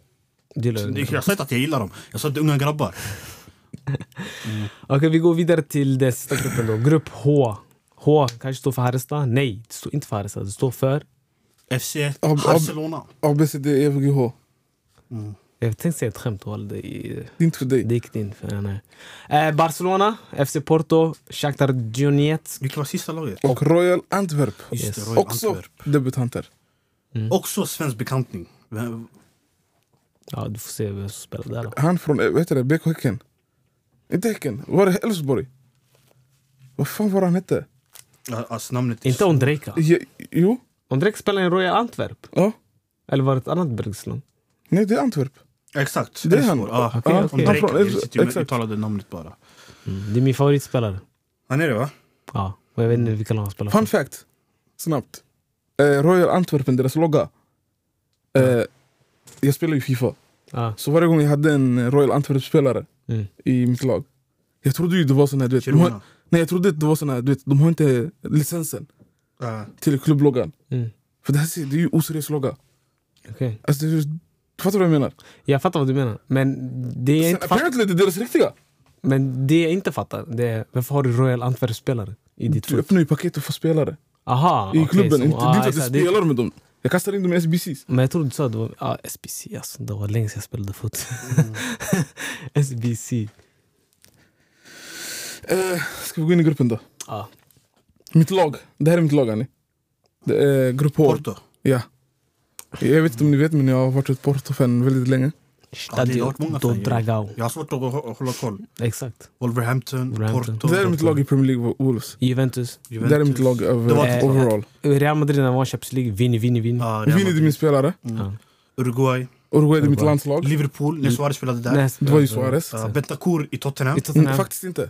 Speaker 2: Det gillar jag.
Speaker 3: Jag sa inte att jag gillar dem, jag sa de unga grabbar.
Speaker 2: Okej, vi går vidare till den sista gruppen då. Grupp H. H kanske står för Harrestad? Nej, det står inte för Harrestad. Det står för...
Speaker 3: FC
Speaker 1: ab-
Speaker 3: Barcelona.
Speaker 1: ABCD, EFGH.
Speaker 2: Jag tänkte säga ett skämt, och det är-
Speaker 1: Det är inte för dig.
Speaker 2: det gick inte in. För, nej. Eh, Barcelona, FC Porto, Shakhtar Donetsk.
Speaker 3: Vilket var sista laget?
Speaker 1: Och Royal Antwerp.
Speaker 3: Just det,
Speaker 2: Yes. Mm.
Speaker 3: Royal
Speaker 1: Också
Speaker 3: Antwerp.
Speaker 1: debutanter.
Speaker 3: Också svensk bekantning. Vem-
Speaker 2: Ja, du får se vem som spelar där. Då.
Speaker 1: Han från, eh, vad heter det, BK Häcken? Inte Häcken, var det Elfsborg? Vad fan var han hette?
Speaker 3: ja, Alltså namnet är
Speaker 2: Inte Ondrejka.
Speaker 1: Je, jo,
Speaker 2: Ondrejka spelar i Royal Antwerp.
Speaker 1: ja.
Speaker 2: Eller var det ett annat Bergsland?
Speaker 1: Nej det är Antwerp.
Speaker 3: Exakt.
Speaker 1: Det är han.
Speaker 3: Ja,
Speaker 2: Okej,
Speaker 3: ja,
Speaker 2: okej.
Speaker 3: om Drake,
Speaker 1: Han från-
Speaker 3: jag sitter ju med-
Speaker 1: exakt.
Speaker 3: uttalade namnet bara.
Speaker 2: Mm. Det är min favoritspelare.
Speaker 3: Han är det va?
Speaker 2: Ja, och jag vet inte vilka lag han spelar
Speaker 1: Fun
Speaker 2: för.
Speaker 1: fact, snabbt. Eh, Royal Antwerpen, deras logga. Eh, jag spelar ju Fifa,
Speaker 2: Ja.
Speaker 1: så varje gång jag hade en Royal Antwerp-spelare
Speaker 2: Mm.
Speaker 1: i mitt lag jag trodde ju det var sån här, du vet, de har,
Speaker 3: Kiruna.
Speaker 1: nej, jag trodde det var sån här, du vet, de har inte licensen
Speaker 3: Ja.
Speaker 1: till klubbloggan.
Speaker 2: Mm.
Speaker 1: För det här ser- det är ju oseriös logga.
Speaker 2: okej.
Speaker 1: Alltså, det är, du fattar vad jag menar?
Speaker 2: Jag fattar vad du menar. Men det jag
Speaker 1: Sen,
Speaker 2: inte, fatt...
Speaker 1: Eh, apparently det är deras riktiga.
Speaker 2: men det jag inte fattar det är varför har du Royal Antwerp-spelare i ditt
Speaker 1: Du
Speaker 2: trupp?
Speaker 1: öppnar ju paket och får spelare
Speaker 2: Aha,
Speaker 1: i
Speaker 2: okej,
Speaker 1: klubben.
Speaker 2: så-
Speaker 1: inte, det är inte att jag
Speaker 2: exakt, det-
Speaker 1: spelar med dem. Jag kastar in dem i SBCs.
Speaker 2: Men jag trodde du sa att det var ah, SBC. Alltså, det var länge sedan jag spelade fot.
Speaker 1: Mm.
Speaker 2: SBC.
Speaker 1: Eh, ska vi gå in i gruppen då?
Speaker 2: Ja.
Speaker 1: Mitt lag. Det här är mitt lag, Annie. Det är Grupp H.
Speaker 3: Porto.
Speaker 1: Ja. Jag vet inte om ni vet, men jag har varit ett Porto-fan väldigt länge.
Speaker 3: Ja, det har varit många
Speaker 2: do
Speaker 3: fan, ja.
Speaker 2: Dragao.
Speaker 3: Jag har svårt att hå- hålla koll.
Speaker 2: Exakt.
Speaker 3: Wolverhampton,
Speaker 2: Wolverhampton.
Speaker 3: Porto,
Speaker 1: det här är mitt lag i Premier League, Wolves.
Speaker 2: Juventus.
Speaker 1: Det här är mitt lag
Speaker 3: Det var
Speaker 1: över,
Speaker 2: ett-
Speaker 1: overall.
Speaker 2: Real Madrid när de var i Champions League. Vinner, vinner, vinner.
Speaker 3: Ja, Real
Speaker 1: Vini är min
Speaker 3: Madrid.
Speaker 1: spelare.
Speaker 2: Ja.
Speaker 3: Uruguay.
Speaker 1: Uruguay är mitt
Speaker 2: Eh, Uruguay.
Speaker 1: landslag.
Speaker 3: Liverpool, när Suarez spelade där.
Speaker 2: Mm. Nej,
Speaker 1: Det var ju Suarez.
Speaker 3: Uh, Bentancur i Tottenham.
Speaker 2: I
Speaker 1: Mm,
Speaker 2: Tottenham.
Speaker 1: faktiskt inte.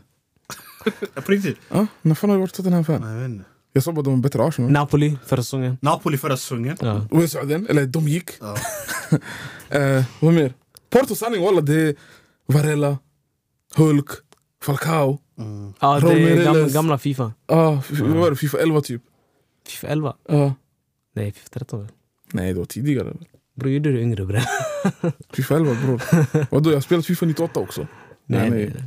Speaker 3: Ja, På riktigt?
Speaker 1: Ja, när fan har du varit Tottenham-fan?
Speaker 3: Nej, jag vet inte.
Speaker 1: Jag sa bara de var bättre än Arsenal.
Speaker 2: Napoli förra säsongen.
Speaker 3: Napoli förra säsongen.
Speaker 2: Ja.
Speaker 1: Och jag sa den, eller de gick.
Speaker 3: Ja.
Speaker 1: Eh, vad mer? Porto sanning walla, det är Varela, Hulk, Falcao.
Speaker 3: Mm.
Speaker 2: Ja, det är gamla,
Speaker 1: Ramirez.
Speaker 2: gamla Fifa.
Speaker 1: Ah, f- vad var det? Fifa 11 typ.
Speaker 2: Fifa 11?
Speaker 1: Ah.
Speaker 2: Nej, Fifa 13.
Speaker 1: Nej, det var tidigare.
Speaker 2: Bror, gjorde du yngre bre?
Speaker 1: Fifa 11 bror. Vadå, jag har spelat Fifa 98 också. Nej, nej.
Speaker 2: nej.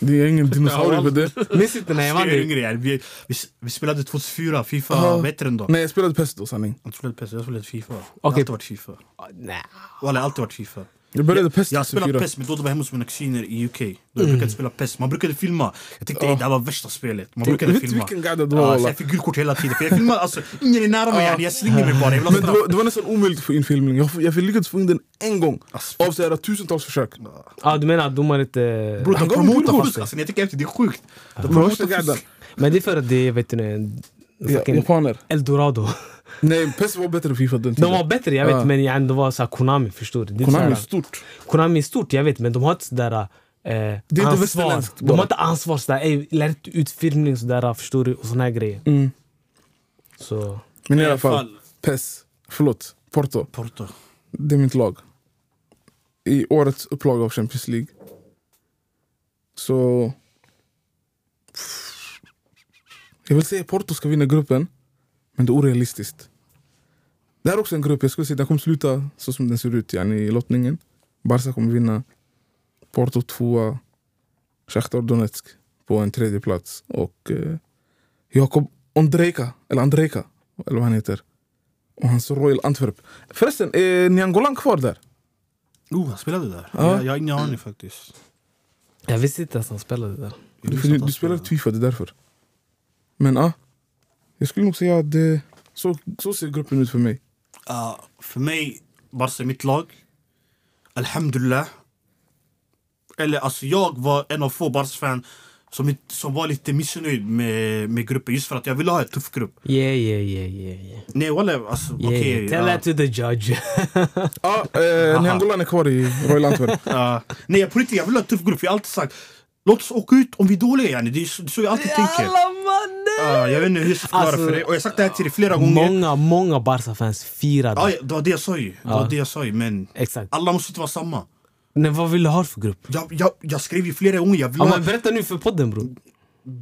Speaker 1: Det är ingen dinosaurie på det.
Speaker 2: Minns inte när jag vann
Speaker 3: Vi är
Speaker 2: det.
Speaker 3: yngre, ja. vi, vi, vi spelade 2004, Fifa,
Speaker 1: Ja.
Speaker 3: vad heter den då?
Speaker 1: Ah. Nej, jag spelade Pesto sanning.
Speaker 3: Jag spelade PES, jag spelade Fifa. Jag har
Speaker 2: Okej.
Speaker 3: alltid varit Fifa.
Speaker 2: Nej.
Speaker 3: Walla, jag har alltid varit Fifa.
Speaker 1: Jag började Pesto
Speaker 3: Jag har spelat
Speaker 1: 24.
Speaker 3: PES, men då det var hemma hos mina kusiner i UK. Då jag brukade spela PES. Man brukade filma. Jag tänkte
Speaker 1: Mm. Ja.
Speaker 3: oh. det här var värsta spelet. Man
Speaker 1: Du
Speaker 3: brukade
Speaker 1: vet
Speaker 3: filma.
Speaker 1: vilken gadda det var
Speaker 3: Ja, så
Speaker 1: walla.
Speaker 3: jag fick gult alla tiden. För jag filmar, alltså, ingen är nära mig.
Speaker 1: Ja.
Speaker 3: yani. Jag slänger mig bara. Jag
Speaker 1: Men
Speaker 3: vill
Speaker 1: det
Speaker 3: ha straff.
Speaker 1: var, det var nästan omöjligt att få in filmning. Jag, jag lyckades få in den en gång.
Speaker 3: Alltså,
Speaker 1: Av så här, tusentals försök.
Speaker 2: Ah, du menar att domaren inte...
Speaker 3: Bror, de
Speaker 1: han gav mig
Speaker 3: promotar
Speaker 1: gult
Speaker 3: fusk.
Speaker 1: kort.
Speaker 3: Alltså, när jag tänker efter, det är sjukt. De
Speaker 1: Värsta
Speaker 3: promotar
Speaker 1: gadda.
Speaker 3: fusk.
Speaker 2: Men det är för att det är vet du, en
Speaker 1: Ja,
Speaker 2: fucking
Speaker 1: japaner.
Speaker 2: eldorado.
Speaker 1: Nej, PES var bättre än Fifa den
Speaker 2: De
Speaker 1: tiden.
Speaker 2: var bättre, jag vet.
Speaker 1: Ja.
Speaker 2: Men yani, de var så här, Konami, förstår du? Det är
Speaker 1: Konami är
Speaker 2: så här-
Speaker 1: stort.
Speaker 2: Konami är stort, jag vet. Men de har inte sådär eh,
Speaker 1: inte
Speaker 2: ansvar.
Speaker 1: västerländskt
Speaker 2: De
Speaker 1: bara.
Speaker 2: har inte ansvar. Sådär, ey, lär ut utfilmning sådär, förstår du? Och såna här grejer.
Speaker 1: Mm.
Speaker 2: Så,
Speaker 1: Men i alla fall, PES. Förlåt, Porto.
Speaker 3: Porto.
Speaker 1: Det är mitt lag. I årets upplaga av Champions League. Så... Jag vill säga Porto ska vinna gruppen, men det är orealistiskt. Det här är också en grupp, jag skulle säga den kommer sluta så som den ser ut yani, i lottningen. Barca kommer vinna, Porto tvåa, Shakhtar Donetsk på en tredje plats och eh, Jakob Ondrejka, eller Andrejka, eller vad han heter. Och hans Royal Antwerp. Förresten, eh, är Niangolan kvar där?
Speaker 3: Oh, han spelade där.
Speaker 1: Ja.
Speaker 3: Jag, jag har ingen aning faktiskt.
Speaker 2: jag visste inte ens han spelade där.
Speaker 3: Jag
Speaker 1: Du,
Speaker 3: visste
Speaker 1: du,
Speaker 3: att han
Speaker 1: du spelar
Speaker 3: spelade.
Speaker 1: Twifa, det är därför. Men ja, jag skulle nog säga att det, så, så ser gruppen ut för mig.
Speaker 3: Ja, för mig, Barca är mitt lag. Alhamdulillah. Eller alltså jag var en av få Barca-fan som, inte- som var lite missnöjd med, med gruppen just för att jag ville ha en tuff grupp.
Speaker 2: Yeah, yeah, yeah, yeah. yeah.
Speaker 3: Nej walla, alltså
Speaker 2: yeah,
Speaker 3: okej.
Speaker 2: yeah. Tell
Speaker 3: ja.
Speaker 2: that to the judge.
Speaker 1: Ja, eh, Niangolan är kvar i Royal Antwerp.
Speaker 3: Ja. nej jag på riktigt, jag vill ha en tuff grupp. Jag har alltid sagt Låt oss åka ut om vi är dåliga yani. Det är så, det är så jag alltid tänker. Ja, jag vet inte hur jag ska förklara
Speaker 2: Alltså,
Speaker 3: för dig. Och jag har sagt det här till dig flera gånger.
Speaker 2: Många, många Barca-fans firade.
Speaker 3: Ja, ja, det var det jag sa ju. Det var
Speaker 2: Ja.
Speaker 3: det jag sa ju. Men
Speaker 2: Exakt.
Speaker 3: alla måste inte vara samma.
Speaker 2: Nej, vad vill du ha för grupp?
Speaker 3: Jag, jag, jag skrev ju flera gånger. Jag, vill
Speaker 2: Ja,
Speaker 3: ha,
Speaker 2: men berätta nu för podden bror.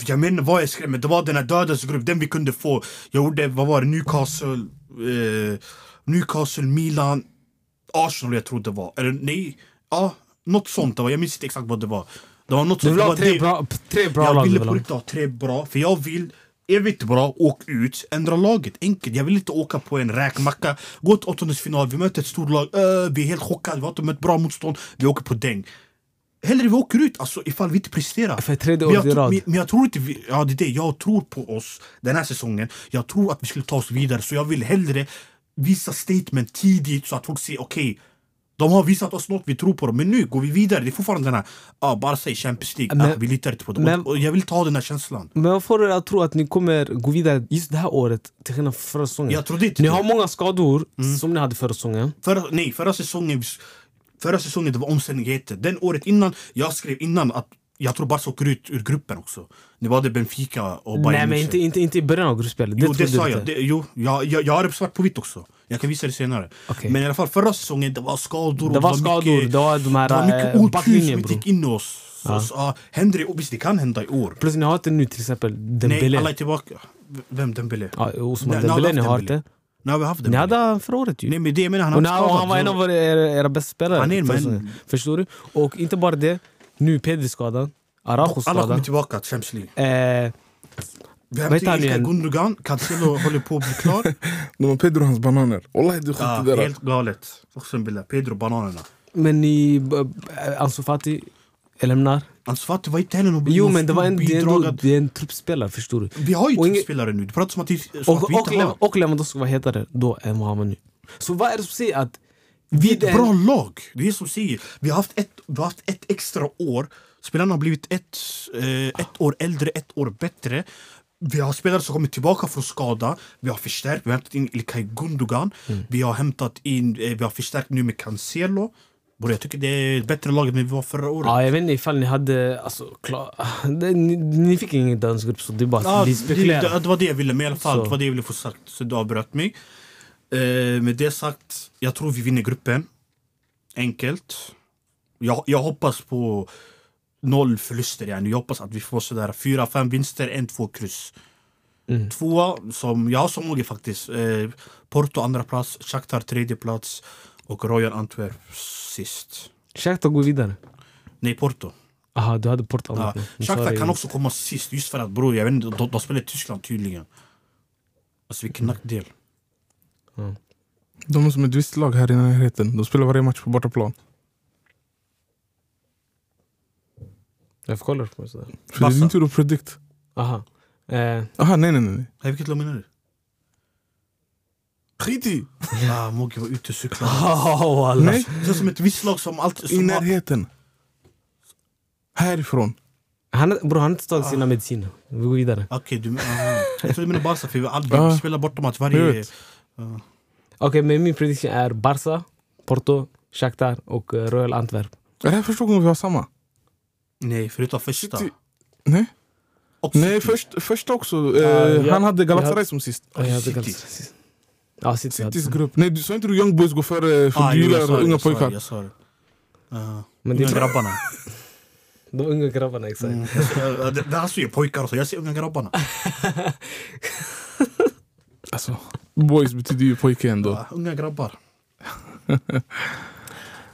Speaker 3: jag menar vad jag skrev. Men det var den här dödens grupp. Den vi kunde få. Jag gjorde, vad var det? Newcastle. Eh, Newcastle, Milan. Arsenal jag tror det var. Eller nej. Ja, något sånt. Det var. Jag minns inte exakt vad det var. Det var något
Speaker 2: Du
Speaker 3: sånt.
Speaker 2: vill
Speaker 3: Det
Speaker 2: ha
Speaker 3: var
Speaker 2: tre
Speaker 3: det-
Speaker 2: bra, tre bra
Speaker 3: jag
Speaker 2: lag. du
Speaker 3: ville
Speaker 2: vill
Speaker 3: på
Speaker 2: ha.
Speaker 3: riktigt ha tre bra, för jag vill Evigt bra, åk ut, ändra laget. Enkelt. Jag vill inte åka på en räkmacka. Gå till åttondelsfinal, vi möter ett storlag. Uh, vi är helt chockade, vi har inte mött bra motstånd. Vi åker på däng. Hellre vi åker ut, alltså ifall vi inte presterar.
Speaker 2: För tredje
Speaker 3: Men jag,
Speaker 2: året i
Speaker 3: tro-
Speaker 2: rad.
Speaker 3: men- men jag tror inte vi, ja det är det, jag tror på oss den här säsongen. Jag tror att vi skulle ta oss vidare så jag vill hellre visa statement tidigt så att folk ser okej, de har visat oss något, vi tror på dem. Men nu går vi vidare, det är fortfarande den här, ah, Barca i Champions League,
Speaker 2: Men-
Speaker 3: ah, vi litar inte på dem.
Speaker 2: men-
Speaker 3: och, och jag vill ta den här känslan.
Speaker 2: Men vad får er att tro att ni kommer gå vidare just det här året till skillnad från förra säsongen?
Speaker 3: Jag trodde inte
Speaker 2: Ni
Speaker 3: det. typ. Mm.
Speaker 2: har många skador som ni hade förra säsongen.
Speaker 3: Förra, nej, förra säsongen, förra säsongen det var omständigheter. Den året innan, jag skrev innan att jag tror Barca åker ut ur gruppen också. Det var det Benfica och Bayern
Speaker 2: Nej men
Speaker 3: München.
Speaker 2: inte, inte, inte i början av gruppspelet. Det
Speaker 3: Jo, det
Speaker 2: trodde
Speaker 3: sa
Speaker 2: du
Speaker 3: jag.
Speaker 2: inte.
Speaker 3: Det, jo, jag, jag. Jag har det svart på vitt också. Jag kan visa det senare.
Speaker 2: Okej.
Speaker 3: Men i alla fall förra säsongen, det var skador. och
Speaker 2: Det var skador,
Speaker 3: mycket-
Speaker 2: det var de här
Speaker 3: det var mycket
Speaker 2: eh,
Speaker 3: otur som
Speaker 2: backlinjen
Speaker 3: inte
Speaker 2: bror.
Speaker 3: gick in i oss. Så, så, ah, händer det, och visst, det kan hända i år.
Speaker 2: Plus ni har inte nu till exempel
Speaker 3: Nej,
Speaker 2: Dembélé.
Speaker 3: alla är tillbaka. V- Vem? Dembélé?
Speaker 2: Ja, Osman
Speaker 3: Nej,
Speaker 2: Dembélé, ni
Speaker 3: Nadal
Speaker 2: har
Speaker 3: Dembélé.
Speaker 2: inte.
Speaker 3: Nu har vi haft
Speaker 2: Ni
Speaker 3: Dembélé.
Speaker 2: hade han förra året ju.
Speaker 3: Nej, men det jag menar, han
Speaker 2: och när
Speaker 3: har varit
Speaker 2: han, och han var en
Speaker 3: skadad.
Speaker 2: av era, era, era bästa spelare.
Speaker 3: Han är en
Speaker 2: förra
Speaker 3: man.
Speaker 2: säsongen. Förstår du? Och inte bara det. Nu Pedri skadad. Araujo
Speaker 3: Alla kommer
Speaker 2: skadad.
Speaker 3: tillbaka till Champions League.
Speaker 2: Eh,
Speaker 3: Vi
Speaker 2: Vad heter
Speaker 3: hämtar
Speaker 2: han
Speaker 3: Ilkay
Speaker 2: igen?
Speaker 3: Gundogan, Cancelo håller på att bli klar.
Speaker 1: De har Pedro och hans bananer. Wallahi du skiter
Speaker 3: ah,
Speaker 1: där.
Speaker 3: helt galet. Också en bild där. Pedro bananerna.
Speaker 2: men ni... eh, Ansu Fati lämnar.
Speaker 3: Ansu Fati var inte heller någon
Speaker 2: Jo
Speaker 3: någon
Speaker 2: men det var en, det är ändå,
Speaker 3: bidragande-
Speaker 2: det är en truppspelare förstår du.
Speaker 3: Vi har ju
Speaker 2: och ingen-
Speaker 3: truppspelare nu. Det pratas om att, vi- som att
Speaker 2: Och,
Speaker 3: vi
Speaker 2: och,
Speaker 3: inte har.
Speaker 2: Lev- och Lewandowski var hetare då än vad han var nu. Så vad är det som säger att...
Speaker 3: Vi är ett
Speaker 2: en-
Speaker 3: bra lag. Det är det som säger. Vi har haft ett, vi har haft ett extra år. Spelarna har blivit ett, eh, ett år äldre, ett år bättre. Vi har spelare som kommit tillbaka från skada. Vi har förstärkt. Vi har hämtat in Ilkay Gundogan. Vi har hämtat in, eh, vi har förstärkt nu med Cancelo. Bror, jag tycker det är ett bättre lag än vi var förra året.
Speaker 2: Ja, jag vet inte ifall ni hade... Alltså, klar, det, ni, ni fick ingen dansgrupp så det är bara...
Speaker 3: Ja,
Speaker 2: vi
Speaker 3: det, det,
Speaker 2: spekulerar.
Speaker 3: det var det jag ville med i alla fall.
Speaker 2: Alltså, Så.
Speaker 3: Det var det jag ville få sagt. Så du avbröt mig. Eh, med det sagt, jag tror vi vinner gruppen. Enkelt. Jag, jag hoppas på noll förluster. Yani. Jag hoppas att vi får sådär fyra, fem vinster, en, två kryss.
Speaker 2: Mm.
Speaker 3: Tvåa, som jag har som mål faktiskt. Eh, Porto andra plats, Shakhtar tredje plats och Royal Antwerp sist.
Speaker 2: Shakhtar går vidare.
Speaker 3: Nej, Porto.
Speaker 2: Aha, du hade Porto
Speaker 3: Ja. Shakhtar kan också komma sist just för att bror, jag vet inte, de, de spelar i Tyskland tydligen. Alltså vilken
Speaker 1: Mm.
Speaker 3: nackdel.
Speaker 1: De är som ett visst lag här i närheten. De spelar varje match på bortaplan.
Speaker 2: Jag får kolla på det sådär.
Speaker 1: För det är din
Speaker 3: Barca.
Speaker 1: tur att predict.
Speaker 2: Aha. Eh,
Speaker 1: Aha, nej nej nej.
Speaker 3: Nej, vilket lag menar du?
Speaker 1: Skit i!
Speaker 3: Ah, Mogge var ute och cyklade.
Speaker 2: oh, wallah.
Speaker 1: Nej,
Speaker 3: Det känns som ett visst lag som alltid...
Speaker 1: i
Speaker 3: Som har-
Speaker 1: närheten. Härifrån.
Speaker 2: Han, bror, han har inte tagit sina mediciner. Vi går vidare.
Speaker 3: Okej, du aha. Jag tror du menar Barca, för vi-
Speaker 1: Ja.
Speaker 3: Alba vi spelar bortamatch
Speaker 1: Jag
Speaker 3: varje...
Speaker 1: vet.
Speaker 2: Okej, men min prediction är Barca, Porto, Shakhtar och eh, Royal Antwerp.
Speaker 1: Är det här första gången vi har samma?
Speaker 3: Nej, förutom första.
Speaker 1: City. Nej,
Speaker 3: Och
Speaker 1: Nej
Speaker 3: City.
Speaker 1: först, första också. Eh,
Speaker 2: Ja, ja.
Speaker 1: Han hade
Speaker 2: Jag
Speaker 1: Galatasaray
Speaker 2: hade-
Speaker 1: som sist.
Speaker 2: Ja, jag hade
Speaker 3: City.
Speaker 2: ganska- Ja, City. hade-
Speaker 1: Citys grupp. Nej, du sa inte du Young Boys går före för
Speaker 3: Ah,
Speaker 1: du
Speaker 3: jo, jag
Speaker 1: gillar
Speaker 3: sa det,
Speaker 1: unga
Speaker 3: jag sa det,
Speaker 1: pojkar?
Speaker 3: Jag sa det. Ja.
Speaker 2: Men det
Speaker 3: Unga
Speaker 2: är
Speaker 3: grabbarna.
Speaker 2: de unga grabbarna, exakt.
Speaker 3: Mm. Jag ser- ja, det- Det här ser ju pojkar och så, jag ser unga grabbarna.
Speaker 1: Alltså, boys betyder ju pojke ändå.
Speaker 3: Ja, Unga grabbar.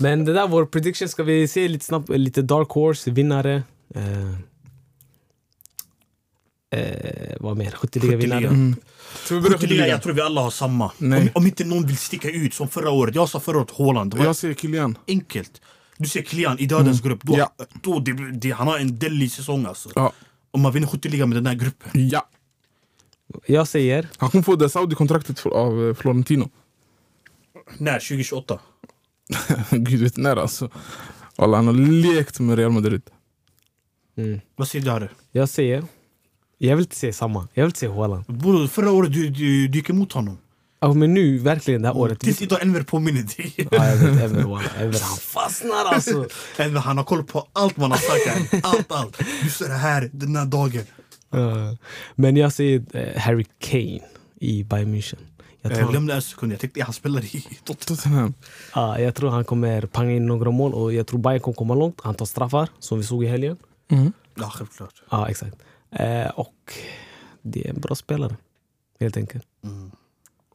Speaker 2: Men det där, vår prediction, ska vi se lite snabbt, lite dark horse, vinnare. Eh, eh, vad mer? Skytteliga vinnare.
Speaker 3: Skytteliga.
Speaker 1: Mm. Ska vi börja
Speaker 3: Skytteliga,
Speaker 1: Kylian?
Speaker 3: jag tror vi alla har samma.
Speaker 1: Nej.
Speaker 3: Om, om inte någon vill sticka ut, som förra året. Jag sa förra året Haaland. Det var
Speaker 1: Jag ser Kylian.
Speaker 3: enkelt. Du ser Klian i dödens grupp. Då,
Speaker 1: Ja.
Speaker 3: då, det, det, han har en delig säsong alltså.
Speaker 1: Ja.
Speaker 3: Om man vinner skytteligan med den här gruppen.
Speaker 1: ja.
Speaker 2: Jag säger,
Speaker 1: Han kommer få det Saudi-kontraktet för- av eh, Florentino.
Speaker 3: När? 2028?
Speaker 1: Gud vet när alltså. Alla, han har lekt med Real Madrid.
Speaker 2: mm,
Speaker 3: Vad säger du Harry?
Speaker 2: jag säger, jag vill inte säga samma. Jag vill inte säga Haaland.
Speaker 3: Bror, förra året du, du, du gick emot honom.
Speaker 2: Ja, men nu, verkligen det här året.
Speaker 3: Tills idag Enver påminner dig.
Speaker 2: Ja, jag vet, Enver, Haaland. Enver, han fastnar alltså.
Speaker 3: Enver han har koll på allt man har sagt här. Allt, allt. Du ser det här, den här dagen.
Speaker 2: Ja. Men jag säger eh, Harry Kane i Bayern München. Jag
Speaker 3: Jag
Speaker 2: tror,
Speaker 3: lämnade en sekund, jag tänkte ja, han spelar i Tottenham.
Speaker 1: Tottenham.
Speaker 2: ja, jag tror han kommer panga in några mål och jag tror Bayern kommer komma långt. Han tar straffar, som vi såg i helgen.
Speaker 1: Mm.
Speaker 3: Ja, självklart.
Speaker 2: Ja, exakt. Eh, och det är en bra spelare, helt enkelt.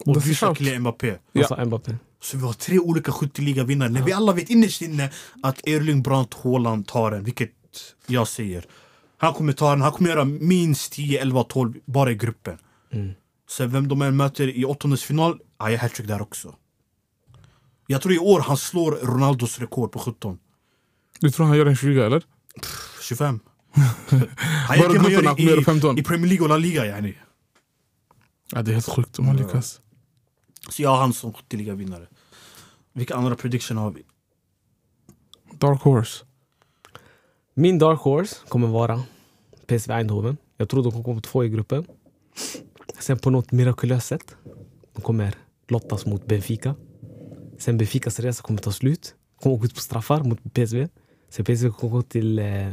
Speaker 1: Det
Speaker 3: Och
Speaker 1: ser
Speaker 3: du sa
Speaker 1: sharp.
Speaker 3: Kylian Mbappé.
Speaker 2: Jag
Speaker 1: Ja.
Speaker 2: sa Mbappé.
Speaker 3: Så vi har tre olika skytteligavinnare när vi alla vet innerst inne att Erling Brandt Haaland tar den, vilket jag säger. Han kommer ta den, han kommer göra minst 10, 11, 12 bara i gruppen.
Speaker 2: Mm.
Speaker 3: Sen vem de än möter i åttondelsfinal, ja, jag är hattrick där också. Jag tror i år han slår Ronaldos rekord på 17.
Speaker 1: Du tror han gör en 20 eller?
Speaker 3: 25. Han
Speaker 1: Bara gruppen han kommer göra
Speaker 3: i,
Speaker 1: 15.
Speaker 3: i Premier League och La Liga yani.
Speaker 1: Ja, det är helt sjukt om han lyckas.
Speaker 3: Så jag har han som skytteligavinnare. Vilka andra prediction har vi?
Speaker 1: Dark Horse.
Speaker 2: Min dark horse kommer vara PSV Eindhoven. Jag tror de kommer komma två i gruppen. Sen på något mirakulöst sätt de kommer lottas mot Benfica. Sen Benficas resa kommer ta slut. Kommer åka ut på straffar mot PSV. Sen PSV kommer gå till eh,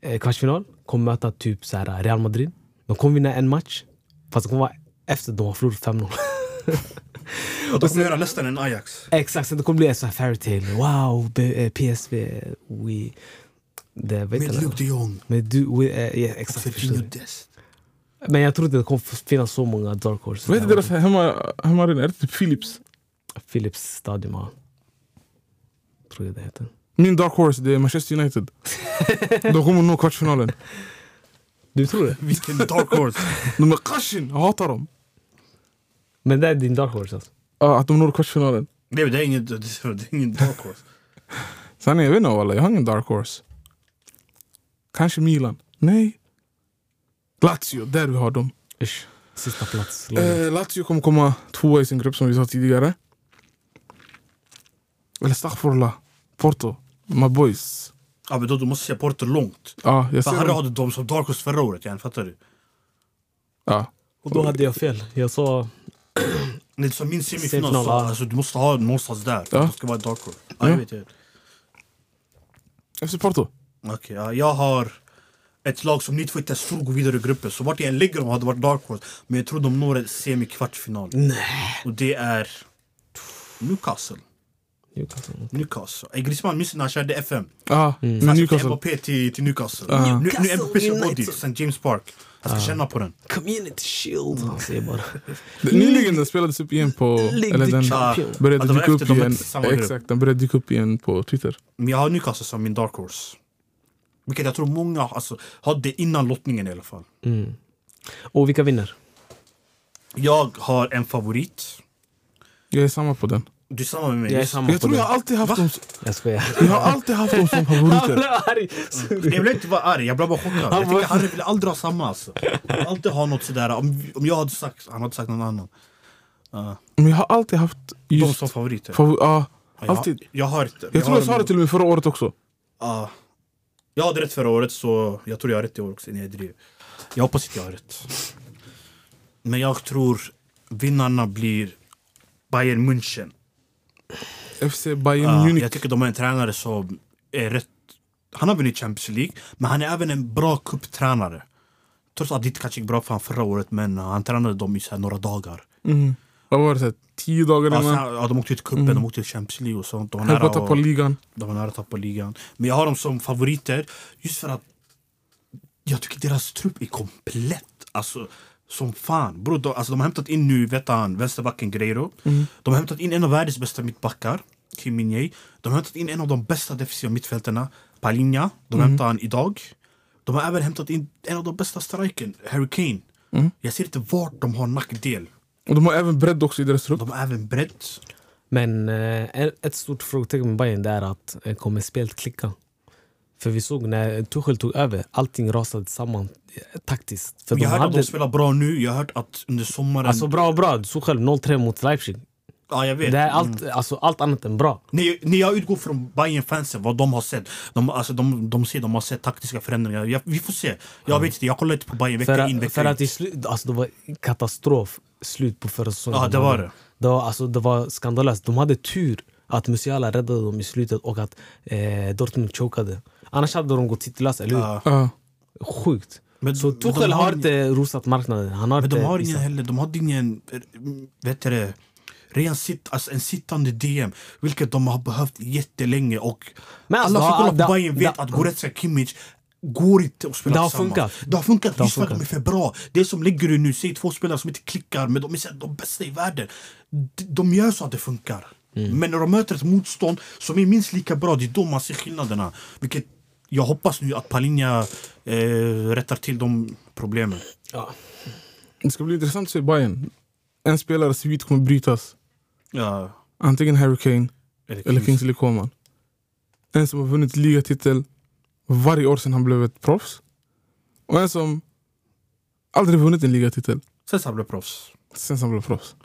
Speaker 2: eh, kvartsfinal. Kommer möta typ så här Real Madrid. De kommer vinna en match. Fast det kommer vara efter de har förlorat 5-0.
Speaker 3: De kommer göra nästan en Ajax.
Speaker 2: Exakt, så det kommer bli en sån här fairy tale. Wow, B- eh, PSV, we... Det, vad heter
Speaker 3: Med
Speaker 2: det?
Speaker 3: Luke de Jong.
Speaker 2: Men du, we, eh, ja, exakt. förstår
Speaker 3: Fabinho
Speaker 2: du.
Speaker 3: Dest.
Speaker 2: Men jag tror inte det kommer finnas så många dark horses.
Speaker 1: Vad heter deras hemma- hemmaarena? Är det typ Philips?
Speaker 2: Philips stadium, ja. Tror jag det heter.
Speaker 1: Min Dark Horse det är Manchester United. De kommer nå kvartsfinalen.
Speaker 2: Du tror det?
Speaker 3: Vilken dark horse!
Speaker 1: De är kashin, jag hatar dem.
Speaker 2: Men det är din dark horse alltså?
Speaker 1: Ja, Ah, att de når kvartsfinalen.
Speaker 3: Nej men det är ingen, det är det är ingen dark horse.
Speaker 1: Sen jag vet inte walla, jag har ingen dark horse. Kanske Milan? Nej. Lazio, där vi har dem.
Speaker 2: Usch. Sista plats.
Speaker 1: Eh, Lazio kommer komma tvåa i sin grupp som vi sa tidigare. Eller Staghforla, Porto, my boys.
Speaker 3: Ja men då du måste se Porto långt.
Speaker 1: Ja, jag
Speaker 3: För
Speaker 1: ser
Speaker 3: han
Speaker 1: dem.
Speaker 3: hade dem som dark horse förra året, igen, fattar du?
Speaker 1: Ja.
Speaker 2: Och då hade jag fel. Jag sa...
Speaker 3: Nej, som min semifinal,
Speaker 2: Semifinal,
Speaker 3: så,
Speaker 2: ja.
Speaker 3: alltså, du måste ha någonstans där.
Speaker 1: Ja.
Speaker 3: Det ska vara dark horse. Ja, jag
Speaker 1: Ja.
Speaker 3: vet, jag vet.
Speaker 1: FC Porto.
Speaker 3: Okej, ja, jag har ett lag som ni två inte ens tror går vidare i gruppen. Så vart jag än lägger dem hade varit dark horse. Men jag tror de når en semikvartsfinal.
Speaker 2: Nej.
Speaker 3: Och det är Newcastle.
Speaker 2: Newcastle.
Speaker 3: Newcastle. Eh, Griezmann minns när han körde FM.
Speaker 1: Ja,
Speaker 3: Han
Speaker 1: men
Speaker 3: köpte
Speaker 1: Newcastle.
Speaker 3: Mbappé till, till Newcastle.
Speaker 1: Ja.
Speaker 3: Nu, nu är
Speaker 2: Newcastle
Speaker 3: Mbappé ska gå
Speaker 2: United.
Speaker 3: dit, sen James Park. Han ska känna på den.
Speaker 2: Community shield. Han säger bara.
Speaker 1: Nyligen den spelades upp igen på...
Speaker 2: League
Speaker 1: Eller den
Speaker 2: Champions.
Speaker 3: Ja,
Speaker 2: Champion.
Speaker 1: började
Speaker 3: Ja, Alltså, de var
Speaker 1: dyka
Speaker 3: efter,
Speaker 1: upp
Speaker 3: de var
Speaker 1: igen.
Speaker 3: inte samma grupp.
Speaker 1: Exakt, den började dyka upp igen på Twitter.
Speaker 3: Men jag har Newcastle som min dark horse. Vilket jag tror många alltså, hade innan lottningen i alla fall.
Speaker 2: Mm. Och vilka vinner?
Speaker 3: Jag har en favorit.
Speaker 1: Jag är samma på den.
Speaker 3: Du är samma med mig.
Speaker 2: Jag är samma
Speaker 1: Jag
Speaker 2: på
Speaker 1: tror
Speaker 2: det.
Speaker 1: jag alltid haft dem, s-
Speaker 2: Jag skojar.
Speaker 1: jag har alltid haft dem som
Speaker 2: Han
Speaker 1: favoriter.
Speaker 2: blev arg. Sorry.
Speaker 3: Jag blev inte vara arg, jag blev bara chockad. Jag tycker Harry vill aldrig ha samma alltså. Han vill alltid ha något sådär, om, om jag hade sagt, han hade sagt någon annan.
Speaker 1: Men jag har alltid haft
Speaker 3: De
Speaker 1: just...
Speaker 3: som favoriter.
Speaker 1: Favor- ja,
Speaker 3: Ja,
Speaker 1: alltid.
Speaker 3: Jag, jag har inte.
Speaker 1: Jag tror jag sa
Speaker 3: har
Speaker 1: det till och med förra året också.
Speaker 3: Ja. Jag hade rätt förra året så jag tror jag har rätt i år också. Nej, jag driver. Jag hoppas inte jag har rätt. Men jag tror vinnarna blir Bayern München.
Speaker 1: FC Bayern
Speaker 3: Ja,
Speaker 1: Munich.
Speaker 3: jag tycker de har en tränare som är rätt... Han har vunnit Champions League, men han är även en bra cuptränare. Trots att det kanske gick bra för han förra året, men ah, han tränade dem i så här några dagar.
Speaker 1: Mm. Vad var det? Så här, tio dagar
Speaker 3: Ja, så
Speaker 1: innan?
Speaker 3: här, ja, de åkte ut i cupen, de åkte ut i Champions League och sånt. De var
Speaker 1: Mm. Höll på
Speaker 3: nära
Speaker 1: att tappa
Speaker 3: att
Speaker 1: ligan.
Speaker 3: de var nära att tappa ligan. Men jag har dem som favoriter just för att jag tycker deras trupp är komplett. Alltså, som fan. Bro, de, alltså, de har hämtat in nu, vet han, vänsterbacken Guerreiro.
Speaker 2: Mm.
Speaker 3: De har hämtat in en av världens bästa mittbackar, Kim Min-Jae. De har hämtat in en av de bästa defensiva mittfältarna, Palinha. De
Speaker 2: Mm.
Speaker 3: hämtade han idag. De har även hämtat in en av de bästa strikern, Harry Kane.
Speaker 2: Mm.
Speaker 3: Jag ser inte vart de har nackdel.
Speaker 1: Och de har även bredd också i deras trupp.
Speaker 3: De har även bredd.
Speaker 2: Men eh, ett- ett stort frågetecken med Bayern det är att eh, kommer spelet klicka? För vi såg när Tuchel tog över, allting rasade samman eh, taktiskt. För de
Speaker 3: jag har hört att
Speaker 2: hade...
Speaker 3: de spelar bra nu. Jag har hört att under sommaren...
Speaker 2: Alltså bra, bra. Du såg själv 0-3 mot Leipzig.
Speaker 3: ja, jag vet.
Speaker 2: Det är allt, alltså, allt annat än bra.
Speaker 3: När, när jag utgår från bayern fansen vad de har sett. De, alltså, de, de ser de har sett taktiska förändringar. Jag, vi får se. Jag vet inte, jag kollar inte på Bayern vecka in
Speaker 2: För,
Speaker 3: vecka
Speaker 2: för att
Speaker 3: ut.
Speaker 2: i slut, alltså det var katastrof slut på förra säsongen.
Speaker 3: Ja, det var det.
Speaker 2: Det var, alltså, det var skandalöst. De hade tur att Musiala räddade dem i slutet och att eh, Dortmund chokade. Annars hade de gått titellösa, eller hur?
Speaker 3: Ja.
Speaker 1: Ja.
Speaker 2: Sjukt.
Speaker 3: Men-
Speaker 2: så
Speaker 3: men de
Speaker 2: Tuchel
Speaker 3: har
Speaker 2: har
Speaker 3: ingen-
Speaker 2: inte rosat marknaden. Han har
Speaker 3: Men de
Speaker 2: inte
Speaker 3: har
Speaker 2: visat-
Speaker 3: ingen heller, de hade ingen, eh, vet du det, ren sitt, alltså en sittande DM, vilket de har behövt jättelänge och
Speaker 2: Men alltså, det
Speaker 3: alla som
Speaker 2: har-
Speaker 3: kollar på
Speaker 2: det-
Speaker 3: Bayern vet
Speaker 2: det-
Speaker 3: att Goretzka Kimmich går inte att spela
Speaker 2: Det har
Speaker 3: tillsammans.
Speaker 2: funkat.
Speaker 3: Det har funkat,
Speaker 2: Det har
Speaker 3: just för att de är
Speaker 2: funkat.
Speaker 3: för bra. Det som ligger nu, säg två spelare som inte klickar, men de är så här, de bästa i världen. De, de gör så att det funkar.
Speaker 2: Mm.
Speaker 3: Men när de möter ett motstånd som är minst lika bra, det är då man ser skillnaderna. Vilket jag hoppas nu att Palinja eh, rättar till de problemen.
Speaker 2: Ja.
Speaker 1: Det ska bli intressant att se Bayern. En spelare svit kommer brytas.
Speaker 3: Ja,
Speaker 1: Antingen Harry Kane eller
Speaker 3: Kings.
Speaker 1: Kingsley Coman. En som har vunnit ligatitel varje år sedan han blev ett proffs. Och en som aldrig vunnit en ligatitel
Speaker 3: Sen så han blev proffs.
Speaker 1: sen han blev proffs.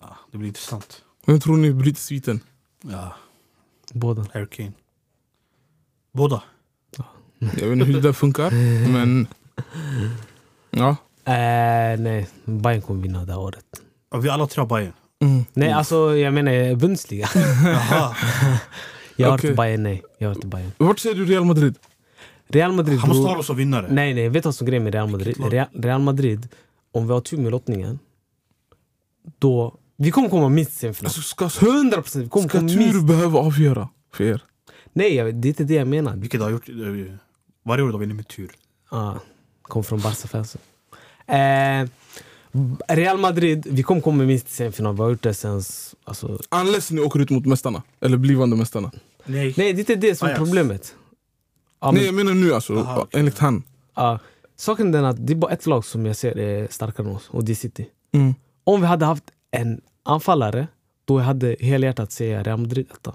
Speaker 3: Ja, det blir intressant.
Speaker 1: Vem tror ni bryter sviten?
Speaker 3: Ja,
Speaker 2: Båda.
Speaker 3: Harry Kane. Båda.
Speaker 1: Jag vet inte hur det där funkar, men... Ja.
Speaker 2: Eh, nej, Bayern kommer vinna det här året.
Speaker 3: Ja, vi alla tre har Bayern.
Speaker 1: Mm.
Speaker 2: Nej, alltså jag menar Bundesliga.
Speaker 3: Jaha.
Speaker 2: Jag har
Speaker 1: Okej.
Speaker 2: inte Bayern, nej. Jag har inte Bayern.
Speaker 1: Vart ser du Real Madrid?
Speaker 2: Real Madrid,
Speaker 3: Han måste
Speaker 2: bror.
Speaker 3: ha oss som vinnare.
Speaker 2: Nej, nej. Vet du vad som är grejen med Real Madrid?
Speaker 3: lag?
Speaker 2: Real, Real Madrid, om vi har tur med lottningen, då... Vi kommer komma minst till semifinal.
Speaker 1: Alltså, ska,
Speaker 2: 100 procent! Vi kommer
Speaker 1: ska
Speaker 2: komma minst.
Speaker 1: tur behöva avgöra för er?
Speaker 2: Nej, jag, det är inte det jag menar. Vi-
Speaker 3: Vilket har gjort... eh, Varje år de vinner med tur.
Speaker 2: Ah, kom från Barca-fansen. Eh, Real Madrid, vi kommer komma minst till semifinal. Vi har gjort det sen... s- Alltså,
Speaker 1: Unless ni åker ut mot mästarna, eller blivande mästarna.
Speaker 3: Nej.
Speaker 2: nej, det är inte det som är
Speaker 3: Ajax.
Speaker 2: problemet. Ja, men-
Speaker 1: Nej jag menar nu alltså,
Speaker 3: Aha, okej.
Speaker 1: enligt han.
Speaker 2: Ja. Saken är den att det är bara ett lag som jag ser är starkare än oss och det är City.
Speaker 1: Mm.
Speaker 2: Om vi hade haft en anfallare, då hade jag helhjärtat säga Real Madrid etta.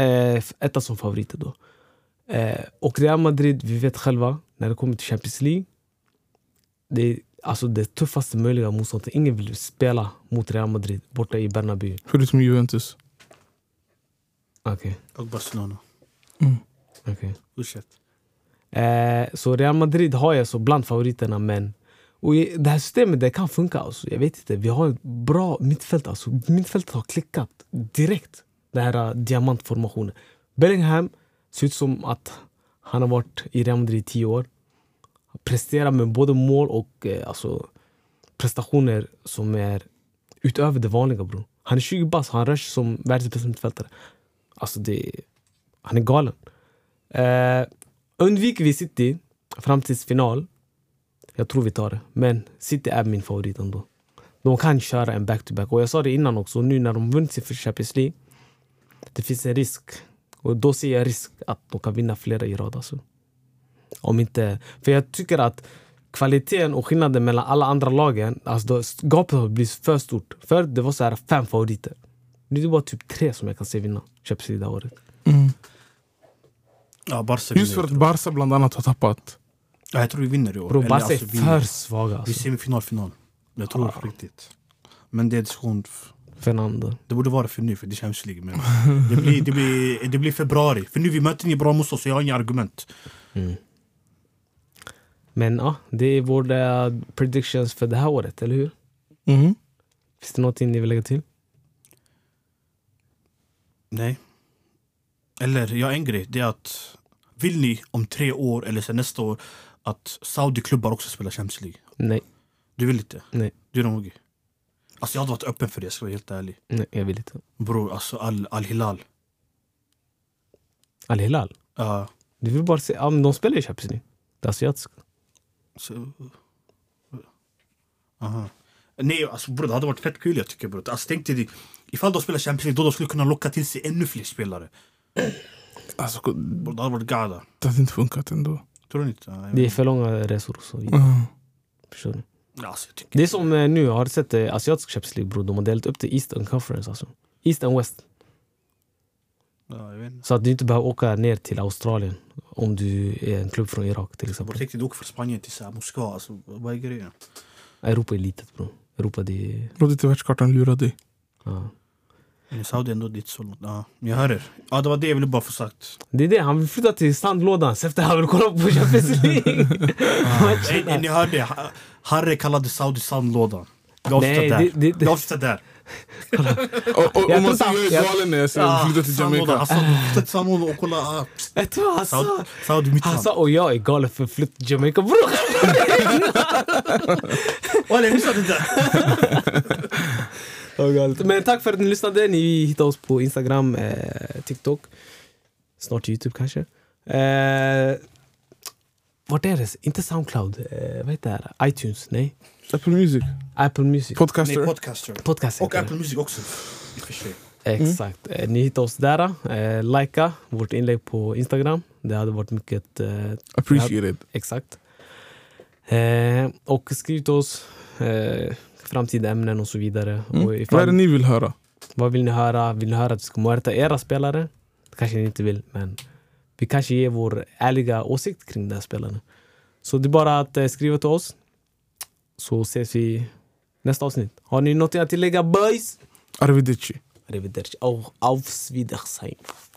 Speaker 2: Eh, f- etta som favoriter då. Eh, och Real Madrid, vi vet själva, när det kommer till Champions League, det är alltså det tuffaste möjliga motståndet. Ingen vill spela mot Real Madrid borta i Bernabéu.
Speaker 1: Förutom Juventus.
Speaker 2: Okej,
Speaker 3: Och Barcelona. Oh,
Speaker 2: okej.
Speaker 3: Ursäkta.
Speaker 2: Eh, så Real Madrid har jag så bland favoriterna, men och i- det här systemet det kan funka. Alltså. Jag vet inte, vi har ett bra mittfält. Alltså. Mittfältet har klickat direkt, den här eh, diamantformationen. Bellingham ser ut som att han har varit i Real Madrid i tio år. Han presterar med både mål och eh, alltså, prestationer som är utöver det vanliga. Bro. Han är 20 bast, han rör sig som världens bästa mittfältare. Alltså, det, han är galen. Eh, undviker vi City fram till final, jag tror vi tar det. Men City är min favorit ändå. De kan köra en back-to-back. Och jag sa det innan också, nu när de vunnit sin första Champions League, det finns en risk. Och då ser jag risk att de kan vinna flera i rad. Alltså. Om inte... För jag tycker att kvaliteten och skillnaden mellan alla andra lagen, alltså då, gapet har blivit för stort. Förr det var så här fem favoriter. Nu är det bara typ tre som jag kan se vinna Champions League det här året.
Speaker 3: Ja, Barca
Speaker 1: Mm. Just för
Speaker 3: vinner.
Speaker 1: att Barca bland annat har tappat.
Speaker 3: Ja, jag tror vi vinner i år.
Speaker 2: Bro,
Speaker 3: Eller, alltså,
Speaker 2: Barca är
Speaker 3: vinner.
Speaker 2: för svaga.
Speaker 3: Vi
Speaker 2: Alltså.
Speaker 3: ser final, final. Jag tror det på riktigt. Men det är diskussion. f-
Speaker 2: Fernando.
Speaker 3: Det borde vara för nu, för det känns League. Men det, blir, det, blir, det blir februari. För nu vi möter ni bra motstånd, så jag har inga argument.
Speaker 2: Men ja, det är våra predictions för det här året, eller hur?
Speaker 1: Mhm.
Speaker 2: Finns det någonting ni vill lägga till?
Speaker 3: Nej. Eller, jag har en grej. Det är att vill ni om tre år eller sen nästa år att Saudi-klubbar också spelar Champions League?
Speaker 2: Nej,
Speaker 3: Du vill inte?
Speaker 2: Nej.
Speaker 3: Du är nog... Alltså jag hade varit öppen för det, jag ska vara helt ärlig.
Speaker 2: nej jag vill inte.
Speaker 3: Bror, alltså Al- Al-Hilal.
Speaker 2: Al-Hilal?
Speaker 3: Ja,
Speaker 2: Du vill bara se... Ja, men de spelar ju Champions League. Det asiatiska.
Speaker 3: så... Aha. Nej, alltså bror, det hade varit fett kul jag tycker bror. Alltså tänk dig, ifall de spelar Champions League då de skulle kunna locka till sig ännu fler spelare.
Speaker 1: Alltså,
Speaker 3: Bror, det hade varit gada.
Speaker 1: det hade inte funkat ändå.
Speaker 3: Tror ni inte? Ja, jag
Speaker 2: Det är
Speaker 3: vet
Speaker 2: för långa resor. och Så vidare.
Speaker 1: Ja.
Speaker 2: Förstår ni?
Speaker 3: inte. Alltså, jag tycker...
Speaker 2: Det är som eh, nu, har du sett eh, asiatisk Champions League bror? De har delat upp det i Eastern Conference alltså. East and West.
Speaker 3: Ja, jag vet inte.
Speaker 2: Så att du inte behöver åka ner till Australien om du är en klubb från Irak till
Speaker 3: Bror,
Speaker 2: exempel.
Speaker 3: tänk dig, du åker från Spanien till så här, Moskva. Alltså, vad är grejen?
Speaker 2: Europa är litet bror. Europa det är...
Speaker 1: Låt inte världskartan lura dig.
Speaker 2: Ja.
Speaker 3: Men Saudi är ändå ditt sol. Ja, jag hör er. Ja, det var det jag ville bara få sagt.
Speaker 2: Det är det, han vill flytta till sandlådan efter han vill kolla på Champions League.
Speaker 3: Nej, nej, ni hörde. Ha- Harry kallade Saudi sandlådan. Vi avslutar
Speaker 2: Nej,
Speaker 3: där.
Speaker 2: det- det-
Speaker 3: Vi avslutar där.
Speaker 1: Och, och,
Speaker 2: Jag
Speaker 1: om man
Speaker 2: tror
Speaker 1: säger jag
Speaker 2: att-
Speaker 1: är galen när jag säger
Speaker 3: Ah,
Speaker 1: flytta till
Speaker 3: sandlådan.
Speaker 1: Jamaica.
Speaker 3: Alltså, flytta till sandlådan och kolla. ah,
Speaker 2: Jag tror han sa...
Speaker 3: Saudi, Saudi mitt land.
Speaker 2: Han sa och jag är galen för flytt till Jamaica bror.
Speaker 3: Walla, jag missade det där.
Speaker 2: Ja, galet. Men tack för att ni lyssnade. Ni hittar oss på Instagram, eh, TikTok, snart Youtube kanske. Eh, vart är det? Inte Soundcloud. Eh, vad heter det? här? iTunes? Nej.
Speaker 1: Apple Music.
Speaker 2: Apple Music.
Speaker 1: Podcaster.
Speaker 3: Nej, podcaster.
Speaker 2: Podcast
Speaker 3: Och
Speaker 2: heter det.
Speaker 3: Apple Mm. Music också. I och för sig.
Speaker 2: Exakt. Eh, Ni hittar oss där. Eh, Likea vårt inlägg på Instagram. Det hade varit mycket eh,
Speaker 1: Appreciated.
Speaker 2: Exakt. Eh, och skriv till oss eh, framtida ämnen och så vidare. Och
Speaker 1: Mm.
Speaker 2: ifall,
Speaker 1: Vad är det ni vill höra?
Speaker 2: Vad vill ni höra? Vill ni höra att vi ska mörda era spelare? Det kanske ni inte vill, men vi kanske ger vår ärliga åsikt kring den här spelaren. Så det är bara att eh, skriva till oss så ses vi nästa avsnitt. Har ni något att tillägga boys?
Speaker 1: Arrivederci.
Speaker 2: Arrivederci. Auf Wiedersehen.